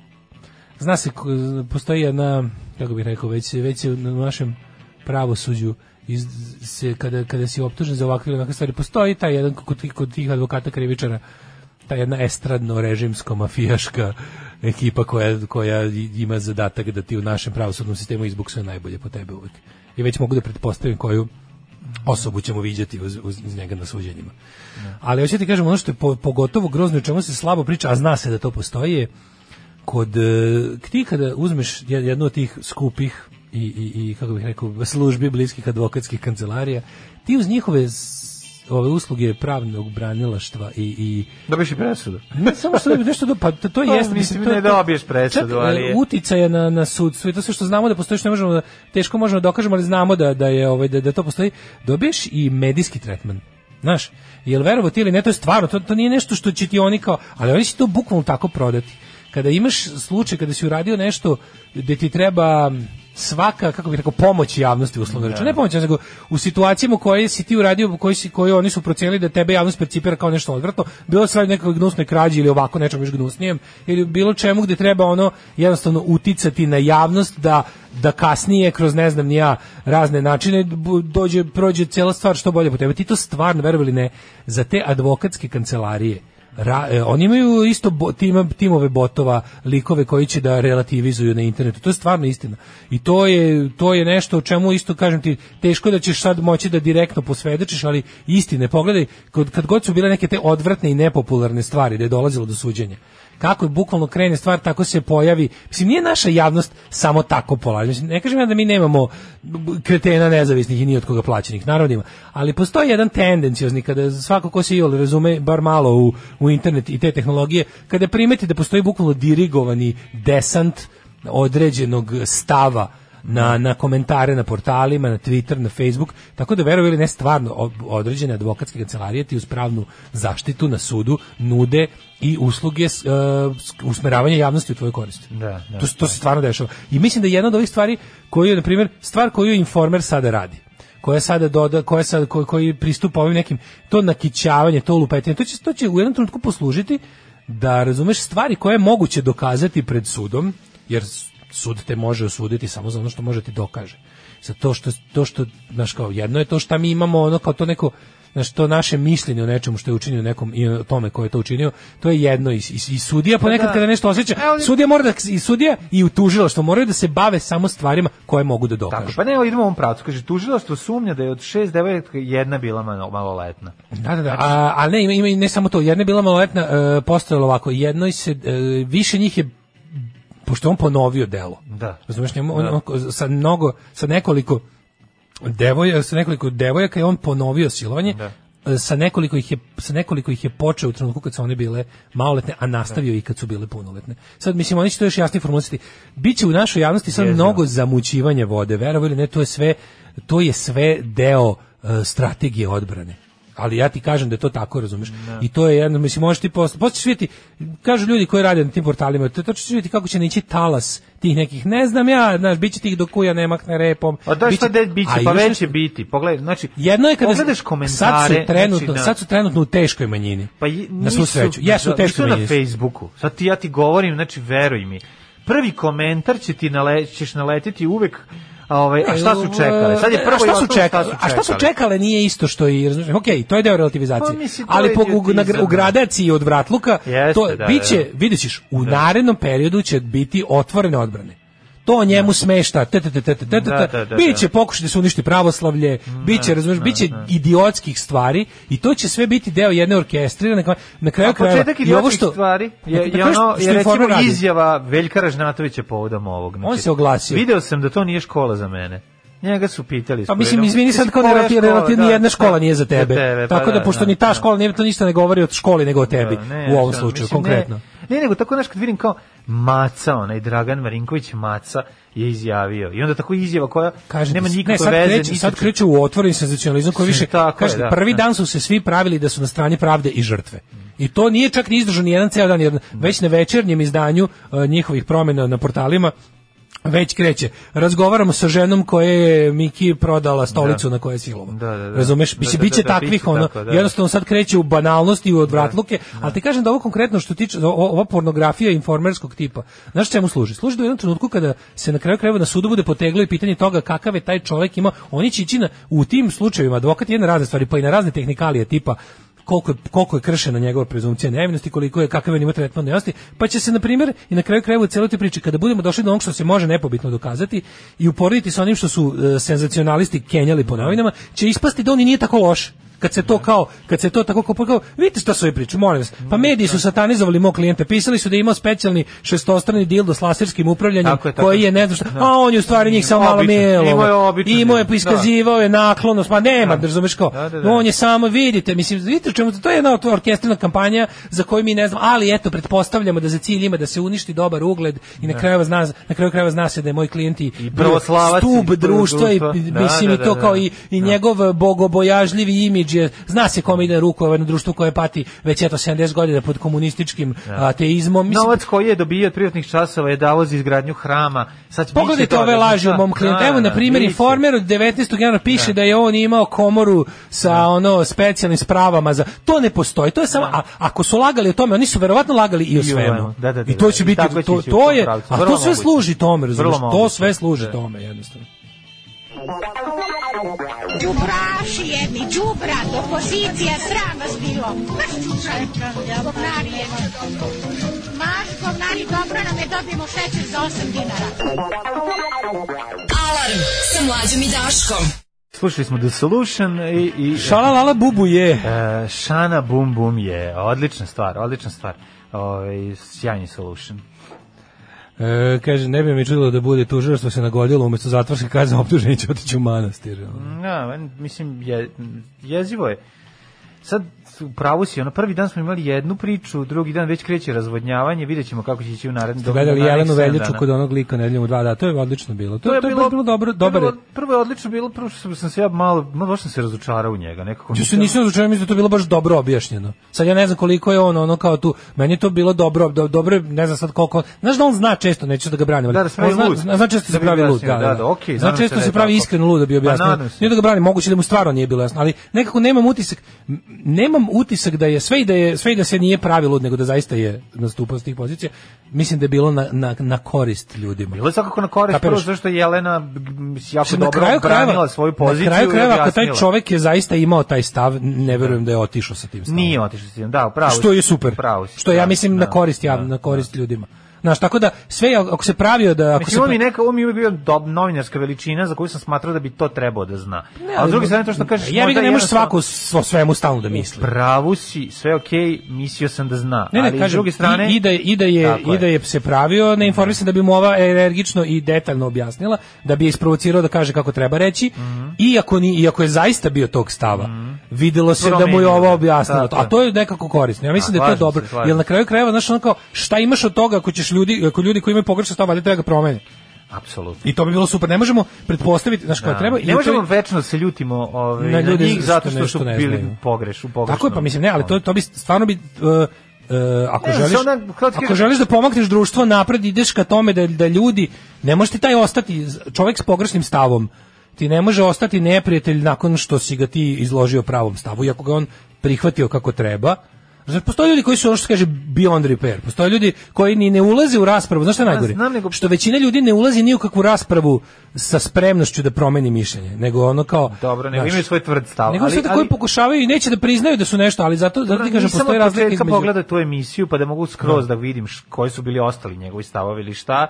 zna se ko- postoji jedna kako bih rekao već se- već se na našem pravosuđu iz, se, kada, kada si optužen za ovakve ili onakve stvari postoji taj jedan kod tih, kod tih advokata krivičara ta jedna estradno režimsko mafijaška ekipa koja, koja ima zadatak da ti u našem pravosudnom sistemu izbuksuje najbolje po tebe uvek. I već mogu da pretpostavim koju osobu ćemo viđati uz, uz, uz njega na suđenjima. Ali hoćete ti kažem ono što je po- pogotovo grozno i o čemu se slabo priča, a zna se da to postoji je kod e, ti kada uzmeš jed- jednu od tih skupih i, i, i kako bih rekao službi bliskih advokatskih kancelarija ti uz njihove s- ove usluge pravnog branilaštva i, i
Dobiš i presudu.
ne samo što dobi- nešto do, pa to, to
To,
jeste
mislim, ne dobiješ presudu,
čak, e,
ali je-
uticaja na na sudstvo i to sve što znamo da postoji što ne možemo da, teško možemo da dokažemo ali znamo da da je ovaj da, da to postoji dobiješ i medijski tretman znaš jel verovo ti ili ne to je stvarno to, to nije nešto što će ti oni kao ali oni će to bukvalno tako prodati kada imaš slučaj kada si uradio nešto gde ti treba svaka kako bih rekao pomoć javnosti uslovno rečeno
Da.
ne pomoć nego u situacijama u kojoj si ti uradio koji si koji oni su procenili da tebe javnost percipira kao nešto odvratno bilo se radi o nekoj gnusnoj krađi ili ovako nečemu još gnusnijem ili bilo čemu gde treba ono jednostavno uticati na javnost da da kasnije kroz ne znam ni ja razne načine bu- dođe prođe cela stvar što bolje po tebe ti to stvarno verovali ne za te advokatske kancelarije Ra, e, oni imaju isto bo, tim, timove botova, likove koji će da relativizuju na internetu. To je stvarno istina. I to je, to je nešto o čemu isto, kažem ti, teško da ćeš sad moći da direktno posvedočiš, ali istine, pogledaj, kad, kad god su bile neke te odvratne i nepopularne stvari, da je dolazilo do suđenja, kako je bukvalno krene stvar, tako se pojavi. Mislim, nije naša javnost samo tako polazi. Mislim, ne kažem ja da mi nemamo b- kretena nezavisnih i ni od koga plaćenih, naravno da ima. Ali postoji jedan tendenciozni, kada svako ko se i razume, bar malo u, u internet i te tehnologije, kada primeti da postoji bukvalno dirigovani desant određenog stava
Da.
na, na komentare na portalima, na Twitter, na Facebook, tako da verovali ne stvarno o- određene advokatske kancelarije ti uz pravnu zaštitu na sudu nude i usluge s- e, s- usmeravanja javnosti u tvoju korist.
Da, da.
to, se- to se stvarno dešava. I mislim da je jedna od ovih stvari koju, na primjer, stvar koju Informer sada radi koja sada doda, koja sad, ko- koji pristupa ovim nekim, to nakićavanje, to lupetanje, to će, to će u jednom trenutku poslužiti da razumeš stvari koje je moguće dokazati pred sudom, jer s- sud te može osuditi samo za ono što može da ti dokaže. Za to što, to što, znaš, kao jedno je to što mi imamo, ono kao to neko, znaš, to naše mišljenje o nečemu što je učinio nekom i o tome ko je to učinio, to je jedno i, i, i sudija ponekad
da.
kada nešto osjeća,
E, ali-
sudija mora da, i sudija i utužilaštvo moraju da se bave samo stvarima koje mogu da dokažu.
Tako, pa ne, idemo u ovom pravcu. Kaže, tužilaštvo sumnja da je od šest devojaka jedna bila malo- maloletna.
Da, da, da. A, a ne, ima, ima i ne samo to. Jedna je bila maloletna, e, postojalo ovako. Jednoj se, e, više njih je, pošto je on ponovio delo.
Da.
Razumeš, njemu, on, on- sa mnogo, sa nekoliko devojaka, sa nekoliko devojaka je on ponovio silovanje. E, sa nekoliko ih je sa nekoliko ih je počeo u trenutku kad su one bile maloletne, a nastavio i kad su bile punoletne. Sad mislim oni će to još jasnije formulisati. Biće u našoj javnosti sad mnogo zamućivanja vode, verovali ili ne, to je sve to je sve deo e, strategije odbrane ali ja ti kažem da je to tako, razumeš? I to je jedno, mislim, možeš ti posle, posle ćeš vidjeti, kažu ljudi koji rade na tim portalima, to, to ćeš vidjeti kako će neći talas tih nekih, ne znam ja, znaš, bit će tih do kuja ne makne repom.
A da
bit
šta
će-
de biće,
A
pa
još
već
nešto-
će biti. Pogledaj, znači,
Jedno je kada
pogledaš
sad
komentare,
su trenutno,
znači, na-
sad su trenutno u teškoj manjini.
Pa i-
na svu
nisu-
sreću. Jesu u
za-
teškoj
nisu na
manjini.
Facebooku. Sad ti ja ti govorim, znači veruj mi. Prvi komentar će ti nale, ćeš naletiti uvek a ovaj a šta su čekale? Sad je prvo
E, a šta
i
su
osnovno
čekale? A šta su čekale nije isto što i, razumiješ, okej, to je deo relativizacije.
Pa, mislim, to
ali
je
po, u, na,
idiotizam.
u gradaciji od vratluka,
Jeste,
to
da,
biće,
da.
vidjet ćeš, u narednom periodu će biti otvorene odbrane. To njemu smešta, te, te, te, te, te, te,
Da, da, da,
biće
da.
pokušati da se uništi pravoslavlje, biće, razumiješ, biće idiotskih stvari i to će sve biti deo jedne orkestrirane, na kraju
A
krajeva,
početak
i ovo
idiotskih
što,
stvari je,
na
je
kraju što-
ono,
što
je recimo
Informer radi.
izjava Veljka Ražnatovića povodom ovog. Znači,
On se oglasio.
Video sam da to nije škola za mene. Njega su pitali.
Pa
ispred,
mislim,
ono,
izvini sad, kao
koja
ne rati,
škola, da,
ni jedna
da,
škola nije za tebe.
pa
tako da, pošto ni ta škola, nije, to ništa ne govori o školi, nego o tebi,
Da, ne,
u ovom
šta,
slučaju,
mislim,
konkretno.
Ne, ne, nego tako znaš kad vidim kao Maca, onaj Dragan Marinković Maca je izjavio. I onda tako izjava koja
Kažete,
nema
ne,
nikakve
sad
veze.
kreće,
ni sa
sad
čim.
kreće u otvoreni senzacionalizam koji više,
Tako je,
kažete,
da,
prvi
da.
dan su se svi pravili da su na strani pravde i žrtve. I to nije čak ni izdržan ni jedan ceo dan, jer već na večernjem izdanju e, njihovih promjena na portalima već kreće. Razgovaramo sa ženom koja je Miki prodala stolicu na kojoj je silovan.
Da, da, da.
Razumeš?
Da,
Biće,
da,
biće
da, da,
takvih,
biće
ono,
tako, da.
jednostavno sad kreće u banalnosti i u odvratluke, ali ti kažem da ovo konkretno što tiče, o- ova pornografija informerskog tipa, znaš čemu služi? Služi da u jednom trenutku kada se na kraju krajeva na sudu bude poteglo i pitanje toga kakav je taj čovjek ima, oni će ići na, u tim slučajevima, advokat je na razne stvari, pa i na razne tehnikalije tipa koliko je, koliko je kršena njegova prezumcija nevinosti, koliko je kakav je on ima tretman nevinosti, pa će se na primjer i na kraju krajeva u celoj toj priči kada budemo došli do onog što se može nepobitno dokazati i uporediti sa onim što su e, senzacionalisti kenjali po novinama, će ispasti da on i nije tako loš kad se to
Da.
kao kad se to tako kao, pa kao vidite šta su ovi priču molim vas
Mm,
pa mediji
da.
su satanizovali mog klijenta pisali su da je imao specijalni šestostrani dildo s laserskim upravljanjem
Tako je, tako
koji
je.
je ne znam šta
Da.
a on je u stvari njih samo malo
Običan.
melo
Imao je običan
imao je
dildo, da.
iskazivao je naklonost pa nema razumeš kao
Da, da, da.
on je samo vidite mislim vidite u čemu to je jedna od orkestrirna kampanja za koju mi ne znam ali eto pretpostavljamo da za cilj ima da se uništi dobar ugled i na kraju zna na kraju krajeva zna se da je moj klijent i
pravoslavac Da. i
stup društva i
društva. Da,
mislim
da,
i
da,
to
da.
kao i i njegov bogobojažljivi imidž je, zna se kome ide ruku ovo jedno društvo koje pati već eto 70 godina pod komunističkim
Da.
ateizmom. Mislim,
Novac koji je dobio od privatnih časova je davo za izgradnju hrama. Sad će- biće
Pogledajte
toga,
ove laži
da,
u mom klijentu.
da,
Evo, na
da,
primjer,
biće.
informer od 19. januara piše da je on imao komoru sa ono specijalnim spravama za... To ne postoji. To je samo... A, ako su lagali o tome, oni su verovatno lagali Da. i o
I o
svemu.
ovome. Da, da, da,
I to
da.
će
I
biti...
tako će
To,
ići u
to
tom
je...
pravcu.
A
Vrlo
to sve
moguće.
služi tome, razumiješ?
Vrlo
To
moguće.
sve služi
Da.
tome, jednostavno.
Đubraši jedni, đubrat, opozicija, sram vas bilo. Baš čučaj, govnari jedni. Maš, govnari, dobro nam je, dobijemo šećer za 8 dinara.
Alarm sa mlađom i Daškom.
Slušali smo The Solution i... i
Šalalala bubu je...
E, Šana Bum Bum je odlična stvar, odlična stvar. Ovaj sjajni solution.
E, kaže, ne bi mi čudilo da bude tužilaštvo se nagodilo, umjesto zatvorske Mm.
Da,
kazne optuženi će otići u manastir. ono.
Ja, mislim je jezivo je. sad u pravu si, ono prvi dan smo imali jednu priču, drugi dan već kreće razvodnjavanje, vidjet ćemo kako će ići u naredni
Ste gledali Jelenu Veljaču kod onog lika nedeljom u dva dana, to je odlično bilo. da. To, to je, bilo, bilo dobro,
da. to je
dobar.
bilo- Prvo je odlično bilo, prvo što sam se ja malo, malo baš sam se razočarao u njega, nekako.
Ja se nisam razočarao, mislim da je to bilo baš dobro objašnjeno. Sad ja ne znam koliko je on ono kao tu, meni je to bilo dobro, do, dobro, je, ne znam sad koliko. Znaš da on zna često, neću da ga branim, ali
Da, da se pravi
on zna,
lud.
zna, zna često
Da
se
bi
pravi lud,
objasnio,
da,
da, da, okej,
zna
nadam se
često
da
se
je
pravi
tako.
iskreno lud da bi
Pa
objasnio.
nadam se.
Nije da ga branim, moguće da mu stvarno nije bilo jasno, ali nekako nemam utisak, m, nemam utisak da je sve i da je sve i da se nije pravi lud, nego da zaista je nastupao s tih pozicija. Mislim da je bilo na, na, na korist ljudima.
Bilo je svakako na korist,
Kapiraš?
prvo zašto je Jelena m, jako
Mislim,
dobro branila svoju
Na
poziciju.
kraju
i
krajeva, ako taj
objasnila.
čovek je zaista imao taj stav, ne verujem da je otišao sa tim stavom.
Nije otišao s tim, da, u pravu.
što
si,
je super.
u pravu si,
što ja
da,
mislim
da,
na korist ja,
da.
na korist ljudima. Znaš, tako da sve je, ako se pravio da ako
Mislim, on mi
se
neka, on mi je uvijek bio dob, novinarska veličina za koju sam smatrao da bi to trebao da zna. A s druge strane to što kažeš...
Ja bih
možda
ga ne
je
može
jednostavno-
svaku s- o svemu stalno da misli.
Pravu si, sve okej, mislio sam da zna.
Ne,
ali
ne,
s
kažem,
druge strane...
i, i da je, i da je,
Tako
i da je se pravio neinformisan da bi mu ova energično i detaljno objasnila, da bi je isprovocirao da kaže kako treba reći,
Mhm.
iako, ni, iako je zaista bio tog stava. Videlo se da mu je
Promenio
ovo
je.
objasnilo.
Tako
A
je.
to je nekako korisno. Ja mislim
A,
da je to
slažem
dobro.
se, slažem
Jer na
se.
kraju krajeva, znaš, ono kao, šta imaš od toga ako ćeš ljudi, ako ljudi koji imaju pogrešan stav, valjda treba ga promeniti.
Apsolutno.
I to bi bilo super. Ne možemo pretpostaviti, znaš, kao
Da.
treba...
ne možemo večno se ljutimo ovaj, na,
ljude
njih zato što
nešto
su
ne
bili
znaju.
pogreš, u pogrešnom.
Tako je, pa mislim, ne, ali to, to bi stvarno bi... e, e, ako,
Ne,
želiš,
se ona, kako ti
ako
kažem-
želiš da pomakneš društvo napred, ideš ka tome da, da ljudi, ne možete taj ostati, čovjek s pogrešnim stavom, ti ne može ostati neprijatelj nakon što si ga ti izložio pravom stavu, iako ga on prihvatio kako treba. Znači, postoje ljudi koji su, ono što se kaže, beyond repair. Postoje ljudi koji ni ne ulaze u raspravu. Znaš šta je
Ja
najgore?
Pa, znam, nego-
Što većina ljudi ne ulazi ni u kakvu raspravu sa spremnošću da promeni mišljenje, nego ono kao...
Dobro, nego
znaš,
imaju svoj tvrd stav.
nego
ali-
su ti
ali-
koji pokušavaju i neće da priznaju da su nešto, ali zato zato ti
Dobro,
kažem
nisam
postoji
od
razlika
početka
između
pogledao tu emisiju pa da mogu skroz da, vidim š- koji su bili ostali njegovi stavovi ili šta.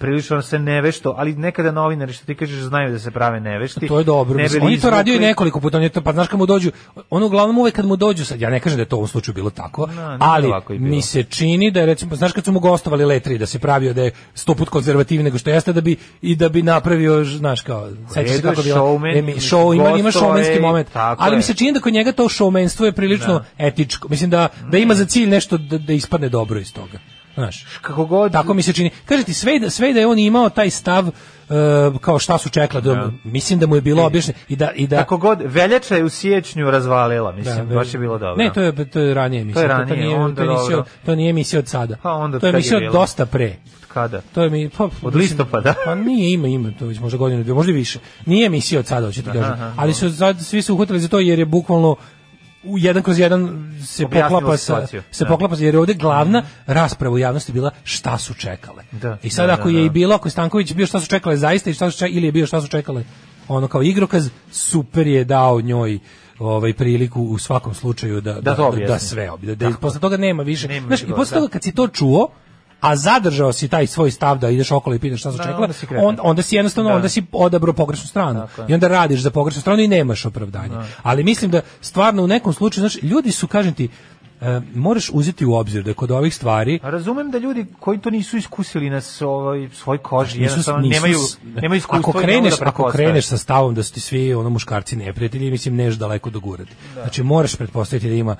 Prilično se nevešto, ali nekada novinari što ti kažeš znaju da se prave nevešti.
To je dobro.
Ne
mislim,
bili
on je to radio i
izvukli-
nekoliko puta, on je to, pa znaš kad mu dođu, on uglavnom uvek kad mu dođu, sad ja ne kažem da je to u ovom slučaju bilo tako,
nije
ali
ovako i bilo.
mi se čini da je recimo, znaš kad su mu gostovali Letri da se pravio da je sto put konzervativniji nego što jeste da bi i da bi napravio, znaš kao, sećaš se
redu je
kako je bilo,
showman,
emi- show, ima, ima
gostao je
showmanski
i
moment,
tako
ali
je.
mi se čini da kod njega to showmenstvo je prilično etičko, mislim da, da ima za cilj nešto da, da ispadne dobro iz toga. Znaš,
Kako god,
Tako mi se čini. Kaže ti sve i da sve i da je on imao taj stav e, kao šta su čekla, da, mislim da mu je bilo objašnjeno i da i da
Tako god, veljača je u siječnju razvalila, mislim,
da,
baš je bilo dobro.
Ne, to je to je ranije emisija.
To je ranije,
nije,
onda
to, nije emisija od,
dobro.
to nije emisija od sada.
Pa onda
to je
kad je
emisija
bilo?
od dosta pre.
Kada?
To je mi pa, mislim-
listopada?
Pa nije ima ima to već možda godinu dvije, možda i više. Nije emisija od sada hoćete kažem. Ali su sad svi su uhvatili za to jer je bukvalno u jedan kroz jedan se
Objasnilo
poklapa sa,
situaciju.
se
Da. Mhm.
poklapa sa- jer je ovde glavna rasprava u javnosti bila šta su čekale.
Da.
I sad
Da,
ako
da,
je
da.
i bilo ako je Stanković bio šta su čekale zaista i šta su čekale, ili je bio šta su čekale ono kao igrokaz super je dao njoj ovaj priliku u svakom slučaju da
Da
da,
to
da,
objasni.
da sve obje, da, da posle toga nema više.
Nema da.
Znaš, i
više
posle
govora,
toga kad si to čuo, a zadržao si taj svoj stav da ideš okolo i pitaš šta su
Da,
čekala,
onda si kreten.
on, onda si jednostavno
Da.
onda si odabrao pogrešnu stranu
Tako je.
i onda radiš za pogrešnu stranu i nemaš opravdanje. Ali mislim da stvarno u nekom slučaju, znaš, ljudi su kažem ti e, moraš uzeti u obzir da kod ovih stvari
A Razumem da ljudi koji to nisu iskusili na svoj, svoj koži,
nisu-
jednostavno
nisu- da.
nemaju, nemaju
ako
iskustva. i ne mogu
kreneš, ako
da pretpostave.
kreneš sa stavom da su ti svi ono muškarci neprijatelji, mislim neš daleko dogurati.
Da.
Znači moraš pretpostaviti da ima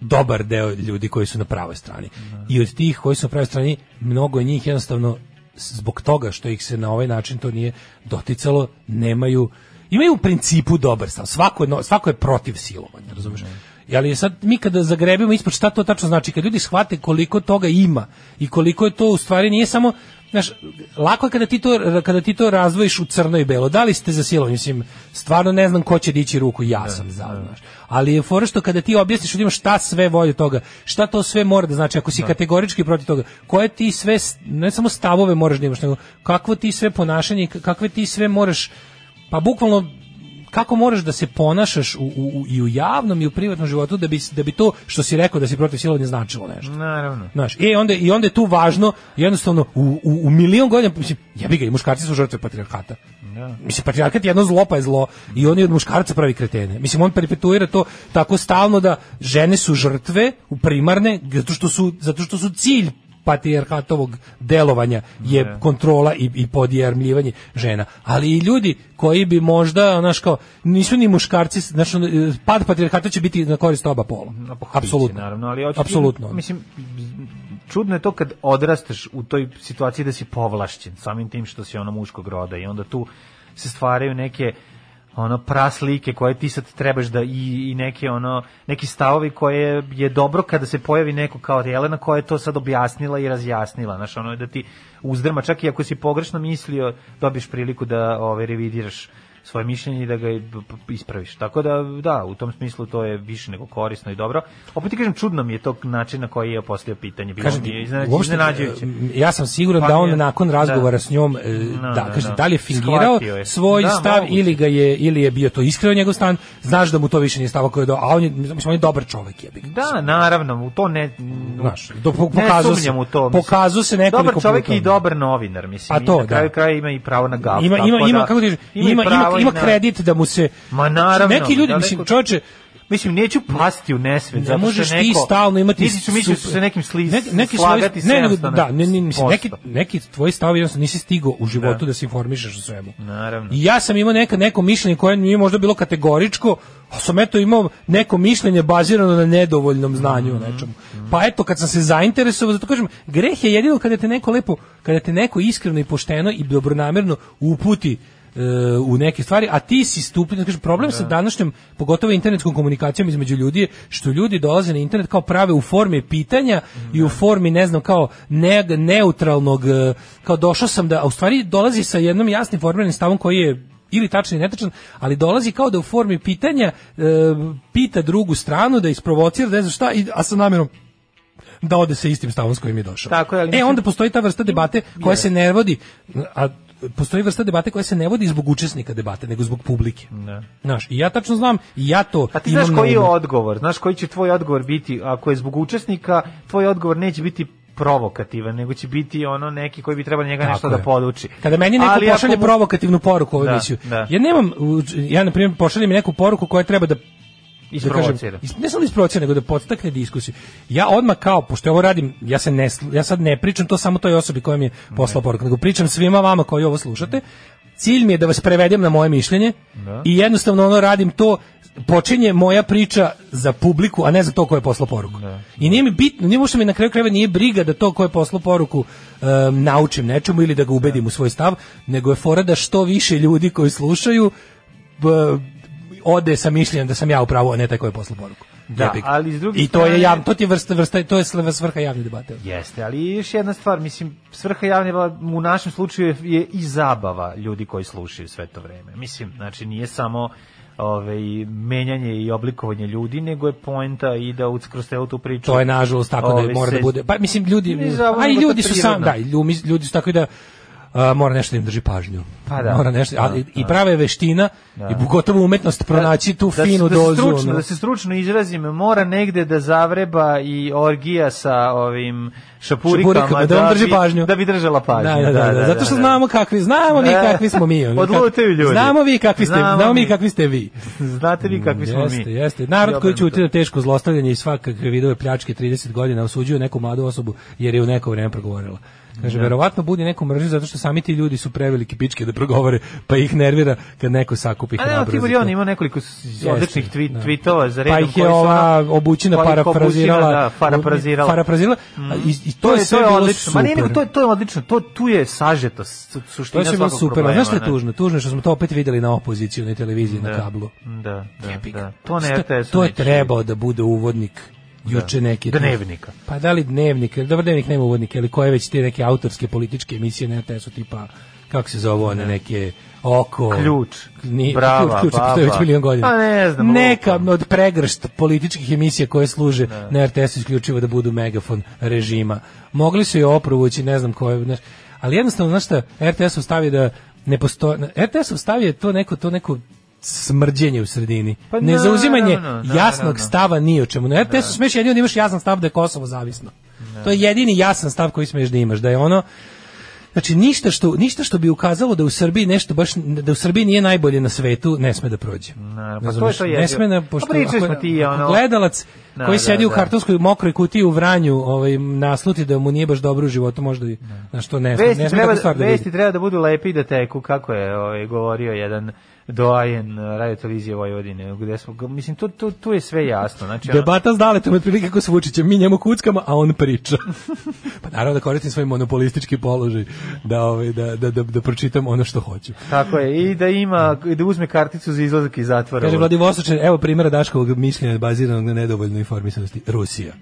dobar deo ljudi koji su na pravoj strani.
Da.
I od tih koji su na pravoj strani, mnogo je njih jednostavno s- zbog toga što ih se na ovaj način to nije doticalo, nemaju imaju u principu dobar stav. Svako je, no- svako je protiv silovanja, razumeš?
Da.
Ali sad mi kada zagrebimo ispod šta to tačno znači, kad ljudi shvate koliko toga ima i koliko je to u stvari nije samo Znaš, lako je kada ti, to, kada ti to razdvojiš u crno i belo. Da li ste za silovanje? Mislim, stvarno ne znam ko će dići ruku, ja sam za, znaš. Ali je fora što kada ti objasniš ljudima šta sve volje toga, šta to sve mora da znači, ako si kategorički protiv toga, koje ti sve, s- ne samo stavove moraš da imaš, nego kakvo ti sve ponašanje, i k- kakve ti sve moraš, pa bukvalno kako moraš da se ponašaš u, u, u- i u javnom i u privatnom životu da bi, s- da bi to što si rekao da si protiv silovanja značilo nešto.
Naravno.
Znaš, i onda i onda je tu važno jednostavno u, u, u milion godina mislim jebi ga i muškarci su žrtve patrijarhata.
Da.
Mislim patrijarhat je jedno zlo pa je zlo i oni od muškarca pravi kretene. Mislim on perpetuira to tako stalno da žene su žrtve u primarne zato što su zato što su cilj patrijarhatovog delovanja je
Da.
kontrola i, i podjarmljivanje žena. Ali i ljudi koji bi možda, znaš kao, nisu ni muškarci, znaš, ono, eh, pad patrijarhata će biti na korist oba pola. Apsolutno.
naravno, ali hoću ti-
Apsolutno.
mislim čudno je to kad odrasteš u toj situaciji da si povlašćen samim tim što si ono muškog roda i onda tu se stvaraju neke ono praslike koje ti sad trebaš da i, i neke ono neki stavovi koje je dobro kada se pojavi neko kao Jelena koja je to sad objasnila i razjasnila znaš ono da ti uzdrma čak i ako si pogrešno mislio dobiješ priliku da ovaj revidiraš svoje mišljenje i da ga i p- p- ispraviš. Tako da, da, u tom smislu to je više nego korisno i dobro. Opet ti kažem, čudno mi je to način na koji je postavio pitanje. Bilo
Kažem
mi je
ti,
iznenađ-
uopšte,
iznenađujuće.
e, ja sam siguran
Pa
da
mi je-
on nakon razgovora
da.
s njom, e,
No,
da,
no,
kažem,
no.
da li je fingirao
Shvatio je.
svoj
Da,
stav
moguće.
ili ga je ili je bio to iskreno njegov stan, znaš da mu to više nije stav koji je do, a on je, mislim, on je dobar čovjek, jebi ga.
Da, naravno, u to ne...
Znaš, do, po-
ne
pokazao se,
sumnjam u to. mislim.
pokazao se nekoliko
Dobar čovjek
puta.
i dobar novinar, mislim.
Pa
i
to,
na kraju
da.
kraja ima i pravo na gav.
Ima,
tako
ima,
da-
ima, kako ti kažeš,
i
ima, ima,
pravo i
ima
na-
kredit da mu se...
Ma naravno.
Neki ljudi,
daleko-
mislim, čovječe,
Mislim, neću pasti u nesvet.
Ne
zato što
možeš ti
neko-
stalno imati
Nisi ću misliti
super-
da se nekim sliz,
Neki- neki svoji-
slagati
ne, nego-
700
da, ne, ne, mislim, neki,
posto.
neki tvoji stavovi jednostavno nisi stigao u životu da, se informišeš o svemu.
Naravno.
I ja sam imao neka, neko mišljenje koje nije možda bilo kategoričko, ali sam eto imao neko mišljenje bazirano na nedovoljnom znanju
Mhm,
o nečemu. Pa eto, kad sam se zainteresovao, zato kažem, greh je jedino kada te neko lepo, kada te neko iskreno i pošteno i dobronamerno uputi e, u neke stvari, a ti si stupio, da kažem, problem sa današnjom, pogotovo internetskom komunikacijom između ljudi je što ljudi dolaze na internet kao prave u formi pitanja i u formi, ne znam, kao ne, neutralnog, e, kao došao sam da, a u stvari dolazi sa jednom jasnim formiranim stavom koji je ili tačan i netačan, ali dolazi kao da u formi pitanja e, pita drugu stranu da isprovocira, da ne znam šta, i, a sa namjerom da ode sa istim stavom s kojim je došao.
Tako je, ali
e,
mislim-
onda postoji ta vrsta debate koja se ne vodi, a postoji vrsta debate koja se ne vodi zbog učesnika debate, nego zbog publike.
Da.
Znaš, i ja tačno znam, i ja to
A Pa ti
imam
znaš
na
koji je
umu.
odgovor? Znaš koji će tvoj odgovor biti? Ako je zbog učesnika, tvoj odgovor neće biti provokativan, nego će biti ono neki koji bi trebalo njega
Tako
nešto
je.
da poduči.
Kada meni neko
Ali ako
pošalje
mu-
provokativnu poruku u ovoj
Da,
emisiju,
da.
ja nemam, u- ja na primjer pošaljem neku poruku koja treba da da
Isprovocira.
kažem, is- ne samo da isprovocira, nego da podstakne diskusiju. Ja odmah kao, pošto ovo radim, ja, se ne, sl- ja sad ne pričam to samo toj osobi koja mi je poslala poruku, nego pričam svima vama koji ovo slušate. Cilj mi je da vas prevedem na moje mišljenje i jednostavno ono radim to, počinje moja priča za publiku, a ne za to ko je poslao poruku. I nije mi bitno, nije uopšte mi na kraju krajeva nije briga da to ko je poslao poruku em, naučim nečemu ili da ga ubedim u svoj stav, nego je fora da što više ljudi koji slušaju b- ode sa mišljenjem da sam ja u pravu, a ne taj koji je poslao poruku.
Da,
Jebi ga.
ali s druge
I to je
strane-
javno, to ti je vrsta, vrsta, to je sl- svrha javne debate.
Jeste, ali još jedna stvar, mislim, svrha javne vla- u našem slučaju je- je i zabava ljudi koji slušaju sve to vreme. Mislim, znači nije samo ovaj, menjanje i oblikovanje ljudi, nego je poenta i da uz- kroz celu tu priču...
To je nažalost tako da
ovaj,
mora da
se-
bude. Pa mislim ljudi,
Ne znam,
a i
nego to
ljudi su sam,
prirodno.
da, i ljudi, ljudi su tako da a, mora nešto da im drži pažnju.
Pa da.
Mora nešto, a,
Da,
i- i
da.
prave veština i pogotovo umetnost pronaći tu
da, se-
finu
da
dozu.
Se stručno,
ono.
Da se stručno izrazim, mora negde da zavreba i orgija sa ovim šapurikama,
Šapurikama, da vam drži
bi,
pažnju.
da bi držala pažnju.
Da, da, da, da, zato što
da.
znamo kakvi, znamo mi
Da.
kakvi smo mi. ono, kak-
Odlutaju ljudi.
Znamo vi kakvi ste,
Znamo
znamo mi
mi.
kakvi ste vi.
Znate vi kakvi smo
jeste,
mi. da.
Jeste, Narod koji
Dobro,
ćuti na teško zlostavljanje i svakakve vidove pljačke 30 godina osuđuje neku mladu osobu jer je u neko vreme progovorila. Kaže,
Da.
verovatno budi neku mržnju zato što sami ti ljudi su preveliki pičke da progovore, pa ih nervira kad neko sakupi
A ne,
hrabrost.
Tibor
za to.
Jovan ima nekoliko s- odličnih
Jeste,
tweet,
da.
tweetova za redom.
Pa ih
koji
je
su
ova
ono-
obućina
Pa ih obućina,
parafrazirala.
Da, parafrazirala.
Parafrazirala. A I, i to, je sve bilo
odlično. Ma ne, nego
super.
to je, to je odlično. To, tu je sažeto s-
To
suština
je sve bilo
svakog
super.
problema.
Znaš što je
ne?
tužno? Tužno je što smo to opet videli na opoziciju, na televiziji, na kablu.
Da,
Jebi
da,
ga.
da. To
Šta-
ne RTS-u
To je
neće. Da.
trebao da bude uvodnik juče neki
Dnevnika.
Pa da li dnevnik, dobro dnevnik nema uvodnika, ali koje već te neke autorske političke emisije na RTS-u tipa, kako se zove one neke oko...
Ključ,
Ni, ključ,
Brava,
ključ je postoji već
Baba.
milion godina.
Pa ne znam, lupam.
Neka od pregršt političkih emisija koje služe na RTS-u isključivo da budu megafon režima. Mogli su je oprovući, ne znam koje... znaš, ali jednostavno, znaš šta, RTS-u stavi da ne postoji... RTS-u stavi je to neko, to neko smrđenje u sredini.
Pa
ne zauzimanje
naravno,
jasnog
naravno.
stava ni o čemu. Na RTS-u smeš jedino da imaš jasan stav da je Kosovo zavisno.
Da.
To je jedini jasan stav koji smeš da imaš, da je ono Znači ništa što ništa što bi ukazalo da u Srbiji nešto baš da u Srbiji nije najbolje na svetu ne sme da prođe.
Naravno, pa to je
Razumeš?
to
ne
jedino.
sme da, na
Pa pričali smo ti, ono.
gledalac
Da,
koji
da,
sedi u
da.
kartonskoj mokroj kutiji u Vranju, ovaj nasluti da mu nije baš dobro u životu, možda i na što ne, sme-
Da. Vesti
ne sme
treba,
takvu stvar da vidi.
vesti treba da budu lepe i da teku, kako je ovaj, govorio jedan doajen eh, radio televizije Vojvodine, gde smo, g- mislim, tu, tu, tu je sve jasno. Znači, ono-
Debata s Daletom je otprilike kako s Vučićem, mi njemu kuckama, a on priča. pa naravno da koristim svoj monopolistički položaj da, ovaj, da, da, da, da pročitam ono što hoću.
Tako je, i da ima, i da uzme karticu za izlazak iz zatvora.
Kaže Vladivostočan, evo primjera Daškovog mišljenja baziranog na nedovoljnoj informisanosti. Rusija.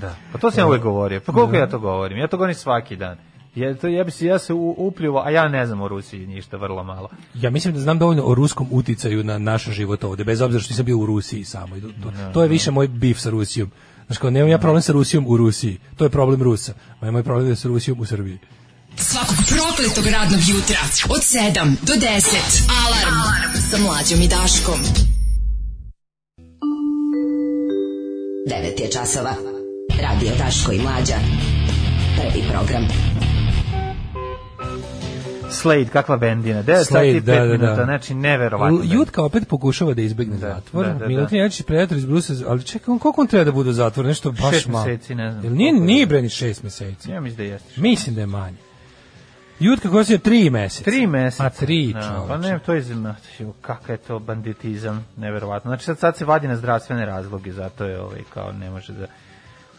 Da. Pa to sam ja uvek govorio. Pa
Da.
koliko ja to govorim? Ja to govorim svaki dan. Ja, to, ja, bi se, ja se u- upljuvo, a ja ne znam o Rusiji ništa, vrlo malo.
Ja mislim da znam dovoljno o ruskom uticaju na naš život ovde, bez obzira što nisam bio u Rusiji samo. I To, to, to je
Da,
više moj bif sa Rusijom. Znaš, kao, nemam ja problem sa Rusijom u Rusiji. To je problem Rusa. Ma je moj problem je sa Rusijom u Srbiji.
Svakog prokletog radnog jutra od 7 do 10. Alarm, Alarm. sa Mlađom i Daškom. 9 je časova. Radio Daško i Mlađa. Prvi program.
Slade, kakva bendina. 9
Slade,
sati i 5
da, da, da.
minuta, znači neverovatno.
L- Jutka opet pokušava da izbegne zatvor.
da,
Da,
da, da.
predator iz Brusa, ali čekaj, on koliko on treba da bude u zatvoru? Nešto baš
Šest
malo.
meseci, ne znam
Jel nije,
koliko je.
nije bre ni šest meseci.
Ja mislim da jeste.
Mislim da je manje. Jutka koja se tri meseca.
Tri meseca.
Pa tri,
Da,
čoveče.
Pa ne, to je, zna- jo, kakav je to banditizam, neverovatno. Znači sad, sad se vadi na zdravstvene razloge, zato je ovaj, kao ne može da...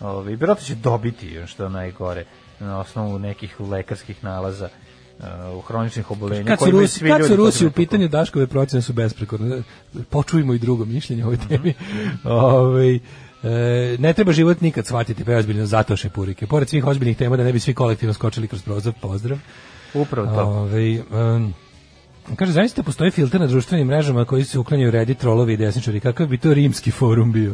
Ovaj, vjerojatno će dobiti, što je najgore, na osnovu nekih lekarskih nalaza uh, u hroničnih obolenja.
Kad su
koji imaju
Rusi,
svi
kad su
ljudi
Rusi u
potrebno-
pitanju Daškove procene su besprekorne. Počujmo i drugo mišljenje o ovoj temi. Ovaj, e, ne treba život nikad shvatiti preozbiljno zato šepurike. Pored svih ozbiljnih tema da ne bi svi kolektivno skočili kroz prozor, pozdrav.
Upravo to.
Ovaj, em, kaže, zamislite, postoji filter na društvenim mrežama koji se uklanjaju redi trolovi i desničari. Kakav bi to rimski forum bio?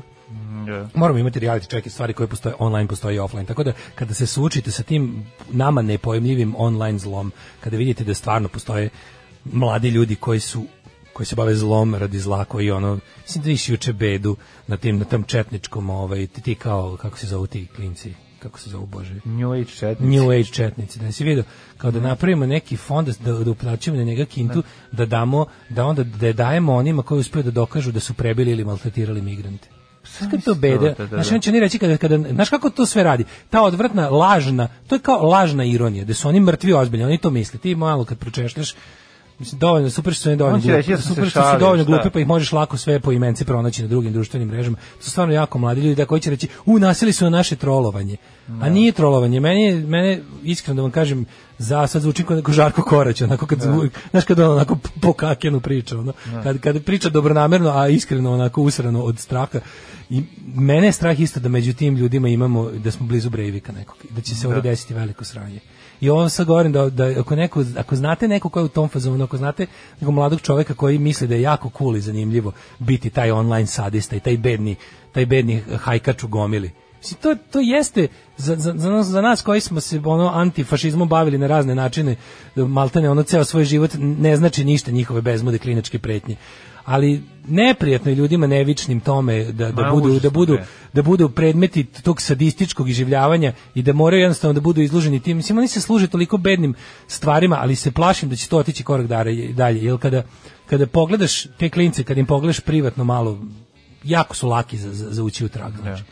Da.
moramo imati reality check i stvari koje postoje online, postoje i offline. Tako da kada se suočite sa tim nama nepojemljivim online zlom, kada vidite da stvarno postoje mladi ljudi koji su koji se bave zlom radi zla koji ono mislim da više juče bedu na tim na tom četničkom ovaj ti, ti kao kako se zovu ti klinci kako se zovu bože
New Age četnici.
New Age četnici, da si vidio, kao da napravimo neki fond da, da uplaćujemo na njega kintu, da damo, da onda da je dajemo onima koji uspeju da dokažu da su prebili ili maltretirali migrante. Znaš kako je to beda?
da, da,
Znaš,
da.
on će oni reći, kada, kada, znaš kako to sve radi? Ta odvratna, lažna, to je kao lažna ironija, da su oni mrtvi ozbiljni, oni to misle. Ti malo kad pročešljaš, Mislim, dovoljno, super što su oni dovoljno
On će
glupi,
reći, ja sam se
super što su
šalio,
dovoljno
šta?
glupi, pa ih možeš lako sve po imenci pronaći na drugim društvenim mrežama. To su stvarno jako mladi ljudi da koji će reći, u, nasili su na naše trolovanje. A nije trolovanje, meni, je- mene, iskreno da vam kažem, za sad zvuči kao neko Žarko Korać, onako kad zvu, znaš kad on onako p- po kakenu priča, ono, kad, kad priča dobronamerno, a iskreno onako usrano od straha. I mene je strah isto da među tim ljudima imamo, da smo blizu Breivika nekog, i da će se ovdje desiti veliko sranje. I ovo sad govorim da, da ako, neko, ako znate neko ko je u tom fazonu, ako znate nekog mladog čoveka koji misli da je jako cool i zanimljivo biti taj online sadista i taj bedni, taj bedni hajkač u gomili. Mislim, to, to jeste za, za, za, nas, za nas koji smo se ono antifašizmom bavili na razne načine, maltene ono ceo svoj život ne znači ništa njihove bezmude kliničke pretnje. Ali neprijatno je ljudima nevičnim tome da, da
Ma,
budu, da
užasno
budu,
je.
da budu predmeti tog sadističkog iživljavanja i da moraju jednostavno da budu izloženi tim. Mislim, oni se služe toliko bednim stvarima, ali se plašim da će to otići korak dare- dalje. Jer kada, kada pogledaš te klince, kada im pogledaš privatno malo, jako su laki za, za, za ući u
Da.
trag. Znači.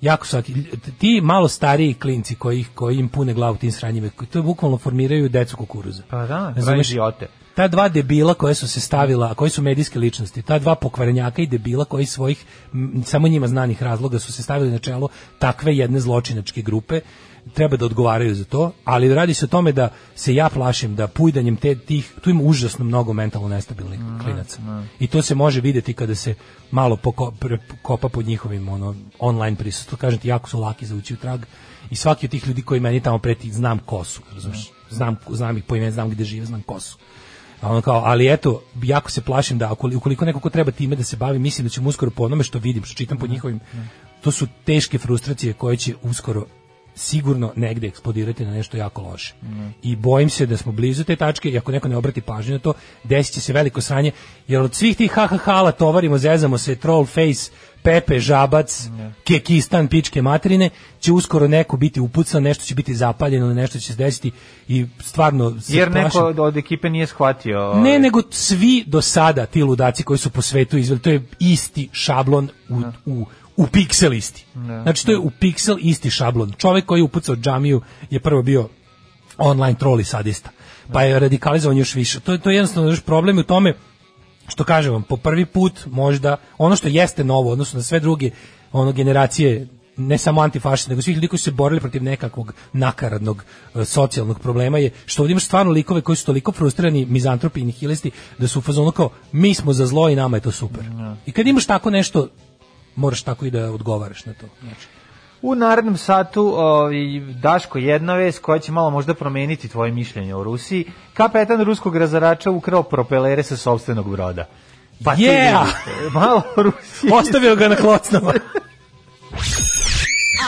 Jako su laki. Ti malo stariji klinci koji, koji im pune glavu tim sranjima, koji to bukvalno formiraju decu kukuruza.
Pa da, pravi
Razumeš?
idiote.
ta dva debila koje su se stavila, a koji su medijske ličnosti, ta dva pokvarenjaka i debila koji iz svojih m, samo njima znanih razloga su se stavili na čelo takve jedne zločinačke grupe, treba da odgovaraju za to, ali radi se o tome da se ja plašim da pujdanjem te tih, tu ima užasno mnogo mentalno nestabilnih klinaca. I to se može videti kada se malo poko, pre- kopa pod njihovim ono, online prisustvom. Kažem ti, jako su laki za ući u trag i svaki od tih ljudi koji meni tamo preti, znam ko su, razumeš? Znam, znam ih po imenu, znam gde žive, znam ko su. A ono kao, ali eto, jako se plašim da ako, ukoliko neko ko treba time da se bavi, mislim da ćemo uskoro po onome što vidim, što čitam po njihovim, to su teške frustracije koje će uskoro sigurno negde eksplodirati na nešto jako loše. I bojim se da smo blizu te tačke i ako neko ne obrati pažnju na to, desit će se veliko sranje, jer od svih tih ha ha hala tovarimo, zezamo se, troll face, Pepe, Žabac, Kekistan, pičke materine, će uskoro neko biti upucan, nešto će biti zapaljeno, nešto će se desiti i stvarno se
Jer neko
plašim.
od, od ekipe nije shvatio. ovaj,
Ne, nego svi do sada ti ludaci koji su po svetu izveli, to je isti šablon u, u, u piksel isti. Znači, to je u piksel isti šablon. Čovjek koji je upucao džamiju je prvo bio online troll i sadista. Pa je radikalizovan još više. To, je- to je jednostavno još problem u tome što kažem vam, po prvi put možda ono što jeste novo, odnosno na sve druge ono generacije ne samo antifašista, nego svih ljudi koji su se borili protiv nekakvog nakaradnog e, socijalnog problema je što ovdje imaš stvarno likove koji su toliko frustrirani mizantropi i nihilisti da su u fazonu kao mi smo za zlo i nama je to super. I kad imaš tako nešto moraš tako i da odgovaraš na to. Znači,
U narednom satu ovaj, Daško jedna vez koja će malo možda promeniti tvoje mišljenje o Rusiji. Kapetan ruskog razarača ukrao propelere sa sobstvenog broda. Pa ti
Yeah!
vidi, malo o Rusiji.
Ostavio ga na klocnama.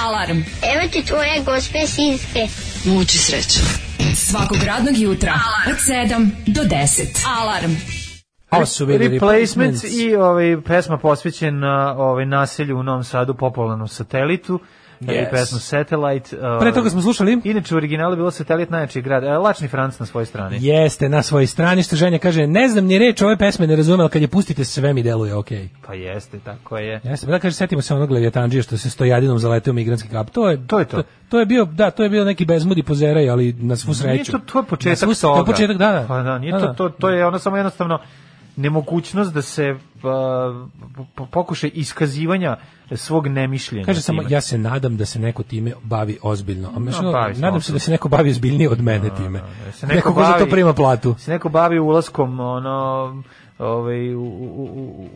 Alarm.
Evo ti tvoje gospe sinske.
Muči sreće. Svakog radnog jutra od 7 do 10. Alarm.
Ovo su bili replacements.
Replacements i ovaj pesma posvećena ovaj naselju u Novom Sadu popularnom satelitu. Yes.
Yes.
pesmu Satellite. uh,
Pre toga smo slušali
Inače u originalu je bilo Satelit najjači grad. E, Lačni Franc na svojoj strani.
Jeste, na svojoj strani, što ženja kaže, ne znam ni reč ove pesme, ne razumem, ali kad je pustite sve mi deluje okej.
Pa jeste, tako je.
Jeste, da kaže, setimo se onog levijatanđija što se stojadinom zaleteo u migranski kap. To je
To je to.
To je bio, da, to je bio neki bezmudi pozeraj, ali na svu sreću.
Nije to, to je početak
Na svu-
toga.
To je početak, da, da.
Pa da, nije
Da,
to,
da.
to, to je ono samo jednostavno nemogućnost da se pa, po- pokušaj iskazivanja svog nemišljenja.
Kaže samo,
time.
ja se nadam da se neko time bavi ozbiljno. A mislim,
bavi se
nadam se da se neko bavi ozbiljnije od mene time.
Da se
neko ko za to prima platu.
Se neko bavi ulaskom ono ovaj u, u, u, u-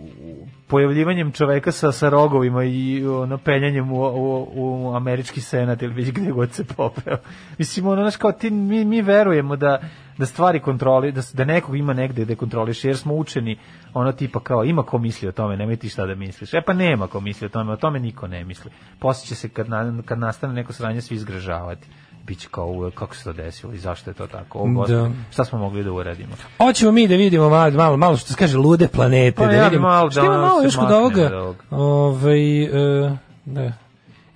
pojavljivanjem čoveka sa sa rogovima i ono peljanjem u, u, u američki senat ili već gdje god se popeo. Mislim ono znaš kao ti mi mi verujemo da da stvari kontroli da s- da nekog ima negde da kontroliše jer smo učeni ono tipa kao ima ko misli o tome nemoj ti šta da misliš e pa nema ko misli o tome o tome niko ne misli posle će se kad na, kad nastane neko sranje svi izgražavati biće kao "Ue, kako se to desilo i zašto je to tako o, Gospode,
Da.
šta smo mogli da uradimo
Hoćemo mi da vidimo malo, malo, malo što se kaže lude planete.
Pa
da
ja bi
vidimo.
malo
Šta ima
da
malo
se
još kod
maknemo
ovoga?
od ovoga.
Ovaj, e, da.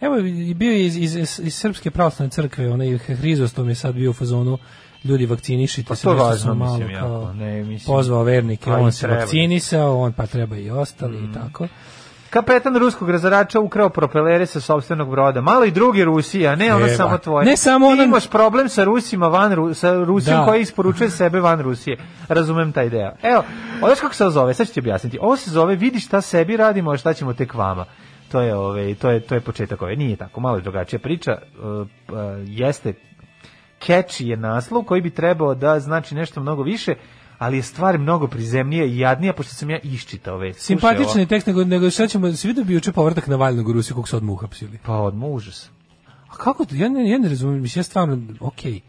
Evo, i bio je iz, iz, iz, iz Srpske pravoslavne crkve, onaj Hrizostom je sad bio u fazonu ljudi vakcinišite
Pa
se,
to je
nešto
važno,
sam malo
mislim,
kao
jako, ne, mislim.
pozvao vernike,
Pa i
on se
treba. Mm.
vakcinisao, on pa treba i ostali i tako.
kapetan ruskog razarača ukrao propelere sa sopstvenog broda malo i drugi Rusija ne ono
Eva.
samo tvoje
Ne samo
Ti
ono-
imaš problem sa Rusima van Ru- sa Rusijom
Da.
koja isporučuje sebe van Rusije razumem taj deo evo ovo kako se ovo zove sad ću ti objasniti ovo se zove vidi šta sebi radimo a šta ćemo tek vama to je ovaj to je to je početak ove nije tako malo je drugačija priča Uh, p- uh, jeste catchy je naslov koji bi trebao da znači nešto mnogo više, ali je stvar mnogo prizemnije i jadnija, pošto sam ja iščitao već. Slušaj
Simpatičan
ovo.
je tekst, nego, nego sad ćemo, si vidio bi juče povratak na Valjnog u Rusiju, kog su odmah uhapsili.
Pa odmah užas.
A kako to? Ja ne, ja ne razumijem, mislim, ja stvarno, okej.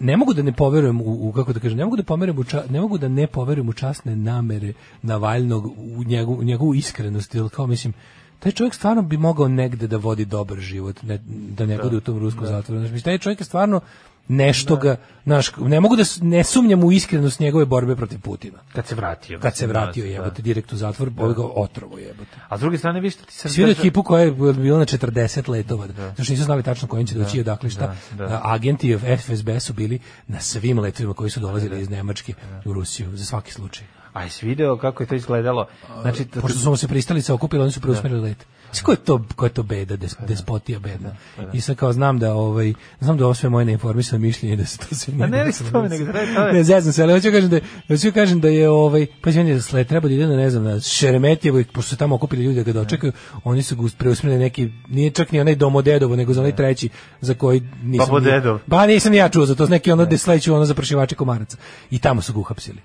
Ne mogu da ne poverujem u, u- kako da kažem, ne mogu da pomerujem u ča- ne mogu da ne poverujem u časne namere Navalnog u njegu- u njegovu iskrenost, jer kao mislim taj čovjek stvarno bi mogao negde da vodi dobar život, ne, da ne bude u tom ruskom zatvoru. Znači, mislim, taj čovjek je stvarno nešto
Da.
ga, znaš, ne mogu da s- ne sumnjam u iskrenost njegove borbe protiv Putina.
Kad se vratio.
Kad se
mislim,
vratio
da,
jebote direkt u zatvor, ovaj ga otrovo jebote.
A s druge strane, vi što ti sam
Svi vidio
držao-
ekipu koja je bila na 40 letova, da. znači nisu znali tačno kojim će doći i odakle šta.
da.
A, Agenti of FSB su bili na svim letovima koji su
Da.
dolazili iz Nemačke u Rusiju, za svaki slučaj.
Aj, si video kako je to izgledalo. Znači, to-
Pošto su mu se pristalice okupili, oni su
Da.
preusmerili let. Znaš, Ko je to, ko je to beda, des,
Pa
despotija bedna? I sad kao znam da, ovaj, znam da ovo sve moje neinformisano mišljenje, da se to sve
A ne li se tome, nego da treba tome.
ne zezam se, ali hoću kažem da je- hoću kažem da je ovaj pa izvinite, da sle treba da ide na ne znam na Šeremetjevo i pošto su tamo okupili ljudi da ga dočekaju, oni su ga us- preusmerili neki nije čak ni onaj domodedovo nego za onaj treći za koji nisam ni-
Da. Babodedov. Da.
Ba nisam ni ja čuo za to, neki ono desleću ono za prašivače komaraca i tamo su ga uhapsili.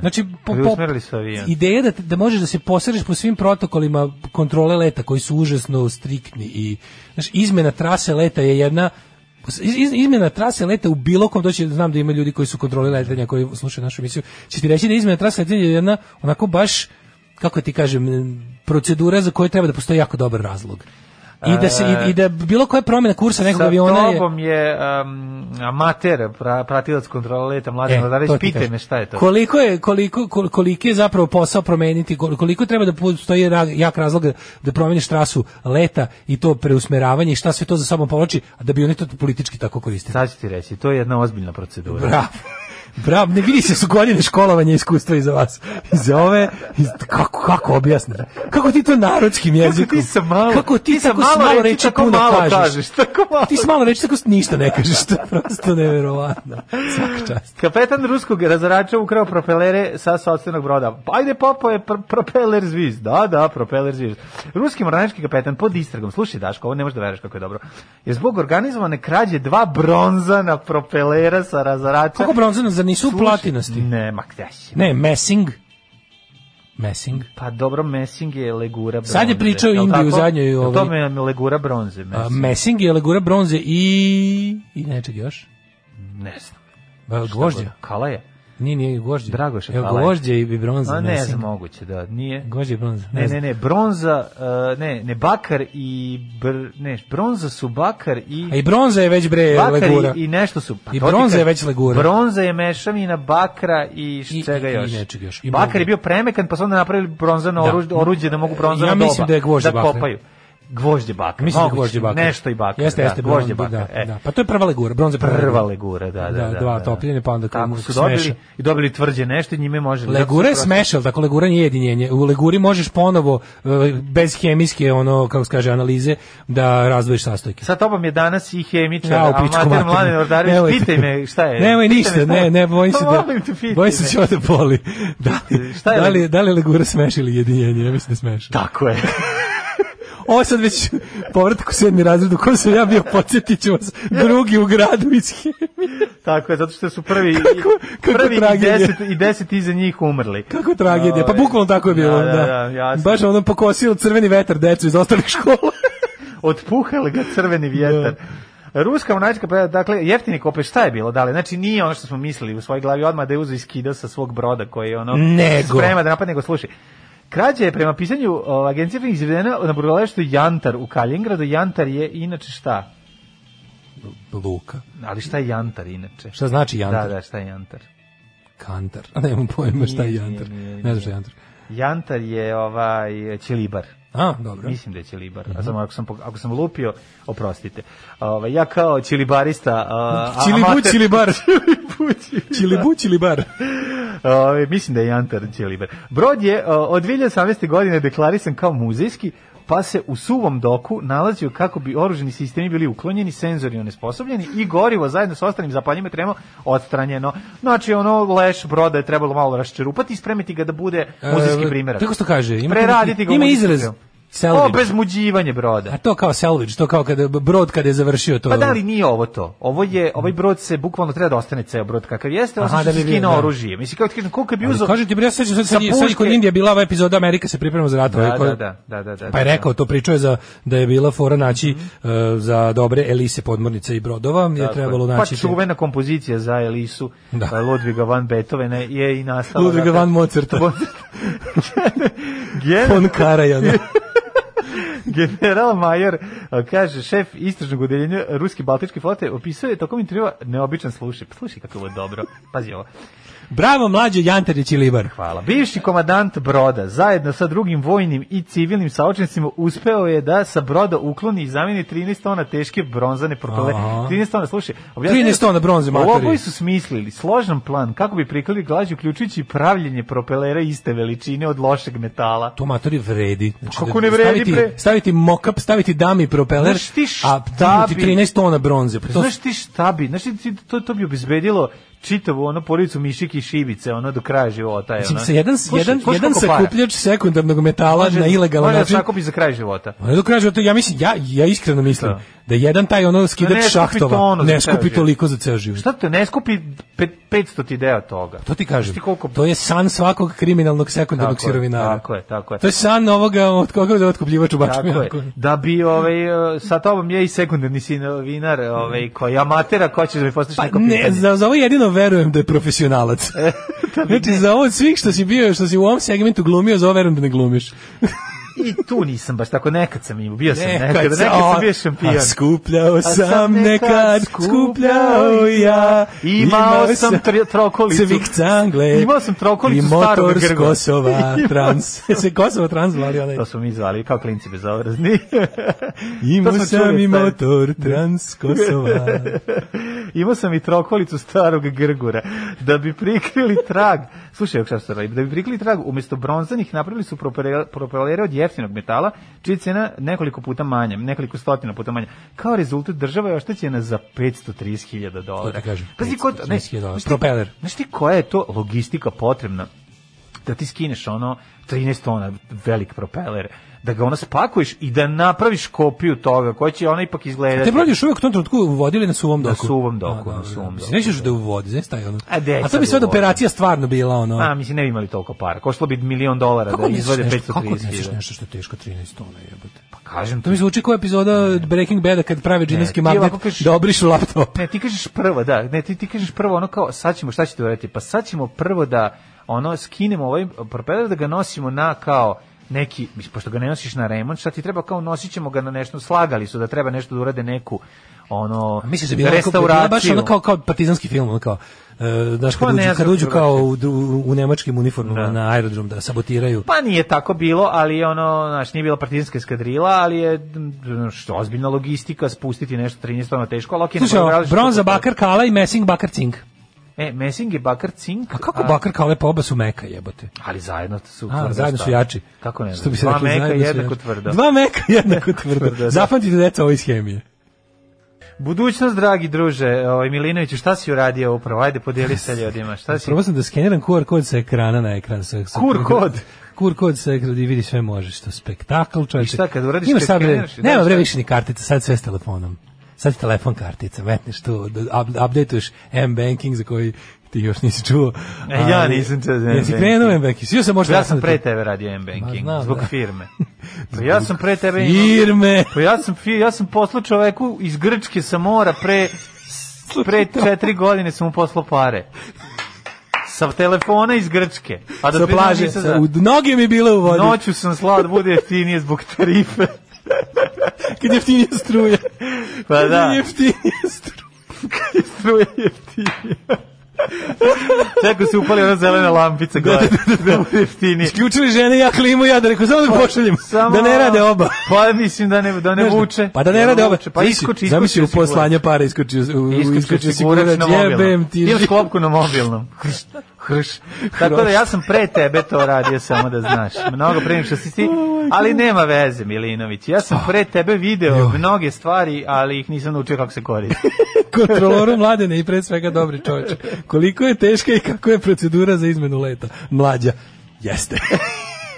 Znači, po, po,
Pa da. Preusmerili su avion.
ideja da, te- da možeš da se posrežeš po svim protokolima kontrole leta koji su užasno striktni i znaš, izmena trase leta je jedna iz- iz- izmena trase leta u bilo kom doći znam da ima ljudi koji su kontrole letenja koji slušaju našu emisiju će ti reći da izmena trase letenja je jedna onako baš kako ti kažem m, procedura za koju treba da postoji jako dobar razlog i da se i, i da bilo koja promjena kursa nekog
Sa
aviona je
tobom je um, amater, pra, pratilac kontrola leta, mladen
E,
Mladarić,
to ti
pitaj
kažem.
me šta je to.
Koliko je koliko kol- koliki je zapravo posao promeniti, kol- koliko treba da postoji ra- jak razlog da- da promeniš trasu leta i to preusmeravanje i šta sve to za sobom povlači, a da bi oni to politički tako koristili.
Sad ću ti reći, to je jedna ozbiljna procedura.
Bravo. Bravo, ne vidi se su godine školovanja i iskustva iza vas. Iz ove, iz, kako, kako objasniti? Kako ti to narodskim jezikom? Kako ti
sa malo,
kako ti,
ti sa
tako
malo
s malo
reči
reči
tako
puno
malo
kažeš.
kažeš, tako malo.
Ti s malo reči tako s ništa ne kažeš, to je prosto neverovatno. Svaka čast.
Kapetan ruskog razarača ukrao propelere sa sopstvenog broda. Ajde, popo je pr- propeler zviz. Da, da, propeler zviz. Ruski mornarički kapetan pod istragom. Slušaj, Daško, ovo ne možeš da veruješ kako je dobro. Je zbog organizovane krađe dva bronzana propelera sa razarača.
Kako bronzano, zar nisu
Slušaj,
platinasti?
Ne, ma gde si?
Ne, messing. Messing.
Pa dobro, Messing je legura bronze.
Sad je pričao
jel
Indiju
tako?
zadnjoj,
Jel
ovaj-
To mi je legura bronze,
A,
Messing.
messing je legura bronze i... I nečeg još?
Ne znam.
Ba,
Šta
Gvožđa.
god. Kala je.
Nije, nije gvožđe.
Dragoša
Evo,
Kalaja.
gvožđe i bronza.
A ne
messing.
znam, moguće da nije.
Gvožđe i bronza.
Ne,
znam.
ne, ne, bronza, uh, ne, ne, bakar i, br, ne, bronza su bakar i...
A i bronza je već bre
bakar
legura.
I, i nešto su... Pa
I
to ti
bronza je
kažem,
već legura.
Bronza je mešavina bakra i
I-
čega
i- i
još.
nečeg još. I
bakar
mogu-
je bio premekan, pa su onda napravili bronzano
Da.
oružje, oruđe da mogu bronzano
Ja mislim
doba
da je gvožđe
da
bakra.
kopaju. Gvožđe bakra.
Mislim da je
moguće,
gvožđe bakar.
Nešto i bakar.
Jeste,
da,
jeste,
gvožđe
bron-
bakra.
Da,
e.
da. Pa to je prva legura, bronza je
Prva legura, da, da, da.
dva
da.
topljene, pa onda kad
Tako
mu
su
smeša.
dobili i dobili tvrđe nešto i njime može...
Legura je smešal, tako legura nije jedinjenje. U leguri možeš ponovo e, bez hemijske ono kako se kaže analize da razdvojiš sastojke.
Sa tobom je danas i hemičar,
Ja, u
amater
pičku
mladen
materinu.
Ordarević,
Nemojte.
pitaj me šta je.
Nemoj
Pitaj
ništa,
me šta je.
ne, ne, bojim se
Pa
da,
molim te, pitaj
bojim se
me.
da će ovo da boli. Da, li-
Šta je
da, li,
legura?
da li je legura smeš ili jedinjenje? Ja mislim da smeš.
Tako je.
Ovo je sad već povratak u sedmi razred u kojem sam ja bio, podsjetit ću vas, drugi u gradu iz hemije.
Tako je, zato što su prvi,
Kako- kako
prvi i
tragedija.
deset, i deset iza njih umrli.
Kako tragedija, pa
Ovaj,
bukvalno tako je bilo.
Da, da,
da.
da, jasno.
Baš ono pokosio crveni vetar decu iz ostalih škola.
Otpuhali ga crveni vjetar.
Da.
Ruska monarhijska pa dakle jeftini kopeš šta je bilo dale znači nije ono što smo mislili u svojoj glavi odmah da je uzeo i skidao sa svog broda koji je ono
Nego.
sprema da napadne go slušaj Krađa je prema pisanju o, agencije Fink izvedena na brodoleštu Jantar u Kaljingradu. Jantar je inače šta?
Luka.
Ali šta je Jantar inače?
Šta znači jantar?
Da, da, šta je Jantar?
Kantar. A nemam pojma šta je
Nije, nije,
jantar.
nije, nije.
Ne znam šta je jantar.
Jantar je ovaj Ćelibar.
A, dobro.
Mislim da je Ćilibar.
Mhm.
A samo ako sam pog- ako sam lupio, oprostite. Ovaj ja kao Ćilibarista, a-
Čilibu,
amater-
čilibar.
Pući.
Čilibu, čilibar.
Ovaj, mislim da je Jantar Ćelibar. Brod je o, od 2018. godine deklarisan kao muzejski, pa se u suvom doku nalazio kako bi oruženi sistemi bili uklonjeni, senzori onesposobljeni i gorivo zajedno sa ostalim zapaljima tremo odstranjeno. Znači, ono, leš broda je trebalo malo raščerupati i spremiti ga da bude muzejski
E,
primjerak.
Tako što kaže. Ima,
Preraditi ga u
ima
muzejski
izraz.
film.
Salvage.
O, bezmuđivanje broda.
A to kao salvage, to kao kada brod kada je završio to.
Pa da li nije ovo to? Ovo je, ovaj brod se bukvalno treba da ostane ceo brod kakav jeste,
Aha,
osim
da
što se
bi bio,
skina
da.
oružje. Mislim, kako ti kažem, koliko bi
Ali
uzao...
Kažem ti, bre, ja se sećam, sad, sad,
Sa
sad kod
puške-
Indija bila ova epizoda Amerika se priprema za rat. ovaj,
Da,
koja-
da, da, da, da, da,
Pa je
da.
rekao, to pričao je za, da je bila fora naći e, za dobre elise podmornice i brodova, je
Tako
trebalo
je.
naći...
Pa čuvena kompozicija za Elisu
Da.
da. Ludviga van Beethovena je i nastala.
Ludviga
zato-
van Mozarta.
Gen,
Von Karajana.
general Major, a, kaže, šef istražnog odeljenja Ruske Baltičke flote, opisuje tokom intervjua neobičan slušaj. Pa Slušaj kako ovo je dobro. Pazi ovo.
Bravo, mlađe Jantarić i Libar.
Hvala. Bivši komadant broda zajedno sa drugim vojnim i civilnim saočnicima uspeo je da sa broda ukloni i zameni 13 tona teške bronzane propele.
Aha.
13 tona, slušaj. objasnio-
13 tona bronze,
U
matori.
Ovoj su smislili složan plan kako bi prikrili glađu uključujući i pravljenje propelera iste veličine od lošeg metala.
To matori vredi. Znači,
Kako ne vredi,
staviti,
bre?
Staviti mokap, staviti dami propeler,
Znaš ti
a
šta
dignuti
bi-
13 tona bronze. Pa to-
Znaš ti šta bi, znaš ti ti- to, to bi obezbedilo čitavu ono porodicu mišike i šibice, ono do kraja života. Je,
Mislim,
ono.
sa jedan,
Slušaj,
jedan,
slušaj
jedan
koliko para.
sakupljač sekundarnog metala
Može-
na ilegalan
može da
način.
sakupi za kraj života.
Ma do kraja života, da ja mislim, ja, ja iskreno mislim da,
Da.
jedan taj ono skidač
Ne skupi
šahtova
tonu za
ne
ceo
skupi
život.
toliko za ceo život.
Šta to ne skupi pe- 500 ti deo toga?
To ti kažem,
Ti koliko-
to je san svakog kriminalnog sekundarnog
Tako je,
sirovinara.
tako je, tako je.
To je san ovoga od koga da otkupljivač u
Tako
bačmi.
je. Da bi ovaj e, sa tobom je i sekundarni sinovinar, ovaj koji je amatera ko ćeš da mi postaviš
Pa
neko
ne,
pitanje.
za, za ovo jedino verujem da je profesionalac. znači, za ovo od svih što si bio, što si u ovom segmentu glumio, za ovo verujem da ne glumiš.
I tu nisam baš tako nekad sam imao, bio sam nekad,
Nekad
nekad,
sam-
sam bio šampion.
A skupljao
sam
sam nekad,
nekad
skupljao ja.
Imao sam tri- trokolicu.
Cvik cangle.
Imao sam trokolicu
I
starog
motor s
grga.
Kosova
Imao
trans. Se Kosova trans zvali onaj.
To smo mi zvali kao klinci bezobrazni. To
Imao
smo
sam
čuli,
i
to je-
motor trans s Kosova.
imao sam i trokolicu starog grgura. Da bi prikrili trag, slušaj, šta ste radili, da bi prikrili trag, umjesto bronzanih napravili su propele- propelere od jeftinog metala, čija je cena nekoliko puta manja, nekoliko stotina puta manja. Kao rezultat država je oštećena za 530.000 dolara.
To ti kažem,
Pazi, ko- ne,
530.000 dolara.
znaš ti-
Propeler.
Znaš ti koja je to logistika potrebna da ti skineš ono 13 tona velik propeler, da ga ono spakuješ i da napraviš kopiju toga koja će ona ipak izgledati.
Te brod još uvek u tom trenutku vodili na suvom doku.
Na suvom doku,
A,
na suvom
Mislim,
doku,
Nećeš da je u vodi, znaš taj ono.
A gde je
A to
sad
bi
u
sad
vodi?
operacija stvarno bila ono.
A, mislim, ne bi imali toliko para. Košlo bi milion dolara
kako
da
odneseš
izvode
nešto-
530
Kako odneseš nešto što je teško 13 tona, jebote? Pa
kažem
To mi zvuči kao epizoda Breaking Bada kad prave džinovski magnet da obrišu laptop.
Ne, ti kažeš prvo, da, ne, ti, ti kažeš prvo ono kao, sad ćemo, šta ćete uraditi? Pa sad ćemo prvo da, ono, skinemo ovaj propeler da ga nosimo na kao neki, mislim, pošto ga ne nosiš na remont, šta ti treba kao nosit ćemo ga na nešto, slagali su da treba nešto da urade neku, ono,
Misliš da bi onako- bila baš ono kao, kao partizanski film, ono kao, e, znaš,
Pa
kad, uđu,
ne znam
kad uđu
kako
kao u, dru- u nemačkim uniformama na aerodrom da sabotiraju.
Pa nije tako bilo, ali je ono, znaš, nije bila partizanska eskadrila, ali je m, što, ozbiljna logistika, spustiti nešto 13 tona teško, ali ok,
Slušaj, ovo, bronza bakar kala i mesing bakar cink.
E, Messing je bakar cink.
A kako bakar kale pa oba su meka jebote? da
Ali zajedno su
A,
tvrda
zajedno su
stvar.
jači.
Kako ne?
Što bi se
Dva
reklo,
meka
zajedno su
jednako
jači.
tvrda.
Dva meka jednako tvrda.
tvrda, da.
Zapamtite deca ove schemije.
Budućnost, dragi druže, ovaj Milinoviću, šta si uradio upravo? Ajde, podijeli sa ljudima. Šta si?
Probao sam da skeniram QR kod sa ekrana na ekran. Sa, sa,
Kur kod?
Kur kod sa ekran i vidi sve možeš. Što spektakl, čovječe.
I šta kad uradiš,
Imaš
kad
sad, bre,
skeniraš i
Nema
daš
bre
šta?
više ni kartica, sad sve s telefonom. Sad je telefon kartica, metneš tu, d- up- updateuješ M-banking za koji ti još nisi čuo.
E, ja
ali-
nisam čuo za
Jesi
M-banking.
krenuo M-banking? Sio sam možda
Ja sam
da
pre
ti-
tebe radio M-Banking,
Ma, znam,
zbog
da.
firme. Pa ja sam pre tebe imao-
Firme!
Pa ja sam, fi- ja sam poslao čoveku iz Grčke sa mora pre, pre četiri godine sam mu poslao pare. Sa telefona iz Grčke. A
sa
pri-
plaže,
nisam
sa,
za-
u, noge mi bile u vodi.
Noću sam slao da bude jeftinije zbog tarife.
Kad jeftinije struje.
Pa da.
Kad jeftinije struje.
Struje jeftinije. Čekaj se upali ona zelena lampica gore. Da, da, bude jeftinije.
Isključili žene, ja klimu, ja da rekao, samo da ga pošaljem.
Pa, Samo-
Da ne rade oba.
Pa mislim da ne, da ne
Znaš da-
vuče.
Pa da ne rade oba.
vuče. Pa
Zamisli-
iskoči, iskoči.
Zamisli u
sigurno.
poslanja para iskoči, u- u- iskoči
Iskoči sigurač na
sigurač, jebem
mobilnom.
ti.
Ili
život.
klopku na mobilnom. Hrš, hrš. Tako da ja sam pre tebe to radio, samo da znaš. Mnogo pre nego što si ti, ali nema veze, Milinović. Ja sam pre tebe video mnoge stvari, ali ih nisam naučio kako se koristi.
kontroloru mladene i pre svega dobri čovječe. Koliko je teška i kako je procedura za izmenu leta? Mlađa, jeste.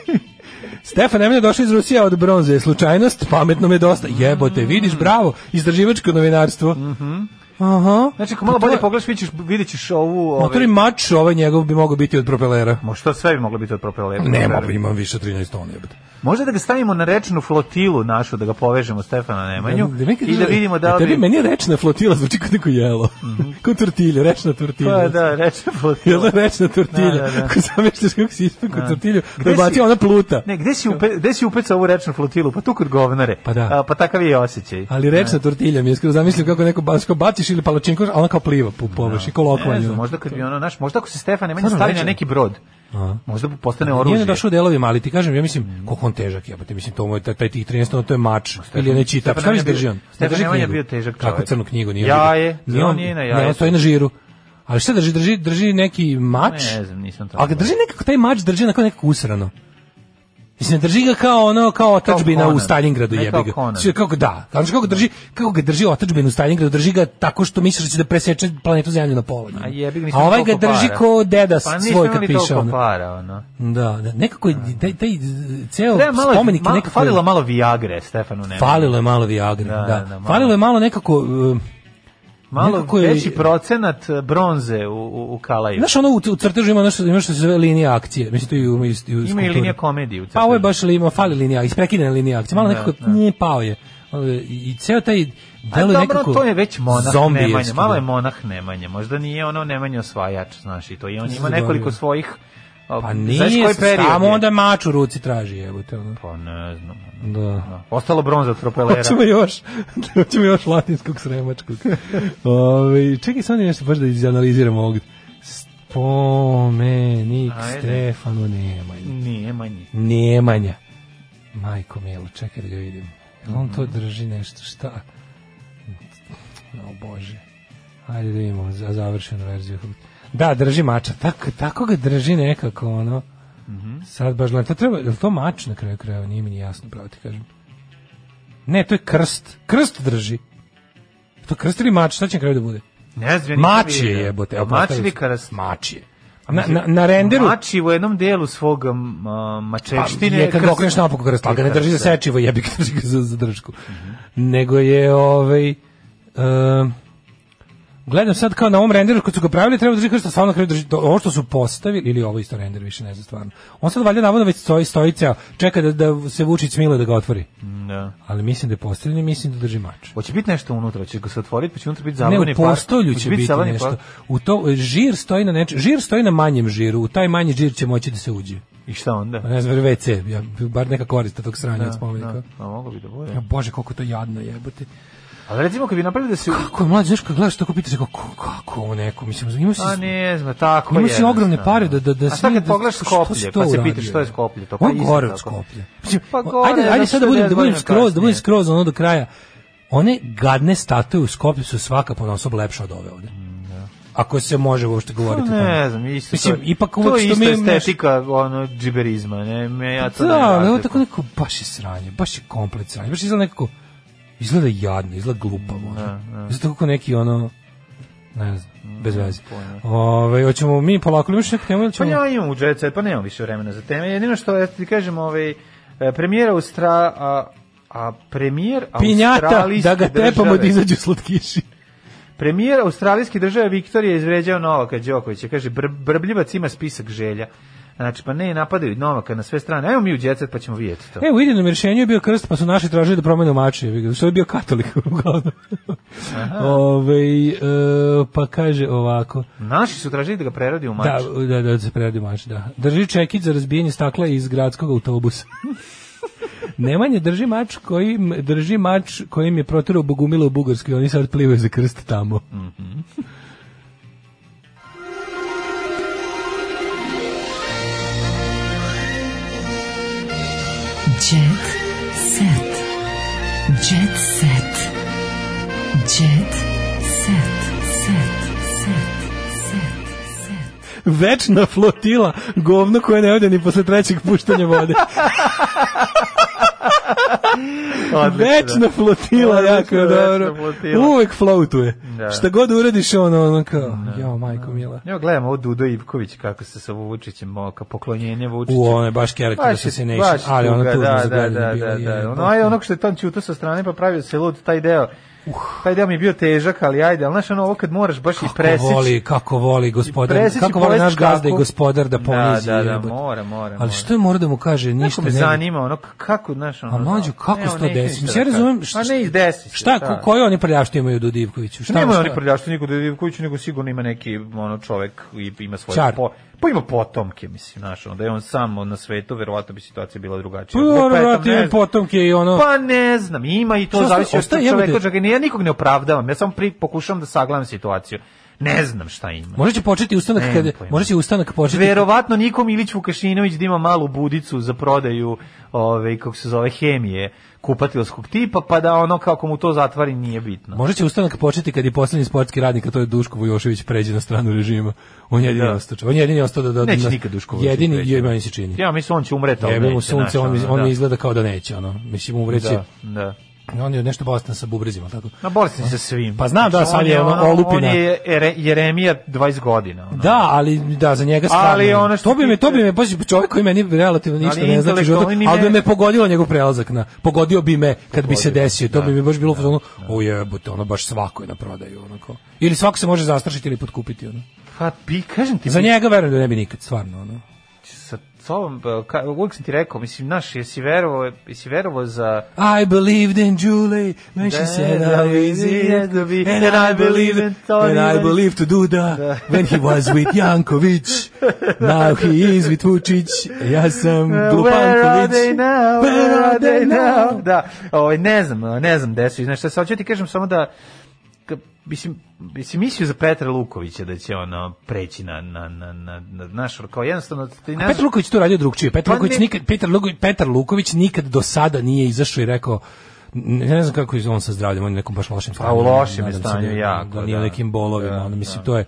Stefan Emine došao iz Rusije od bronze. Slučajnost, pametno me dosta. Jebote, vidiš, bravo, istraživačko novinarstvo.
Mhm.
Aha.
Znači, ako malo
Pa to
bolje
je-
pogledaš, vidit ćeš, vidit ćeš ovu... Ove...
Motori mač, ovaj njegov bi mogao biti od propelera.
Ma što sve bi moglo biti od propelera?
Nema, imam više 13 tona. jebote.
Možda da ga stavimo na rečnu flotilu našu, da ga povežemo Stefana Nemanju
neki
i da
kaže,
vidimo da
"E,
li
Tebi
bi... Mhm.
meni je rečna flotila, zvuči kao neko jelo. Kao tortilja, rečna tortilja.
Pa da,
Jel
rečna
da
flotila.
rečna tortilja?
Da, da, da.
Ako zamišljaš kako si ispekao tortilju,
Gde
da baci
si-
ona pluta.
Ne, gde si, upe, gde si upecao ovu rečnu flotilu? Pa tu kod govnare.
Pa da.
A, pa takav je i osjećaj.
Ali rečna
Da.
tortilja mi je skoro zamislim kako neko baš kao baciš ili palačinko, a ona kao pliva po površi, kao
Da. Ne
lokvanje.
znam, možda kad bi ono, naš, možda ako se Stefan Nemanja
Stvarno
stavi na
rečna.
neki brod, možda bi postane
Nije
oružje. Mhm.
ne došao delovima, ali ti kažem, ja mislim, koliko on težak je, ti mislim, to mu je taj, taj tih 13 tona, to je mač, ili je neći tap,
Stefan
šta mi
Nemanja bio-
drži on? Ne
Stefan
drži
Nemanja
knjigu.
bio težak
Kako
čovjek.
crnu knjigu nije
Jaje,
on drži?
on nije na
Ne,
jajetu.
on stoji na žiru. Ali šta drži? Drži, drži neki mač,
Ne znam, nisam to.
ali ga drži nekako, taj mač drži onako nekako usrano. Mislim, ne drži ga kao ono, kao otačbina u
Conan.
Stalingradu,
Ne
jebi
kao
ga.
Conan.
Sve kako da, znači kako ga drži, kako ga drži otačbinu u Stalingradu, drži ga tako što misliš da će da preseče planetu Zemlju na pola.
A jebi ga,
A
nisam
ovaj ga
toliko
drži
para.
ko deda svoj
pa
kad
nisam imali
piše
toliko
ono.
para, ono.
Da, da, nekako je taj, taj ceo
Treba malo,
spomenik
malo,
nekako... je-
falilo malo Viagre Stefanu Nemanju.
Falilo je malo Viagre,
Da,
da.
da, da, malo.
falilo je malo nekako... um,
Malo
Nekako je-
veći procenat e, bronze u, u, u Kalaju.
e, znaš, ono u, u crtežu ima nešto, ima što se zove linija akcije. Mislim, to i u, i u, i u
Ima i
skulpturi.
linija komedije u
Pa ovo je
crtežu.
baš li, ima fali linija, isprekidena linija akcije. Malo
Da,
nekako
da.
nije pao je. Ono je- I i ceo taj
A
delo je
dobro,
nekako...
to je već monah
zombijevski,
Nemanja, malo
da.
je monah Nemanja, možda nije ono Nemanja osvajač, znaš, i to i on ima
Zaboravio.
nekoliko svojih, a,
Pa
znaš
nije,
koji period
samo
je?
onda mač u ruci traži, jebote. Ono.
Pa ne znam. ono.
Da.
Ostalo bronza od propelera.
Hoćemo još, hoćemo još latinskog sremačkog. Ove, čekaj, sad nešto baš da izanaliziramo ovog. Spomenik
Ajde.
Stefanu Nemanja.
Nije manji.
Nemanja. Majko Milo, čekaj da ga
Mhm.
vidim. Jel On to drži nešto, šta? O Bože. Hajde da vidimo za završenu verziju. Da, drži mača. Tako, tako ga drži nekako, ono.
Mhm.
Sad baš gledam. To treba, je li to mač na kraju krajeva? Nije mi ni jasno, pravo ti kažem. Ne, to je krst. Krst drži. To je krst ili mač? Šta će na kraju da bude?
Ne znam, nisam
Mač je
vidio.
jebote.
Mač
oprostavio
ili
sam.
krst?
Mač je. Na, na, na renderu...
Mači u jednom delu svog um, mačevštine.
Pa, je kad
krst-
ga okreneš napoko krst, ali ga ne drži za
Krst, da.
sečivo, jebi ga drži ga za za dršku. Nego je, ovaj, em, gledam sad kao na ovom renderu, kad su ga pravili, treba da drži krst, a stvarno na kraju drži, to- ovo što su postavili, ili ovo isto render, više ne znam stvarno. On sad valjda navodno već stoji, stoji ceo, čeka da, da se Vučić smile da ga otvori.
Da.
Ali mislim da je postavljen i mislim da drži mač.
Hoće biti nešto unutra, će ga se otvoriti, pa će unutra biti
Ne, u
zabavni par.
postolju
Hoće
će biti
zeleni
nešto.
par.
U to, žir stoji na neče, žir stoji na manjem žiru, u taj manji žir će moći da se uđe.
I šta onda?
Pa Ne znam, WC, ja, bar neka korist od tog sranja od spomenika.
Da, a moglo bi da bude.
Ja, Bože, koliko to jadno jebote.
Ali recimo kad bi napravili da se...
Kako je mlađe, znaš, kad gledaš tako pitaš, kako, kako ovo neko, mislim, imao si,
A Pa ne znam, tako
imao
je.
si ogromne pare da, da, da
A sad
smije
kad
da-
pogledaš
što
Skoplje,
si
pa
to
se
uradio?
pitaš što je Skoplje, to pa
Ovo je
isto
gore od
tako.
Skoplja. Mislim,
Pa
o-
gore,
ajde, ajde
zato
sad
što
da budem,
je
da budem
godina
skroz, da budem
kasnije. Pa
skroz ono do kraja. One gadne statue u Skoplju su svaka ponosob lepša od ove ovde. Ako se može uopšte govoriti. o tome.
Mm, da. Pa Ne znam, isto
Mislim,
to.
ipak
to
uvek
je
što
isto
mi...
estetika ono džiberizma, ne, me ja to ne
Da, ali ovo
razlikujem.
tako neko baš je sranje, baš je komplet sranje, baš izgleda nekako, izgleda jadno, izgleda
Mm,
glupavo.
da,
ono. Izgleda kako neki ono, ne znam, bez veze. Ove, hoćemo mi polako, ili imaš neku temu ili
Mm, Pa
ćemo...
ja imam u Jet Set, pa nemam više vremena za teme. Jedino što ja ti kažem, ovaj, e, premijera Austra... A, a premijer
Pinjata,
australijske
da ga tepamo da
države-
izađu slatkiši.
Premijer australijske države Viktor je izvređao Novaka Đokovića. Kaže, br brbljivac ima spisak želja. Znači, pa ne, napadaju Novaka na sve strane. Evo mi u Jet Set, pa ćemo vidjeti to.
Evo, E, u idejnom rješenju je bio krst, pa su naši tražili da promenu mače, što je bio katolik, uglavnom. Ove, e, pa kaže ovako,
Naši su tražili da ga preradi u mač.
Da, da, da, da se preradi mač, da. Drži čekić za razbijanje stakla iz gradskog autobusa. Nemanje drži mač kojim drži mač kojim je proterao Bogumila u Bugarskoj, oni sad plivaju za krst tamo.
Mhm. Jet set. Jet set. Jet set. Set. Set. Set. Set.
Večna flotila, govno koje ne ode ni posle trećeg puštanja vode.
Odlično.
Večna flotila,
Odlično,
jako je
večna
dobro.
flotila.
Uvek floatuje.
Da.
Šta god uradiš, ono, ono kao, jo, majko mila.
Evo gledamo ovo Dudo Ivković kako se sa Vučićem moka, poklonjenje Vučiću.
U, ono da je baš character
Baš je-
assassination,
baš
ali ono
tuga,
tužno
da,
za
da,
gledanje
da,
bilo,
da,
je,
da. Ono,
baš
aj,
je.
onog što je tam ćuto sa strane pa pravio se lud, taj deo. Taj deo mi je bio težak, ali ajde, ali znaš ono ovo kad moraš baš i
Uh.
presići.
Kako voli, kako voli gospodar,
presići
kako voli naš
povesti
gazda i
kako-
gospodar da ponizi.
Da, da, da,
jebote.
mora, mora,
Ali
mora.
što je mora da mu kaže,
Ništa
ništa
me
ne
zanima, ono, k- kako, znaš, ono... da-
A mlađo, kako
ne,
se to
ono, neću
desi?
ništa
Mislim, ja
da
razumem...
kažem.
šta-
A ne, i desi se.
Šta,
da.
ko, koji oni prljavštine imaju do Divkoviću? Šta,
Nema
šta-
oni prljaštvo niko da Ivkoviću, nego sigurno ima neki ono čovek i ima svoje
Čar.
po, pa ima potomke, mislim, znaš, onda je on sam na svetu, verovatno bi situacija bila drugačija.
Pa, ono,
Pa, eto,
vrati,
ne
imaju
znam.
potomke i ono-
Pa ne znam, ima i to
Šta
zavisi
ostaje-
od
ostaje, jebote-
čoveka, čoveka, ja nikog ne opravdavam, ja samo pri, pokušavam da sagledam situaciju. Ne znam šta ima.
Možda će početi ustanak
Nemam
kada,
pojma.
možda će ustanak početi...
Znači, Verovatno Nikom Ilić Vukašinović da ima malu budicu za prodaju, ove, kako se zove, hemije kupatilskog tipa, pa da ono kako mu to zatvari nije bitno.
Možda će ustanak početi kad je poslednji sportski radnik, a to je Duško Vujošević, pređe na stranu režima. On je jedini
Da.
ostao. On je jedini ostao da... da
Neće
da-
nikad Duško Vujošević
Jedini,
preći.
je, meni se čini.
Ja mislim on će umreti, ali
Jebe mu
neće,
sunce,
znaš,
on, mi,
ono,
on mi
da.
izgleda kao da neće, ono. Mislim, umreće.
Da, da.
On je nešto bolestan sa bubrizima, tako.
Na bolesti sa svim.
Pa znam, da,
Znači,
sad
on
je ono olupina.
On je Ere- Jeremija 20 godina. Ono.
Da, ali da za njega stvarno.
Ali ono što
to bi me to
tiče-
bi me baš čovjek koji meni relativno ništa
Ali
ne znači u životu,
intelektualni ni
ali bi
ne-
me pogodilo njegov prelazak na pogodio bi me kad bi se
Pogodio,
desio, to
da,
bi mi baš bilo u fazonu, o jebote, ono baš svako je na prodaju onako. Ili svako se može zastrašiti ili potkupiti ono.
Pa bi, kažem ti,
Za
bi-
njega verujem da ne bi nikad stvarno ono.
sa sobom, e, ka, uvijek sam ti rekao, mislim, naš, jesi verovo, jesi verovo za...
I believed in Julie when she
Da,
said
da,
how
da,
easy
da,
it
da bi-
and I believe in and I believe to Duda when he was with Janković now he is with Vučić ja sam
Where are they
Glupanković
now? Where are they now? Da, ovaj, ne znam, ne znam gde su. i Znaš šta, sad ću ti kažem samo da ka- mislim, mislim mislio za Petra Lukovića da će ono preći na, na, na, na, na naš, kao jednostavno ti ne
A Petar
znaš-
Luković to radio drugčije. Petar
Pa
Luković
ne-
nikad Petar Luković, Petar Luković nikad do sada nije izašao i rekao ne, ne znam kako je on sa zdravljem, on je nekom baš lošem
Pa, u lošem je
Nadam se
stanju
da,
jako,
Da nije
da.
nekim bolovima, ono, mislim, to je,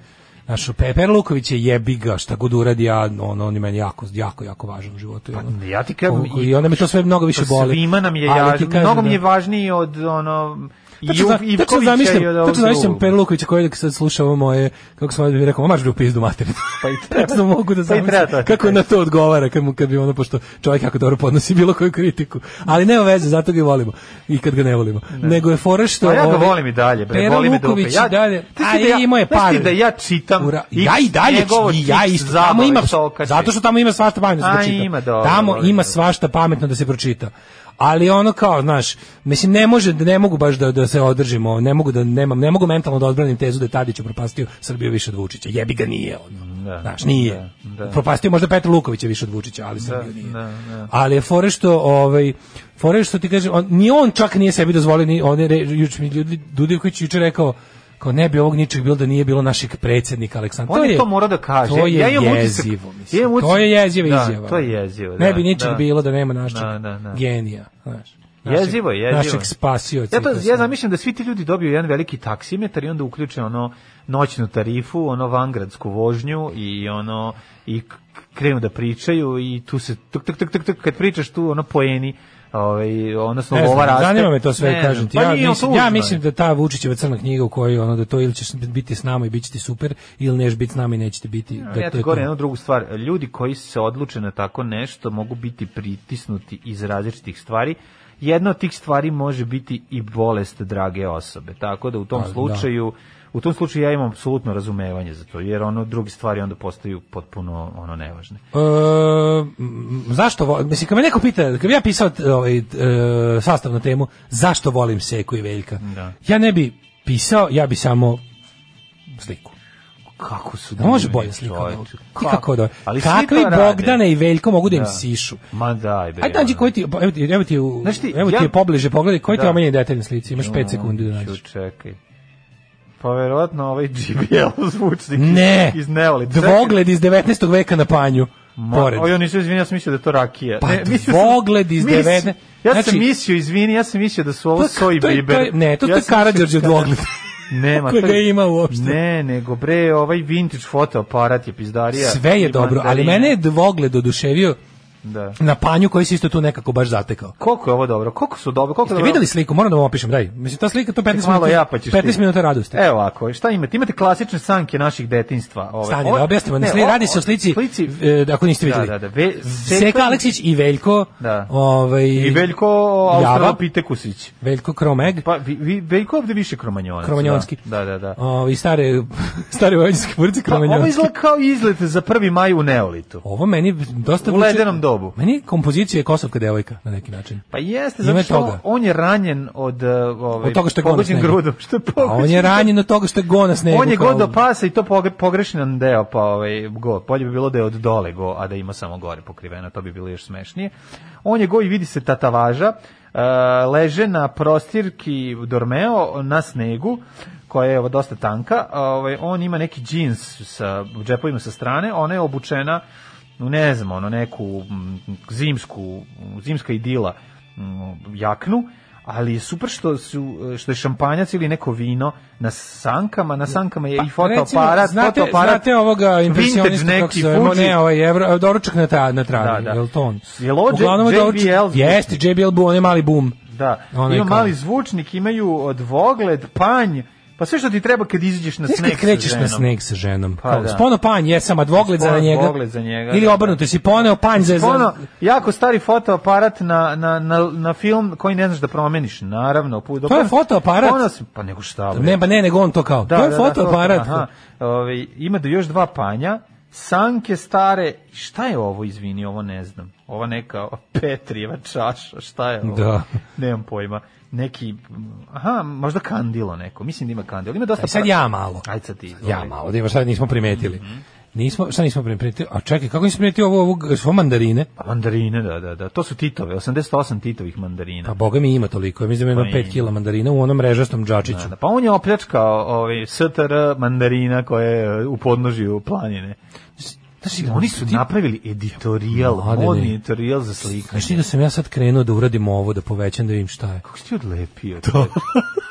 Naš Peper Luković je jebiga, šta god uradi, ja, on, on je meni jako, jako, jako važan u životu. i ono.
Pa, Ja ti kažem,
Koliko- i onda me to sve mnogo više boli.
Svima nam je
Ali ti
jažno,
kažem
mnogo
da-
mi je važniji od ono...
Tačno zna-
Ju-
tačno
Ivkovića
zamišljam,
i od ovog
tačno zamišljam
drugog.
Peru Lukovića koji uvijek sad sluša ovo moje, kako sam ovdje rekao, mač ga u pizdu materinu.
Pa i treba.
Tačno mogu da
Pa i treba
zamislim
to.
kako na to odgovara kad mu kad bi ono pošto čovjek jako dobro podnosi bilo koju kritiku. Ali nema veze, zato ga i volimo i kad ga ne volimo. Nego je fora što
A Pa ja ga
ovaj,
volim i dalje, bre,
Pero
boli me dupe.
Vuković i dalje.
Ti si
A
da ja-
i moje
znaš ti
par.
da ja čitam
Ura-
X
ja i dalje
njegovo
i ja
X
isto tamo
zabave
ima
psokače.
zato što tamo ima svašta pametno da se
A,
pročita.
ima, dobro,
tamo
dobro.
ima svašta pametno da se pročita. Ali ono kao, znaš, mislim ne može ne mogu baš da da se održimo, ne mogu da nemam, ne mogu mentalno da odbranim tezu da je Tadić upropastio Srbiju više od Vučića. Jebi ga nije ono.
Da,
znaš, nije.
da, da.
Upropastio možda Petar Lukovića više od Vučića, ali
Da,
Srbiju nije.
da, da.
Ali je fore što, ovaj, fore što ti kaže, on, ni on čak nije sebi dozvolio, ni on je, re- juč mi ljudi, Dudivković je juče rekao, kao ne bi ovog ničeg bilo da nije bilo našeg predsjednika Aleksandra.
On je to morao da kaže.
To je
Ja imam utisak-
jezivo,
ja
mislim.
imam utisak-
to je jeziva
Da,
izjava.
to je jezivo,
ne
da,
bi ničeg
da.
bilo da nema našeg
Da, da, da.
genija. Znaš, našeg-
Jezivo je, jezivo.
Našeg spasioca.
Ja, to,
i sve.
ja zamišljam da svi ti ljudi dobiju jedan veliki taksimetar i onda uključe ono noćnu tarifu, ono vangradsku vožnju i ono i k- krenu da pričaju i tu se tuk tuk tuk tuk, tuk kad pričaš tu ono poeni ovaj odnosno
Ne znam,
lova raste.
Zanima me to sve,
Ne
kažem
znam,
ti.
pa
ja,
nije,
mislim,
tužno
ja
je.
mislim da ta Vučićeva crna knjiga u kojoj ono da to ili ćeš biti s nama i bit će ti super, ili neš biti s nama i neće ti biti. Da,
ja
to
ti
je
govorim
to.
jednu drugu stvar. Ljudi koji se odluče na tako nešto mogu biti pritisnuti iz različitih stvari. Jedna od tih stvari može biti i bolest drage osobe. Tako da u tom
Pa, da.
slučaju u tom slučaju ja imam apsolutno razumevanje za to, jer ono druge stvari onda postaju potpuno ono nevažne.
E, m, zašto volim, mislim, kad me neko pita, kad bi ja pisao t- ovaj, t- e, sastav na temu zašto volim Seku i Veljka,
Da.
ja ne bi pisao, ja bi samo sliku.
Kako su
Da može
divni,
bolje slika.
čoveče.
Kako, kako da.
Ali svi
Kakvi
to rade.
Bogdane i Veljko mogu da im
Da.
sišu.
Ma daj bre.
Ajde nađi
ono.
koji ti, evo ti, evo ti, u-
Znaš ti,
evo ti
ja-
je pobliže, pogledaj, koji ti
Da.
je omenjen detalj na slici, imaš 5 sekundi da
Ju,
nađeš.
Čekaj. Pa verovatno ovaj JBL zvučnik iz-
Ne,
iz Neolita.
dvogled iz 19. veka na panju,
Ma,
pored.
Oj, nisam izvinio, ja sam mislio da je to rakija.
Pa,
mislio
dvogled iz
mislio-
devene-
Ja sam
znači- Pa,
mislio, izvini, ja sam mislio da su
To
ovo
je-
soj
to je-
biber.
to je- ne, to- to je
sam mislio-
Karađorđev dvogled.
Nema.
Kojega
to je-
ima uopšte.
Ne, nego bre, ovaj vintage fotoaparat je pizdarija.
Sve je
I
dobro, ali
mandarine.
mene je dvogled oduševio
Da.
na panju koji se isto tu nekako baš zatekao.
Koliko je ovo dobro? Koliko su dobro? Koliko
Ste
dobro?
videli sliku, moram da vam opišem, daj. Mislim, ta slika, to 15
malo
minuta,
ja, pa ćeš ti.
15 minuta radosti.
Evo ovako, šta imate? Imate klasične sanke naših detinjstva. Ove.
Stani,
Ovo-
da objasnimo. Ne,
ne,
sli,
o-
radi se o slici, e, ako niste vidjeli.
Da, da, da. Ve,
Seka, Aleksić i Veljko,
Da.
ovaj,
i Veljko
Java.
Australopitekusić.
Veljko Kromeg,
Pa vi, vi, Veljko je ovde više kromanjonac.
Kromanjonski.
Da, da, da.
Ovi ovaj, stare, stare vojničke porodice
Pa, ovo
Kromanjonski.
izgleda kao izlet za 1. maj u Neolitu.
Ovo meni dosta...
U
vuče-
ledenom dobu.
Meni kompozicija je kosovka devojka, na neki način.
Pa jeste,
Ima
zato što
toga.
on je ranjen od, uh, ovaj,
Od toga što je gonac
pogođen
negro.
grudom. Što je
A
pogođen
on je ranjen od toga što je go na snegu.
Pa da- On je
kao-
god do pasa i to pogre- pogrešan deo, pa ovaj, go. Bolje bi bilo da je od dole go, a da ima samo gore pokriveno, to bi bilo još smešnije. On je go i vidi se tatavaža, e, leže na prostirki Dormeo na snegu, koja je ovo dosta tanka, a, ovaj, on ima neki džins sa džepovima sa strane, ona je obučena u ne znam, ono neku mm, zimsku, zimska idila mm, jaknu, ali je super što su što je šampanjac ili neko vino na sankama, na sankama je i
Pa,
fotoaparat,
recimo, znate,
fotoaparat.
Znate ovoga
vintage
impresionista, kako se zove,
Fuji.
ne, ovaj evro, doručak na, tra, na travi,
Da,
da,
da.
da. je li to on?
Jel ovo
Uglavnom
J-
doručak-
JBL zvuči?
Jeste, JBL boom, on je mali boom.
Da,
Onaj
ima
kao-
mali zvučnik, imaju odvogled, panj, pa sve što ti treba kad iziđeš na
Znaš
sneg
kad krećeš
sa
na
ženom.
sneg sa ženom?
Pa
Pa, kao,
da.
Spono panj, jesam, a dvogled za
Spono
njega.
dvogled za njega,
Ili
da,
obrnuto, si poneo panj za...
Ono, jako stari fotoaparat na, na, na, na film koji ne znaš da promeniš, naravno. Pu, dok
To je
on-
fotoaparat?
Ono se- pa nego šta? bre.
Ne, pa ne, nego on to kao.
Da,
to je fotoaparat.
aha. Ovaj, ima da još dva panja, sanke stare, šta je ovo, izvini, ovo ne znam. Ova neka Petrijeva čaša, šta je ovo?
Da.
Nemam pojma. Neki, mm, aha, možda kandilo neko, mislim da ima kandilo. Ima dosta...
Aj, E, sad
pa-
ja malo.
Ajde sad ti. ovaj.
Ja
izvoli.
malo, da ima šta nismo primetili.
Mhm.
Nismo, šta nismo primetili? A čekaj, kako nismo primetili ovo, ovog, ovo mandarine?
Pa Mandarine, da, da, da. To su Titove, 88 Titovih mandarina.
Pa boga mi ima toliko, ja mislim da ima
Pa
jedno 5
ima.
kila mandarina u onom mrežastom džačiću.
Da, da. Pa on je opljačkao ovaj, STR mandarina koja je u podnožju planine. Znači, oni su napravili editorijal,
Mladene.
modni editorijal za slikanje.
Znaš ti da sam ja sad krenuo da uradim ovo, da povećam, da vidim šta je.
Kako si ti odlepio? To.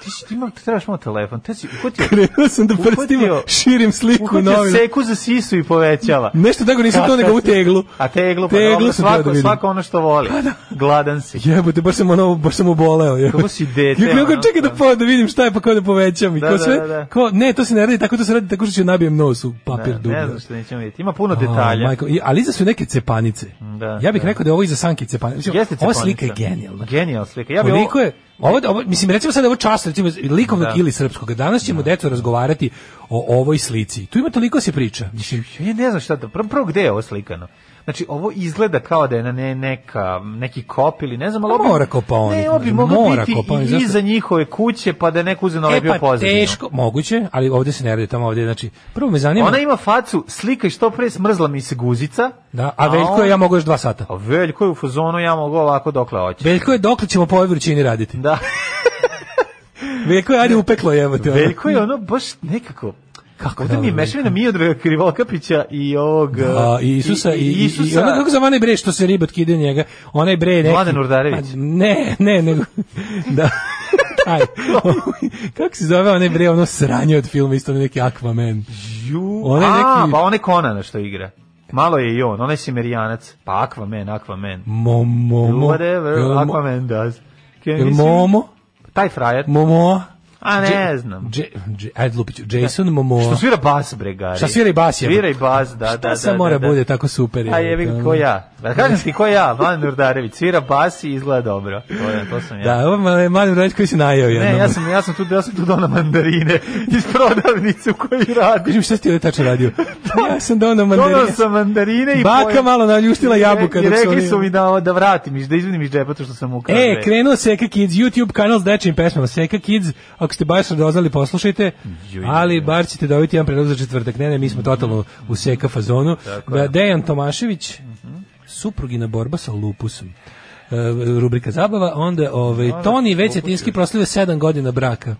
ti, si, ti, ima, ti trebaš malo telefon. Te si uhvatio...
Krenuo sam da prstima
uhvatio-
širim sliku
Uhvatio
novina.
seku za sisu i povećava.
Nešto tako nisam to nego u teglu.
A teglu, pa
Teglu
dobro,
sam teo da
svako,
vidim. Pa da.
svako ono što voli. Gladan si.
Jebote, baš sam ono, baš sam oboleo. jebote.
Kako si dete,
Ja krenuo kao,
ono,
čekaj da, po, da vidim šta je, pa kao da povećam. I
Da,
kao
da,
sve,
da, da.
Kao, ne, to se ne radi, tako to se radi, tako što ću nabijem nos u papir
Ne,
dublja.
Ne znam što nećemo vidjeti. Ima puno
A,
detalja.
majko, i- ali iza su neke cepanice.
Da,
ja bih
da.
rekao da je ovo iza Sanke cepanice. Mislim,
Jeste
Ova
cepanica.
slika je genijalna.
Genijalna slika. Ja bih
Koliko
ovo-
je, ovo, ovo, mislim, recimo sad ovo čast, recimo, likovnog
Da.
ili srpskog. Danas ćemo deco razgovarati o ovoj slici. Tu ima toliko se priča. Mislim,
Ja ne znam šta to, prvo, prvo gde je ovo slikano? Znači, ovo izgleda kao da je na ne, neka, neki kop ili ne znam, ali ovo bi-
Pa Mora kopaonik,
Ne, ovo bi
znači,
moglo
mora
biti
kopaonik,
i
zašto?
iza njihove kuće, pa da je neko uzeo na ovaj
e
bio
pa
pozadinu.
teško, moguće, ali ovde se ne radi tamo ovde, znači, prvo me zanima,
Ona ima facu, slikaj što pre, smrzla mi se guzica,
da, a Veljko je,
on-
ja mogu još dva sata.
a veljko je u fazonu, ja mogu ovako dokle hoće.
Veljko je dokle ćemo po ovoj vrućini raditi.
Da.
Veljko je, ajde upeklo je, evo te. ono.
Veljko je ono baš nekako... Kako
da,
da mi je
ono,
mešavina Miodraga Krivolkapića i ovog...
A, i Isusa i, i, i,
e, Isusa.
ono kako zove onaj bre što se ribat kide njega, onaj bre neki...
Mladen Urdarević.
Pa, ne, ne, nego... da. Aj, kako se zove onaj bre, ono sranje od filma, isto onaj neki Aquaman.
Ju,
Onaj
a,
neki-
pa onaj Konana što igra. Malo je i on, onaj Simerijanac. Pa Aquaman, Aquaman.
Mo, mo, mo.
Whatever
Jel mo-
Aquaman does. Can
Jel
you see-
Momo?
Taj frajer.
Momo?
A ne
Dž-
znam.
Dž- Dž- Ajde, lupit ću. Jason Momoa.
Što svira bas, bre, Gari.
Šta svira i bas, je.
Svira i bas, da, da, da.
Šta Pa sad
da,
mora
da.
bude tako super?
A jebi ga, ko ja. Da kažem ti ko ja, Mladen Nurdarević. Svira bas i izgleda dobro. To, je, to sam ja.
Da, ovo je mali vrać koji se najao jednom.
Ne, ja sam, ja sam tu, ja sam tu dona mandarine iz prodavnice u kojoj radim.
Kažem, šta si ti ovdje tačno radio? ja sam donao mandarine.
Da. Donao sam mandarine i
Baka
pojem-
malo naljuštila jabuka.
I
dok su
rekli
oni-
su mi da, da vratim, iz- da izvinim iz džepa to što sam ukrao.
E, krenuo Seka Kids, YouTube kanal s dečim pesmama Seka Kids, ako ste baš radoznali, poslušajte,
Juj,
ali bar ćete dobiti jedan predlog za četvrtak. Ne, ne, mi smo totalno u Seka fazonu. Da, Dejan Tomašević, suprugina borba sa lupusom. E, rubrika zabava, onda ovaj, Toni Većetinski proslavio sedam godina braka.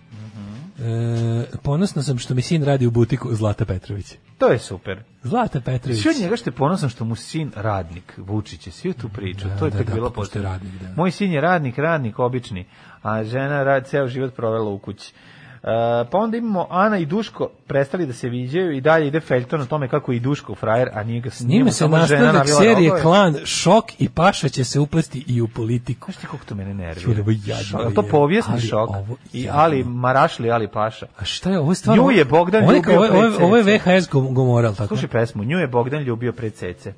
E, ponosna sam što mi sin radi u butiku Zlata Petrović.
To je super.
Zlata Petrović.
Svi od njega što je ponosan što mu sin radnik, Vučić je, svi tu priču, to je
da,
tek
da,
bilo
pa pošto je
potrebno.
radnik, da.
Moj sin je radnik, radnik obični, a žena rad ceo život provela u kući. E, pa onda imamo Ana i Duško prestali da se viđaju i dalje ide Feljton o tome kako je i Duško frajer, a nije ga s
Njime se nastavlja
da
serije Klan Šok i Paša će se uplesti i u politiku.
Znaš ti koliko to mene
Jure, ovo
nervira?
je jadno,
Šok, jel to
je.
povijesni
Ali
šok.
ovo
I
jadno.
ali Marašli, ali Paša.
A šta je ovo stvarno?
Nju je Bogdan
ovo je,
ljubio
kao- ovo, je-
pred
ovo je
cece.
VHS gom- gomoral, tako?
Slušaj pesmu, nju je Bogdan ljubio pred cece.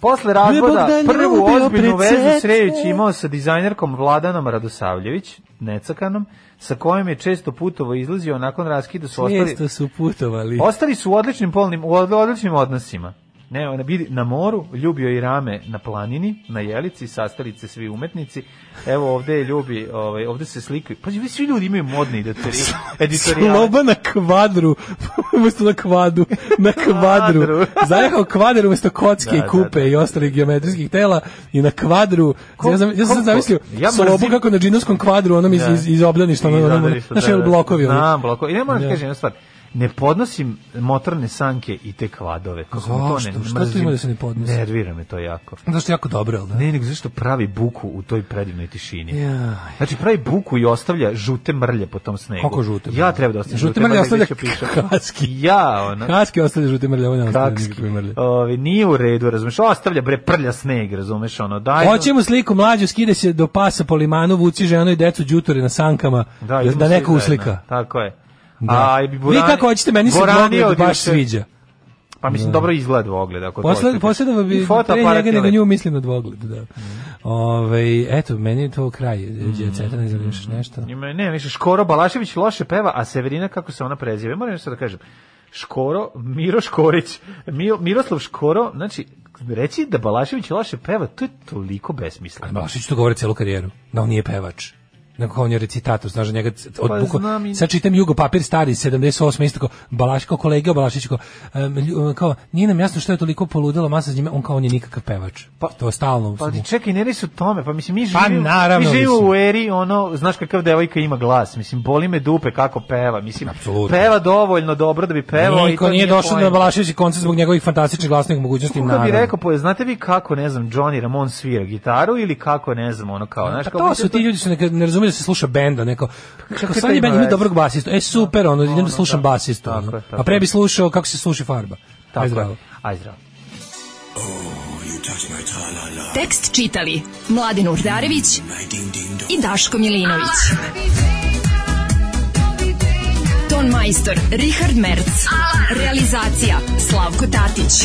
Posle
Nju je
razvoda
Bogdan
prvu
ljubio
ozbiljnu
pred
vezu
cece.
Srejić imao sa dizajnerkom Vladanom Radosavljević, necakanom, sa kojom je često putovo izlazio, a nakon raskida su ostali...
Često da. su putovali.
Ostali su u odličnim polnim, u od- odličnim odnosima. Ne, ona vidi na moru, ljubio je i rame na planini, na jelici, sastali se svi umetnici. Evo ovde je ljubi, ovaj, ovde se slikaju. Pazi, vi svi ljudi imaju modne editori- editorijale.
Sloba na kvadru, umesto na kvadu, na kvadru.
Kvadru.
Zajahao kvadar umesto kocke
Da,
i
da,
kupe
da.
i ostalih geometrijskih tela i na kvadru.
Ko-
ja sam, ja sam
ko-
sad zamislio,
ja
slobu
mrzim-
kako na džinovskom kvadru, onom iz,
Da.
iz, iz obdaništa,
Iz
ono, ono, ono,
obdaništa,
znaš,
da,
ono,
da.
blokovi. ono.
Znam, blokovi. I ne moram da
Da.
kažem jednu stvar. Ne podnosim motorne sanke i te kvadove. Kako
Zašto? Šta tu ima da se ne podnosi?
Nervira me to jako.
Zašto je jako dobro, jel da?
Ne, nego zašto pravi buku u toj predivnoj tišini?
Ja.
Znači pravi buku i ostavlja žute mrlje po tom snegu.
Kako žute mrlje?
Ja treba da ostavim
Žute
žute,
mrlje ostavlja
gde ću pišem.
Kaski.
Ja, ono.
Kaske ostavlja žute mrlje, ovo ne ostavlja
kakski.
nikakve mrlje.
Ovi, nije u redu, razumeš? Ostavlja bre prlja sneg, razumeš? Ono, daj,
Hoćemo sliku mlađu, skide se do pasa po limanu, vuci ženu i decu đuture na sankama, da, da
idemo
neko
svi zajedno.
uslika.
Tako je.
Da.
A, i
Vi kako hoćete, meni se
Boranio
Boranio
odiše-
baš sviđa.
Pa mislim, dobro izgled u ogled. Ako
Posle,
hoćete.
posle da
I
bi
fotoaparat
pre njega
je
nego
lep. Mm.
nju mislim na dvogled. Da. Ove, eto, meni je to kraj. Mm. Djeceta, ne znam, još nešto.
Ima, ne, više Škoro Balašević loše peva, a Severina kako se ona preziva. Moram nešto da kažem. Škoro, Miro Škorić, Mio, Miroslav Škoro, znači, reći da Balašević loše peva, to je toliko besmisleno.
Bašić to govori celu karijeru, da on nije pevač. nego kao on je recitator, znaš, njega c- od
Pa
buko,
znam i-
sad čitam Jugo papir stari 78 isto kao Balaš kao kolega Balašić kao, em, lju- kao nije nam jasno što je toliko poludelo masa s njime, on kao on je nikakav pevač. Pa, to stalno.
Pa
mu-
ali čekaj, ne radi se o tome, pa mislim mi
Pa
živimo,
naravno,
mi živimo
mislim.
u eri, ono, znaš kakav devojka ima glas, mislim, boli me dupe kako peva, mislim,
Apsolutno.
peva dovoljno dobro da bi pevao i
Niko
to
nije došao
poenta.
na Balašević koncert zbog njegovih fantastičnih glasnih mogućnosti.
Kako bi
naravno.
rekao, pa, znate vi kako, ne znam, Johnny Ramon svira gitaru ili kako, ne znam, ono kao, znaš,
Pa
kao...
to
mislim,
su ti ljudi su neka, ne razumiju da se sluša benda, neko.
Pa
Kako
to
sad je
ima
bend ima
veze?
dobrog basistu. E super, ono, idem da slušam basistu. ono.
je, tako
A pre bi slušao kako se sluši farba. Tako
Tako je. Aj zdravo.
Tekst čitali Mladin Urdarević i Daško Milinović. Ton majstor Richard Merc. Realizacija Slavko Tatić.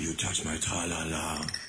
You touch my tra-la-la.